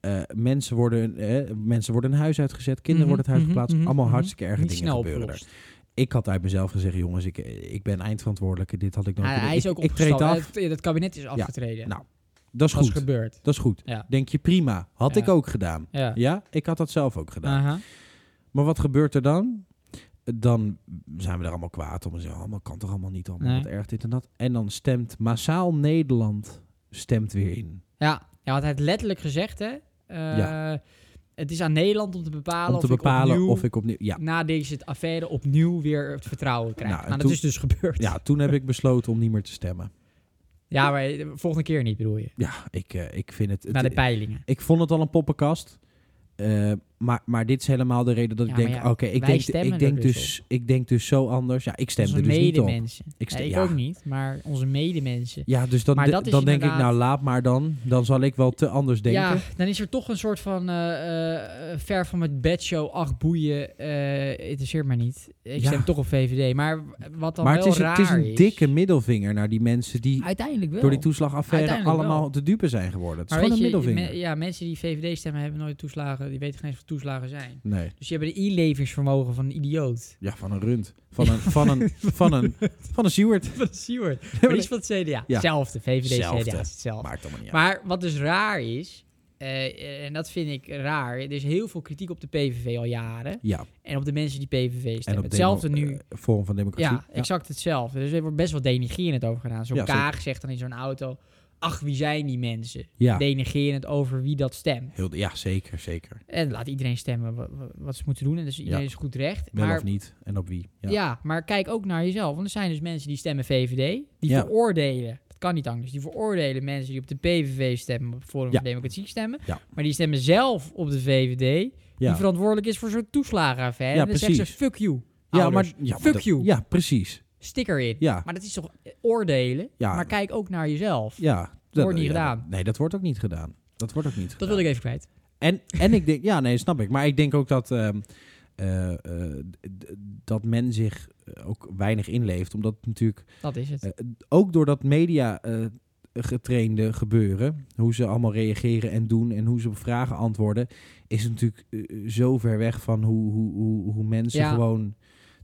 [SPEAKER 1] Eh, mensen, worden, eh, mensen worden een huis uitgezet, kinderen
[SPEAKER 2] Mhm,
[SPEAKER 1] worden het huis
[SPEAKER 2] mhm,
[SPEAKER 1] geplaatst.
[SPEAKER 2] mhm,
[SPEAKER 1] Allemaal
[SPEAKER 2] mhm.
[SPEAKER 1] hartstikke erge
[SPEAKER 2] Niet
[SPEAKER 1] dingen
[SPEAKER 2] snel
[SPEAKER 1] gebeuren
[SPEAKER 2] opgelost.
[SPEAKER 1] er. Ik had uit mezelf gezegd, jongens, ik, ik ben eindverantwoordelijke. Dit had ik nog
[SPEAKER 2] Ah, hij is ook
[SPEAKER 1] ik, ik treed
[SPEAKER 2] opgestapt.
[SPEAKER 1] af.
[SPEAKER 2] Het, het kabinet is afgetreden.
[SPEAKER 1] nou, dat is
[SPEAKER 2] dat is
[SPEAKER 1] goed.
[SPEAKER 2] gebeurd.
[SPEAKER 1] Dat is goed.
[SPEAKER 2] Ja.
[SPEAKER 1] Denk je, prima. Had
[SPEAKER 2] Ja.
[SPEAKER 1] ik ook gedaan.
[SPEAKER 2] Ja.
[SPEAKER 1] Ja, ik had dat zelf ook gedaan.
[SPEAKER 2] Aha.
[SPEAKER 1] Maar wat gebeurt er dan? Dan zijn we er allemaal kwaad om en zeggen, allemaal kan toch allemaal niet allemaal
[SPEAKER 2] Nee.
[SPEAKER 1] wat erg dit en dat. En dan stemt massaal Nederland stemt weer in.
[SPEAKER 2] ja. Ja, had hij het letterlijk gezegd, hè? Eh, Het is aan Nederland om te bepalen,
[SPEAKER 1] Om te
[SPEAKER 2] of,
[SPEAKER 1] bepalen
[SPEAKER 2] ik opnieuw,
[SPEAKER 1] of ik opnieuw. Ja,
[SPEAKER 2] na deze affaire opnieuw weer het vertrouwen krijg.
[SPEAKER 1] Nou,
[SPEAKER 2] Nou,
[SPEAKER 1] en
[SPEAKER 2] dat
[SPEAKER 1] toen-
[SPEAKER 2] is dus gebeurd.
[SPEAKER 1] ja, toen heb ik besloten om niet meer te stemmen.
[SPEAKER 2] Ja, maar de volgende keer niet, bedoel je?
[SPEAKER 1] Ja, ik, eh, ik vind het.
[SPEAKER 2] Naar de
[SPEAKER 1] het-
[SPEAKER 2] peilingen.
[SPEAKER 1] ik vond het al een poppenkast. Eh, maar, maar dit is helemaal de reden dat
[SPEAKER 2] Ja,
[SPEAKER 1] ik denk:
[SPEAKER 2] maar ja,
[SPEAKER 1] oké, ik
[SPEAKER 2] wij
[SPEAKER 1] denk,
[SPEAKER 2] stemmen
[SPEAKER 1] ik, denk
[SPEAKER 2] er dus
[SPEAKER 1] dus, ik denk dus zo anders. Ja, ik stem
[SPEAKER 2] onze
[SPEAKER 1] er dus niet op.
[SPEAKER 2] medemensen. Nee,
[SPEAKER 1] Ik
[SPEAKER 2] Ik,
[SPEAKER 1] stem- ja.
[SPEAKER 2] ook niet, maar onze medemensen.
[SPEAKER 1] Ja, dus dan,
[SPEAKER 2] Maar
[SPEAKER 1] de-
[SPEAKER 2] dat is
[SPEAKER 1] dan denk ik:
[SPEAKER 2] inderdaad-
[SPEAKER 1] nou, laat maar dan. Dan zal ik wel te anders denken.
[SPEAKER 2] Ja, dan is er toch een soort van eh, eh, eh, ver van mijn bedshow, acht boeien, eh, interesseert mij niet. Ik
[SPEAKER 1] Ja.
[SPEAKER 2] stem toch op VVD. Maar wat dan
[SPEAKER 1] maar
[SPEAKER 2] wel
[SPEAKER 1] het is,
[SPEAKER 2] raar
[SPEAKER 1] het is een
[SPEAKER 2] is-
[SPEAKER 1] dikke middelvinger naar die mensen die
[SPEAKER 2] Uiteindelijk wel.
[SPEAKER 1] door die toeslagaffaire
[SPEAKER 2] Uiteindelijk
[SPEAKER 1] allemaal te dupe zijn geworden. Het is
[SPEAKER 2] maar
[SPEAKER 1] gewoon een
[SPEAKER 2] weet je,
[SPEAKER 1] middelvinger.
[SPEAKER 2] me- ja, mensen die VVD stemmen hebben nooit toeslagen. Die weten geen eens wat toeslagen zijn.
[SPEAKER 1] Nee,
[SPEAKER 2] Dus die hebben de inlevingsvermogen van een idioot. [LAUGHS]
[SPEAKER 1] ja, van een rund. Van een, van een, van een, van een Seward.
[SPEAKER 2] Van Seward.
[SPEAKER 1] [LAUGHS]
[SPEAKER 2] Maar die is van het CDA.
[SPEAKER 1] Ja.
[SPEAKER 2] Hetzelfde. VVD,
[SPEAKER 1] Hetzelfde.
[SPEAKER 2] CDA is hetzelfde.
[SPEAKER 1] Maakt allemaal niet uit.
[SPEAKER 2] Maar wat dus raar is, eh, en dat vind ik raar. Er is heel veel kritiek op de PVV al jaren.
[SPEAKER 1] Ja,
[SPEAKER 2] En op de mensen die PVV stemmen.
[SPEAKER 1] en op
[SPEAKER 2] hetzelfde
[SPEAKER 1] demo-
[SPEAKER 2] nu.
[SPEAKER 1] eh, vorm van democratie.
[SPEAKER 2] ja, exact hetzelfde. Dus er wordt best wel denigrerend over gedaan. Zo'n
[SPEAKER 1] Ja, zeker.
[SPEAKER 2] Kaag zegt dan in zo'n auto... Ach, wie zijn die mensen?
[SPEAKER 1] ja.
[SPEAKER 2] Denigrerend over wie dat stemt.
[SPEAKER 1] Heel, ja, zeker, zeker.
[SPEAKER 2] En laat iedereen stemmen wa- wa- wat ze moeten doen. En dus iedereen
[SPEAKER 1] Ja.
[SPEAKER 2] is goed recht.
[SPEAKER 1] Wel
[SPEAKER 2] maar,
[SPEAKER 1] of niet en op wie. Ja.
[SPEAKER 2] Ja. maar kijk ook naar jezelf. Want er zijn dus mensen die stemmen VVD. Die
[SPEAKER 1] Ja.
[SPEAKER 2] veroordelen. Dat kan niet anders. Die veroordelen mensen die op de PVV stemmen. Op Forum
[SPEAKER 1] Ja.
[SPEAKER 2] voor Democratie stemmen.
[SPEAKER 1] Ja.
[SPEAKER 2] Maar die stemmen zelf op de VVD. Die
[SPEAKER 1] Ja.
[SPEAKER 2] verantwoordelijk is voor zo'n toeslagenaffaire.
[SPEAKER 1] Ja,
[SPEAKER 2] en dan zeggen ze, fuck you.
[SPEAKER 1] Ja,
[SPEAKER 2] ouders.
[SPEAKER 1] maar, ja, maar
[SPEAKER 2] Fuck
[SPEAKER 1] dat-
[SPEAKER 2] you.
[SPEAKER 1] Ja, precies.
[SPEAKER 2] Stik erin.
[SPEAKER 1] Ja,
[SPEAKER 2] Maar dat is toch eh, oordelen?
[SPEAKER 1] Ja.
[SPEAKER 2] Maar kijk ook naar jezelf.
[SPEAKER 1] ja.
[SPEAKER 2] Wordt niet
[SPEAKER 1] ja,
[SPEAKER 2] gedaan.
[SPEAKER 1] Nee, dat wordt ook niet gedaan. Dat wordt ook niet
[SPEAKER 2] Dat
[SPEAKER 1] gedaan.
[SPEAKER 2] wil ik even kwijt.
[SPEAKER 1] En, en ik denk, ja, nee, snap ik. Maar ik denk ook dat, ehm, eh, eh, d- dat men zich eh, ook weinig inleeft. Omdat het natuurlijk
[SPEAKER 2] Dat is het.
[SPEAKER 1] eh, ook door dat media eh, getrainde gebeuren, hoe ze allemaal reageren en doen en hoe ze op vragen antwoorden, is het natuurlijk eh, zo ver weg van hoe, hoe, hoe, hoe mensen
[SPEAKER 2] Ja.
[SPEAKER 1] gewoon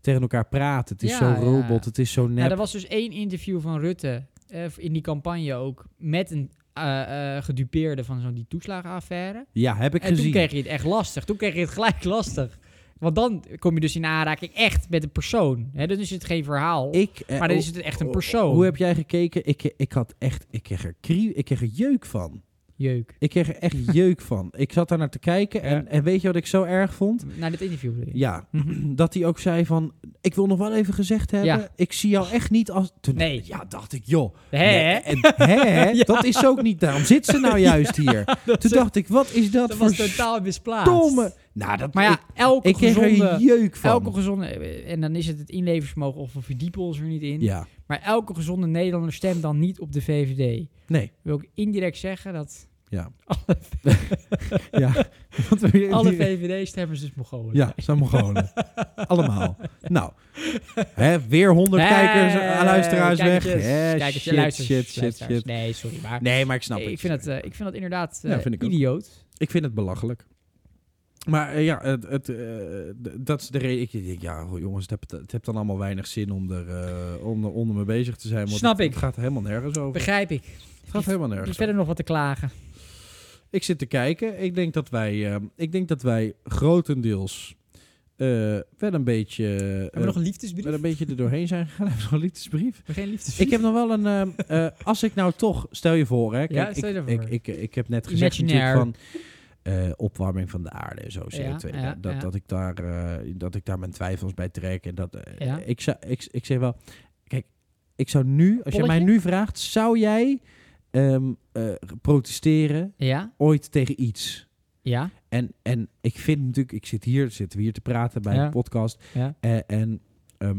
[SPEAKER 1] tegen elkaar praten. Het is
[SPEAKER 2] Ja,
[SPEAKER 1] zo
[SPEAKER 2] ja, ja.
[SPEAKER 1] robot, het is zo nep.
[SPEAKER 2] Nou, er was dus één interview van Rutte eh, in die campagne ook met een eh, eh, gedupeerde van zo'n die toeslagenaffaire.
[SPEAKER 1] Ja, heb ik
[SPEAKER 2] en toen
[SPEAKER 1] gezien.
[SPEAKER 2] kreeg je het echt lastig. Toen kreeg je het gelijk lastig. Want dan kom je dus in aanraking echt met een persoon. Hè, dan is het geen verhaal.
[SPEAKER 1] Ik, eh,
[SPEAKER 2] maar dan
[SPEAKER 1] oh,
[SPEAKER 2] is het echt een
[SPEAKER 1] oh,
[SPEAKER 2] persoon.
[SPEAKER 1] Hoe heb jij gekeken? Ik, eh, ik had echt, ik kreeg er, krie, ik kreeg er jeuk van.
[SPEAKER 2] Jeuk.
[SPEAKER 1] Ik kreeg er
[SPEAKER 2] [LAUGHS]
[SPEAKER 1] echt jeuk van. Ik zat daar naar te kijken en,
[SPEAKER 2] Ja.
[SPEAKER 1] en weet je wat ik zo erg vond?
[SPEAKER 2] Na dit interview bedoel je?
[SPEAKER 1] Ja,
[SPEAKER 2] Mhm.
[SPEAKER 1] dat hij ook zei van, ik wil nog wel even gezegd hebben,
[SPEAKER 2] Ja.
[SPEAKER 1] ik zie jou echt niet als... Toen,
[SPEAKER 2] Nee.
[SPEAKER 1] Ja, dacht ik, joh.
[SPEAKER 2] Hè?
[SPEAKER 1] Nee, eh, en- hè, hè?
[SPEAKER 2] [LAUGHS] Ja.
[SPEAKER 1] Dat is ook niet, daarom zit ze
[SPEAKER 2] [LAUGHS]
[SPEAKER 1] nou juist hier. Toen dacht ik, wat is dat,
[SPEAKER 2] Dat
[SPEAKER 1] voor
[SPEAKER 2] was totaal misplaatst.
[SPEAKER 1] stomme... Nou, dat,
[SPEAKER 2] Maar ja, elke
[SPEAKER 1] ik, ik kreeg er
[SPEAKER 2] gezonde...
[SPEAKER 1] jeuk van.
[SPEAKER 2] Elke gezonde, eh, en dan is het het inlevensvermogen of we verdiepen ons er niet in.
[SPEAKER 1] Ja,
[SPEAKER 2] Maar elke gezonde Nederlander stemt dan niet op de VVD.
[SPEAKER 1] nee,
[SPEAKER 2] [LAUGHS]
[SPEAKER 1] [LAUGHS]
[SPEAKER 2] Wil ik indirect zeggen dat
[SPEAKER 1] ja.
[SPEAKER 2] alle
[SPEAKER 1] ja. [LAUGHS] Want we-
[SPEAKER 2] Alle VVD-stemmers dus Mongolen.
[SPEAKER 1] Ja, zijn
[SPEAKER 2] [LAUGHS]
[SPEAKER 1] Mongolen. Allemaal. Nou, hè, weer 100
[SPEAKER 2] Nee,
[SPEAKER 1] kijkers en luisteraars weg.
[SPEAKER 2] eh, kijkertjes,
[SPEAKER 1] Hè,
[SPEAKER 2] kijkertjes,
[SPEAKER 1] shit,
[SPEAKER 2] luisteraars,
[SPEAKER 1] shit, shit,
[SPEAKER 2] luisteraars.
[SPEAKER 1] shit.
[SPEAKER 2] Nee, sorry. Maar
[SPEAKER 1] Nee, maar ik snap
[SPEAKER 2] Nee,
[SPEAKER 1] het.
[SPEAKER 2] ik, vind dat, eh, ik vind dat inderdaad eh,
[SPEAKER 1] Ja, vind ik ook.
[SPEAKER 2] idioot.
[SPEAKER 1] Ik vind het belachelijk. Maar eh, ja, het, het, eh, d- dat is de reden. Ik denk, ja, goh, jongens, het hebt, het hebt dan allemaal weinig zin om er eh, om, er- onder me bezig te zijn. Want
[SPEAKER 2] Snap
[SPEAKER 1] het,
[SPEAKER 2] ik.
[SPEAKER 1] Het gaat helemaal nergens over.
[SPEAKER 2] Begrijp ik.
[SPEAKER 1] Het gaat helemaal
[SPEAKER 2] Er is
[SPEAKER 1] nergens over.
[SPEAKER 2] verder nog wat te klagen.
[SPEAKER 1] Ik zit te kijken. Ik denk dat wij, eh, ik denk dat wij grotendeels eh, wel een beetje, eh,
[SPEAKER 2] Hebben we nog een liefdesbrief?
[SPEAKER 1] wel een beetje er doorheen zijn gegaan. [LAUGHS] Hebben we nog een liefdesbrief?
[SPEAKER 2] Hebben we geen liefdesbrief?
[SPEAKER 1] Ik heb nog wel een. eh, eh, als ik nou toch. Stel je voor, hè?
[SPEAKER 2] Ja, stel je
[SPEAKER 1] ik,
[SPEAKER 2] ervoor.
[SPEAKER 1] ik, ik, ik heb net gezegd natuurlijk
[SPEAKER 2] Imaginair.
[SPEAKER 1] van. eh, opwarming van de aarde en zo, CO2.
[SPEAKER 2] Ja,
[SPEAKER 1] Nou, dat,
[SPEAKER 2] ja, ja.
[SPEAKER 1] Dat, ik daar, eh, dat ik daar mijn twijfels bij trek. En dat, eh,
[SPEAKER 2] Ja.
[SPEAKER 1] ik, zou, ik, ik zeg wel... Kijk, ik zou nu... Als jij mij
[SPEAKER 2] Polletje?
[SPEAKER 1] nu vraagt... Zou jij ehm, eh, protesteren
[SPEAKER 2] Ja,
[SPEAKER 1] ooit tegen iets?
[SPEAKER 2] ja.
[SPEAKER 1] En, en ik vind natuurlijk, ik zit hier, zitten we hier te praten bij
[SPEAKER 2] Ja.
[SPEAKER 1] een podcast.
[SPEAKER 2] Ja.
[SPEAKER 1] En, en ehm,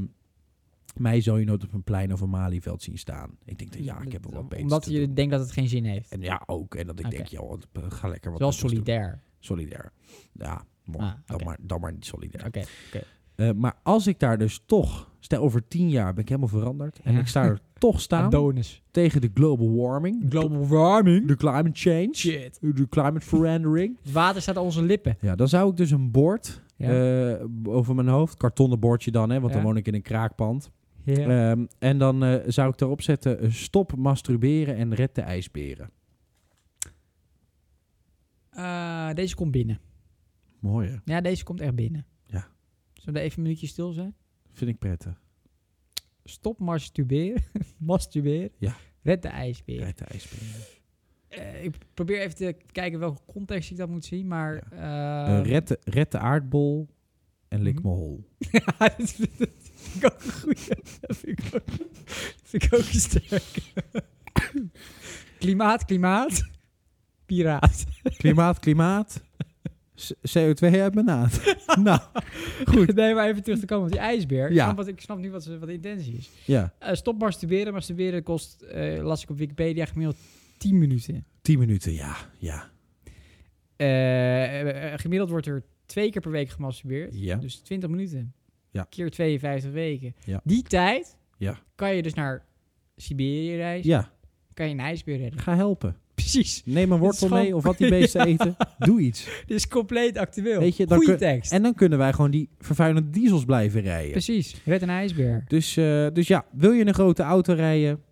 [SPEAKER 1] mij zou je nooit op een plein of een malieveld zien staan. Ik denk, dat, ja, ik heb wel wat beter
[SPEAKER 2] Omdat
[SPEAKER 1] te
[SPEAKER 2] je
[SPEAKER 1] doen.
[SPEAKER 2] denkt dat het geen zin heeft.
[SPEAKER 1] En ja, ook. En dat ik
[SPEAKER 2] Oké.
[SPEAKER 1] denk, joh, ga lekker wat
[SPEAKER 2] Wel
[SPEAKER 1] anders doen.
[SPEAKER 2] solidair.
[SPEAKER 1] Solidair. Ja, mooi.
[SPEAKER 2] Ah,
[SPEAKER 1] dan,
[SPEAKER 2] oké.
[SPEAKER 1] maar, dan maar niet solidair.
[SPEAKER 2] Oké, oké.
[SPEAKER 1] Eh, maar als ik daar dus toch, stel over tien jaar ben ik helemaal veranderd. En
[SPEAKER 2] Ja.
[SPEAKER 1] ik sta
[SPEAKER 2] [LAUGHS]
[SPEAKER 1] er toch staan
[SPEAKER 2] Adonis.
[SPEAKER 1] tegen de global warming.
[SPEAKER 2] Global warming.
[SPEAKER 1] De climate change.
[SPEAKER 2] Shit.
[SPEAKER 1] De climate verandering.
[SPEAKER 2] Het water staat aan onze lippen.
[SPEAKER 1] Ja, dan zou ik dus een bord
[SPEAKER 2] Ja.
[SPEAKER 1] eh, b- over mijn hoofd. Kartonnen bordje dan, hè, want
[SPEAKER 2] Ja.
[SPEAKER 1] dan woon ik in een kraakpand.
[SPEAKER 2] Ja.
[SPEAKER 1] Ehm, en dan eh, zou ik erop zetten: eh, stop masturberen en red de ijsberen.
[SPEAKER 2] Eh, deze komt binnen.
[SPEAKER 1] Mooi, hè?
[SPEAKER 2] Ja, deze komt echt binnen.
[SPEAKER 1] Ja.
[SPEAKER 2] Zullen we even een minuutje stil zijn?
[SPEAKER 1] Vind ik prettig.
[SPEAKER 2] Stop masturberen. [LAUGHS] masturberen.
[SPEAKER 1] Ja.
[SPEAKER 2] Red de ijsbeer.
[SPEAKER 1] Red de ijsberen.
[SPEAKER 2] Eh, ik probeer even te kijken welke context ik dat moet zien, maar... eh,
[SPEAKER 1] Eh, red, de, red de aardbol en lik
[SPEAKER 2] Mhm.
[SPEAKER 1] mijn hol.
[SPEAKER 2] [LAUGHS] Ja, dat vind dat vind ik ook een goeie. [LAUGHS] Dat vind ik ook, dat vind ik ook sterk. [COUGHS] klimaat, klimaat. Piraat.
[SPEAKER 1] Klimaat, klimaat. S- CO2 uit mijn naad.
[SPEAKER 2] [LAUGHS]
[SPEAKER 1] nou,
[SPEAKER 2] Goed. [LAUGHS] Nee, maar even terug te komen op die ijsbeer. Ik,
[SPEAKER 1] Ja.
[SPEAKER 2] snap wat, ik snap nu wat, ze- wat de intentie is.
[SPEAKER 1] ja,
[SPEAKER 2] Eh, stop masturberen. Masturberen kost, eh, las ik op Wikipedia, gemiddeld 10 minuten.
[SPEAKER 1] 10 minuten, ja, ja,
[SPEAKER 2] Eh, eh, gemiddeld wordt er twee keer per week gemasturbeerd.
[SPEAKER 1] ja.
[SPEAKER 2] Dus 20 minuten.
[SPEAKER 1] Ja.
[SPEAKER 2] Keer 52 weken.
[SPEAKER 1] Ja.
[SPEAKER 2] Die tijd
[SPEAKER 1] Ja.
[SPEAKER 2] kan je dus naar Siberië reizen.
[SPEAKER 1] Ja,
[SPEAKER 2] Kan je een ijsbeer redden. [LAUGHS]
[SPEAKER 1] ga helpen.
[SPEAKER 2] Precies.
[SPEAKER 1] Neem een wortel
[SPEAKER 2] gewoon-
[SPEAKER 1] mee of wat die
[SPEAKER 2] [LAUGHS]
[SPEAKER 1] beesten eten. Doe iets.
[SPEAKER 2] Dit is compleet actueel.
[SPEAKER 1] Weet je, dan
[SPEAKER 2] Goeie
[SPEAKER 1] kun-
[SPEAKER 2] tekst.
[SPEAKER 1] En dan kunnen wij gewoon die vervuilende diesels blijven rijden.
[SPEAKER 2] Precies. Red een
[SPEAKER 1] [LAUGHS]
[SPEAKER 2] ijsbeer.
[SPEAKER 1] Dus, eh, dus ja, wil je een grote auto rijden?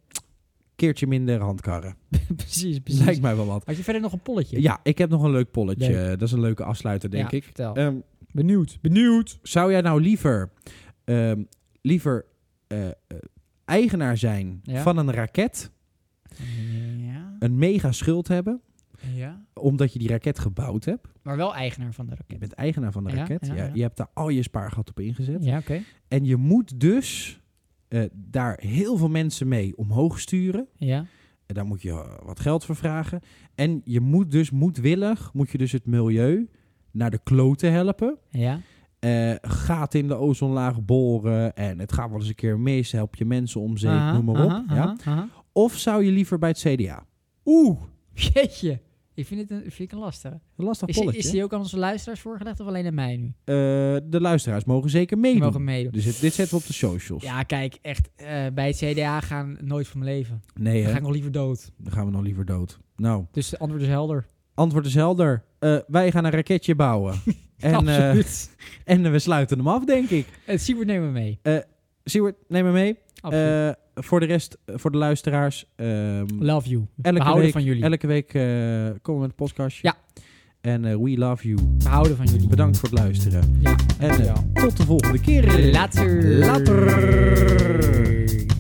[SPEAKER 1] Keertje minder handkarren.
[SPEAKER 2] precies, precies.
[SPEAKER 1] Lijkt mij wel wat.
[SPEAKER 2] Had je verder nog een polletje?
[SPEAKER 1] Ja, ik heb nog een leuk polletje.
[SPEAKER 2] Leuk.
[SPEAKER 1] Dat is een leuke afsluiter, denk
[SPEAKER 2] Ja,
[SPEAKER 1] ik.
[SPEAKER 2] Vertel.
[SPEAKER 1] Ehm,
[SPEAKER 2] benieuwd. Benieuwd.
[SPEAKER 1] zou jij nou liever, ehm, liever eh, eh, eigenaar zijn
[SPEAKER 2] Ja.
[SPEAKER 1] van een raket,
[SPEAKER 2] Ja.
[SPEAKER 1] een mega schuld hebben,
[SPEAKER 2] ja.
[SPEAKER 1] omdat je die raket gebouwd hebt?
[SPEAKER 2] Maar wel eigenaar van de
[SPEAKER 1] Je
[SPEAKER 2] raket.
[SPEAKER 1] bent eigenaar van de
[SPEAKER 2] Ja,
[SPEAKER 1] raket.
[SPEAKER 2] ja,
[SPEAKER 1] Ja,
[SPEAKER 2] ja.
[SPEAKER 1] Je hebt daar al je spaargat op ingezet.
[SPEAKER 2] Ja, oké.
[SPEAKER 1] En je moet dus eh, daar heel veel mensen mee omhoog sturen.
[SPEAKER 2] Ja.
[SPEAKER 1] En Daar moet je eh, wat geld voor vragen. En je moet dus moedwillig, moet je dus het milieu naar de kloten helpen.
[SPEAKER 2] Ja.
[SPEAKER 1] Eh gaten in de ozonlaag boren en het gaat wel eens een keer mis. Help je mensen om zeep,
[SPEAKER 2] Aha,
[SPEAKER 1] noem maar op.
[SPEAKER 2] aha,
[SPEAKER 1] ja?
[SPEAKER 2] aha, aha.
[SPEAKER 1] Of zou je liever bij het CDA?
[SPEAKER 2] Oeh. Jeetje. Ik vind het een, vind ik een lastige.
[SPEAKER 1] Een lastig
[SPEAKER 2] Is,
[SPEAKER 1] polletje.
[SPEAKER 2] is die ook aan onze luisteraars voorgelegd of alleen aan mij nu?
[SPEAKER 1] Eh, de luisteraars mogen zeker
[SPEAKER 2] Die
[SPEAKER 1] meedoen.
[SPEAKER 2] mogen meedoen.
[SPEAKER 1] Dus het- dit zetten we op de socials.
[SPEAKER 2] Ja, kijk, echt. eh, bij het CDA gaan nooit van mijn leven.
[SPEAKER 1] Nee,
[SPEAKER 2] Dan
[SPEAKER 1] hè?
[SPEAKER 2] ga ik nog liever dood.
[SPEAKER 1] dan gaan we nog liever dood. Nou,
[SPEAKER 2] Dus het antwoord is helder.
[SPEAKER 1] antwoord is helder. Eh, wij gaan een raketje
[SPEAKER 2] [LAUGHS]
[SPEAKER 1] bouwen. en, eh,
[SPEAKER 2] Absoluut.
[SPEAKER 1] en we sluiten hem af, denk ik.
[SPEAKER 2] het Siebert nemen we mee.
[SPEAKER 1] Siewert, neem me mee.
[SPEAKER 2] Absoluut.
[SPEAKER 1] Eh, voor de rest, eh, voor de luisteraars. ehm,
[SPEAKER 2] Love you. we
[SPEAKER 1] elke
[SPEAKER 2] houden
[SPEAKER 1] week,
[SPEAKER 2] van jullie.
[SPEAKER 1] elke week eh, komen we met een podcastje.
[SPEAKER 2] Ja.
[SPEAKER 1] En eh, we love you.
[SPEAKER 2] We houden van jullie.
[SPEAKER 1] Bedankt voor het luisteren.
[SPEAKER 2] Ja,
[SPEAKER 1] En eh,
[SPEAKER 2] dankjewel.
[SPEAKER 1] tot de volgende keer.
[SPEAKER 2] Later.
[SPEAKER 1] Later.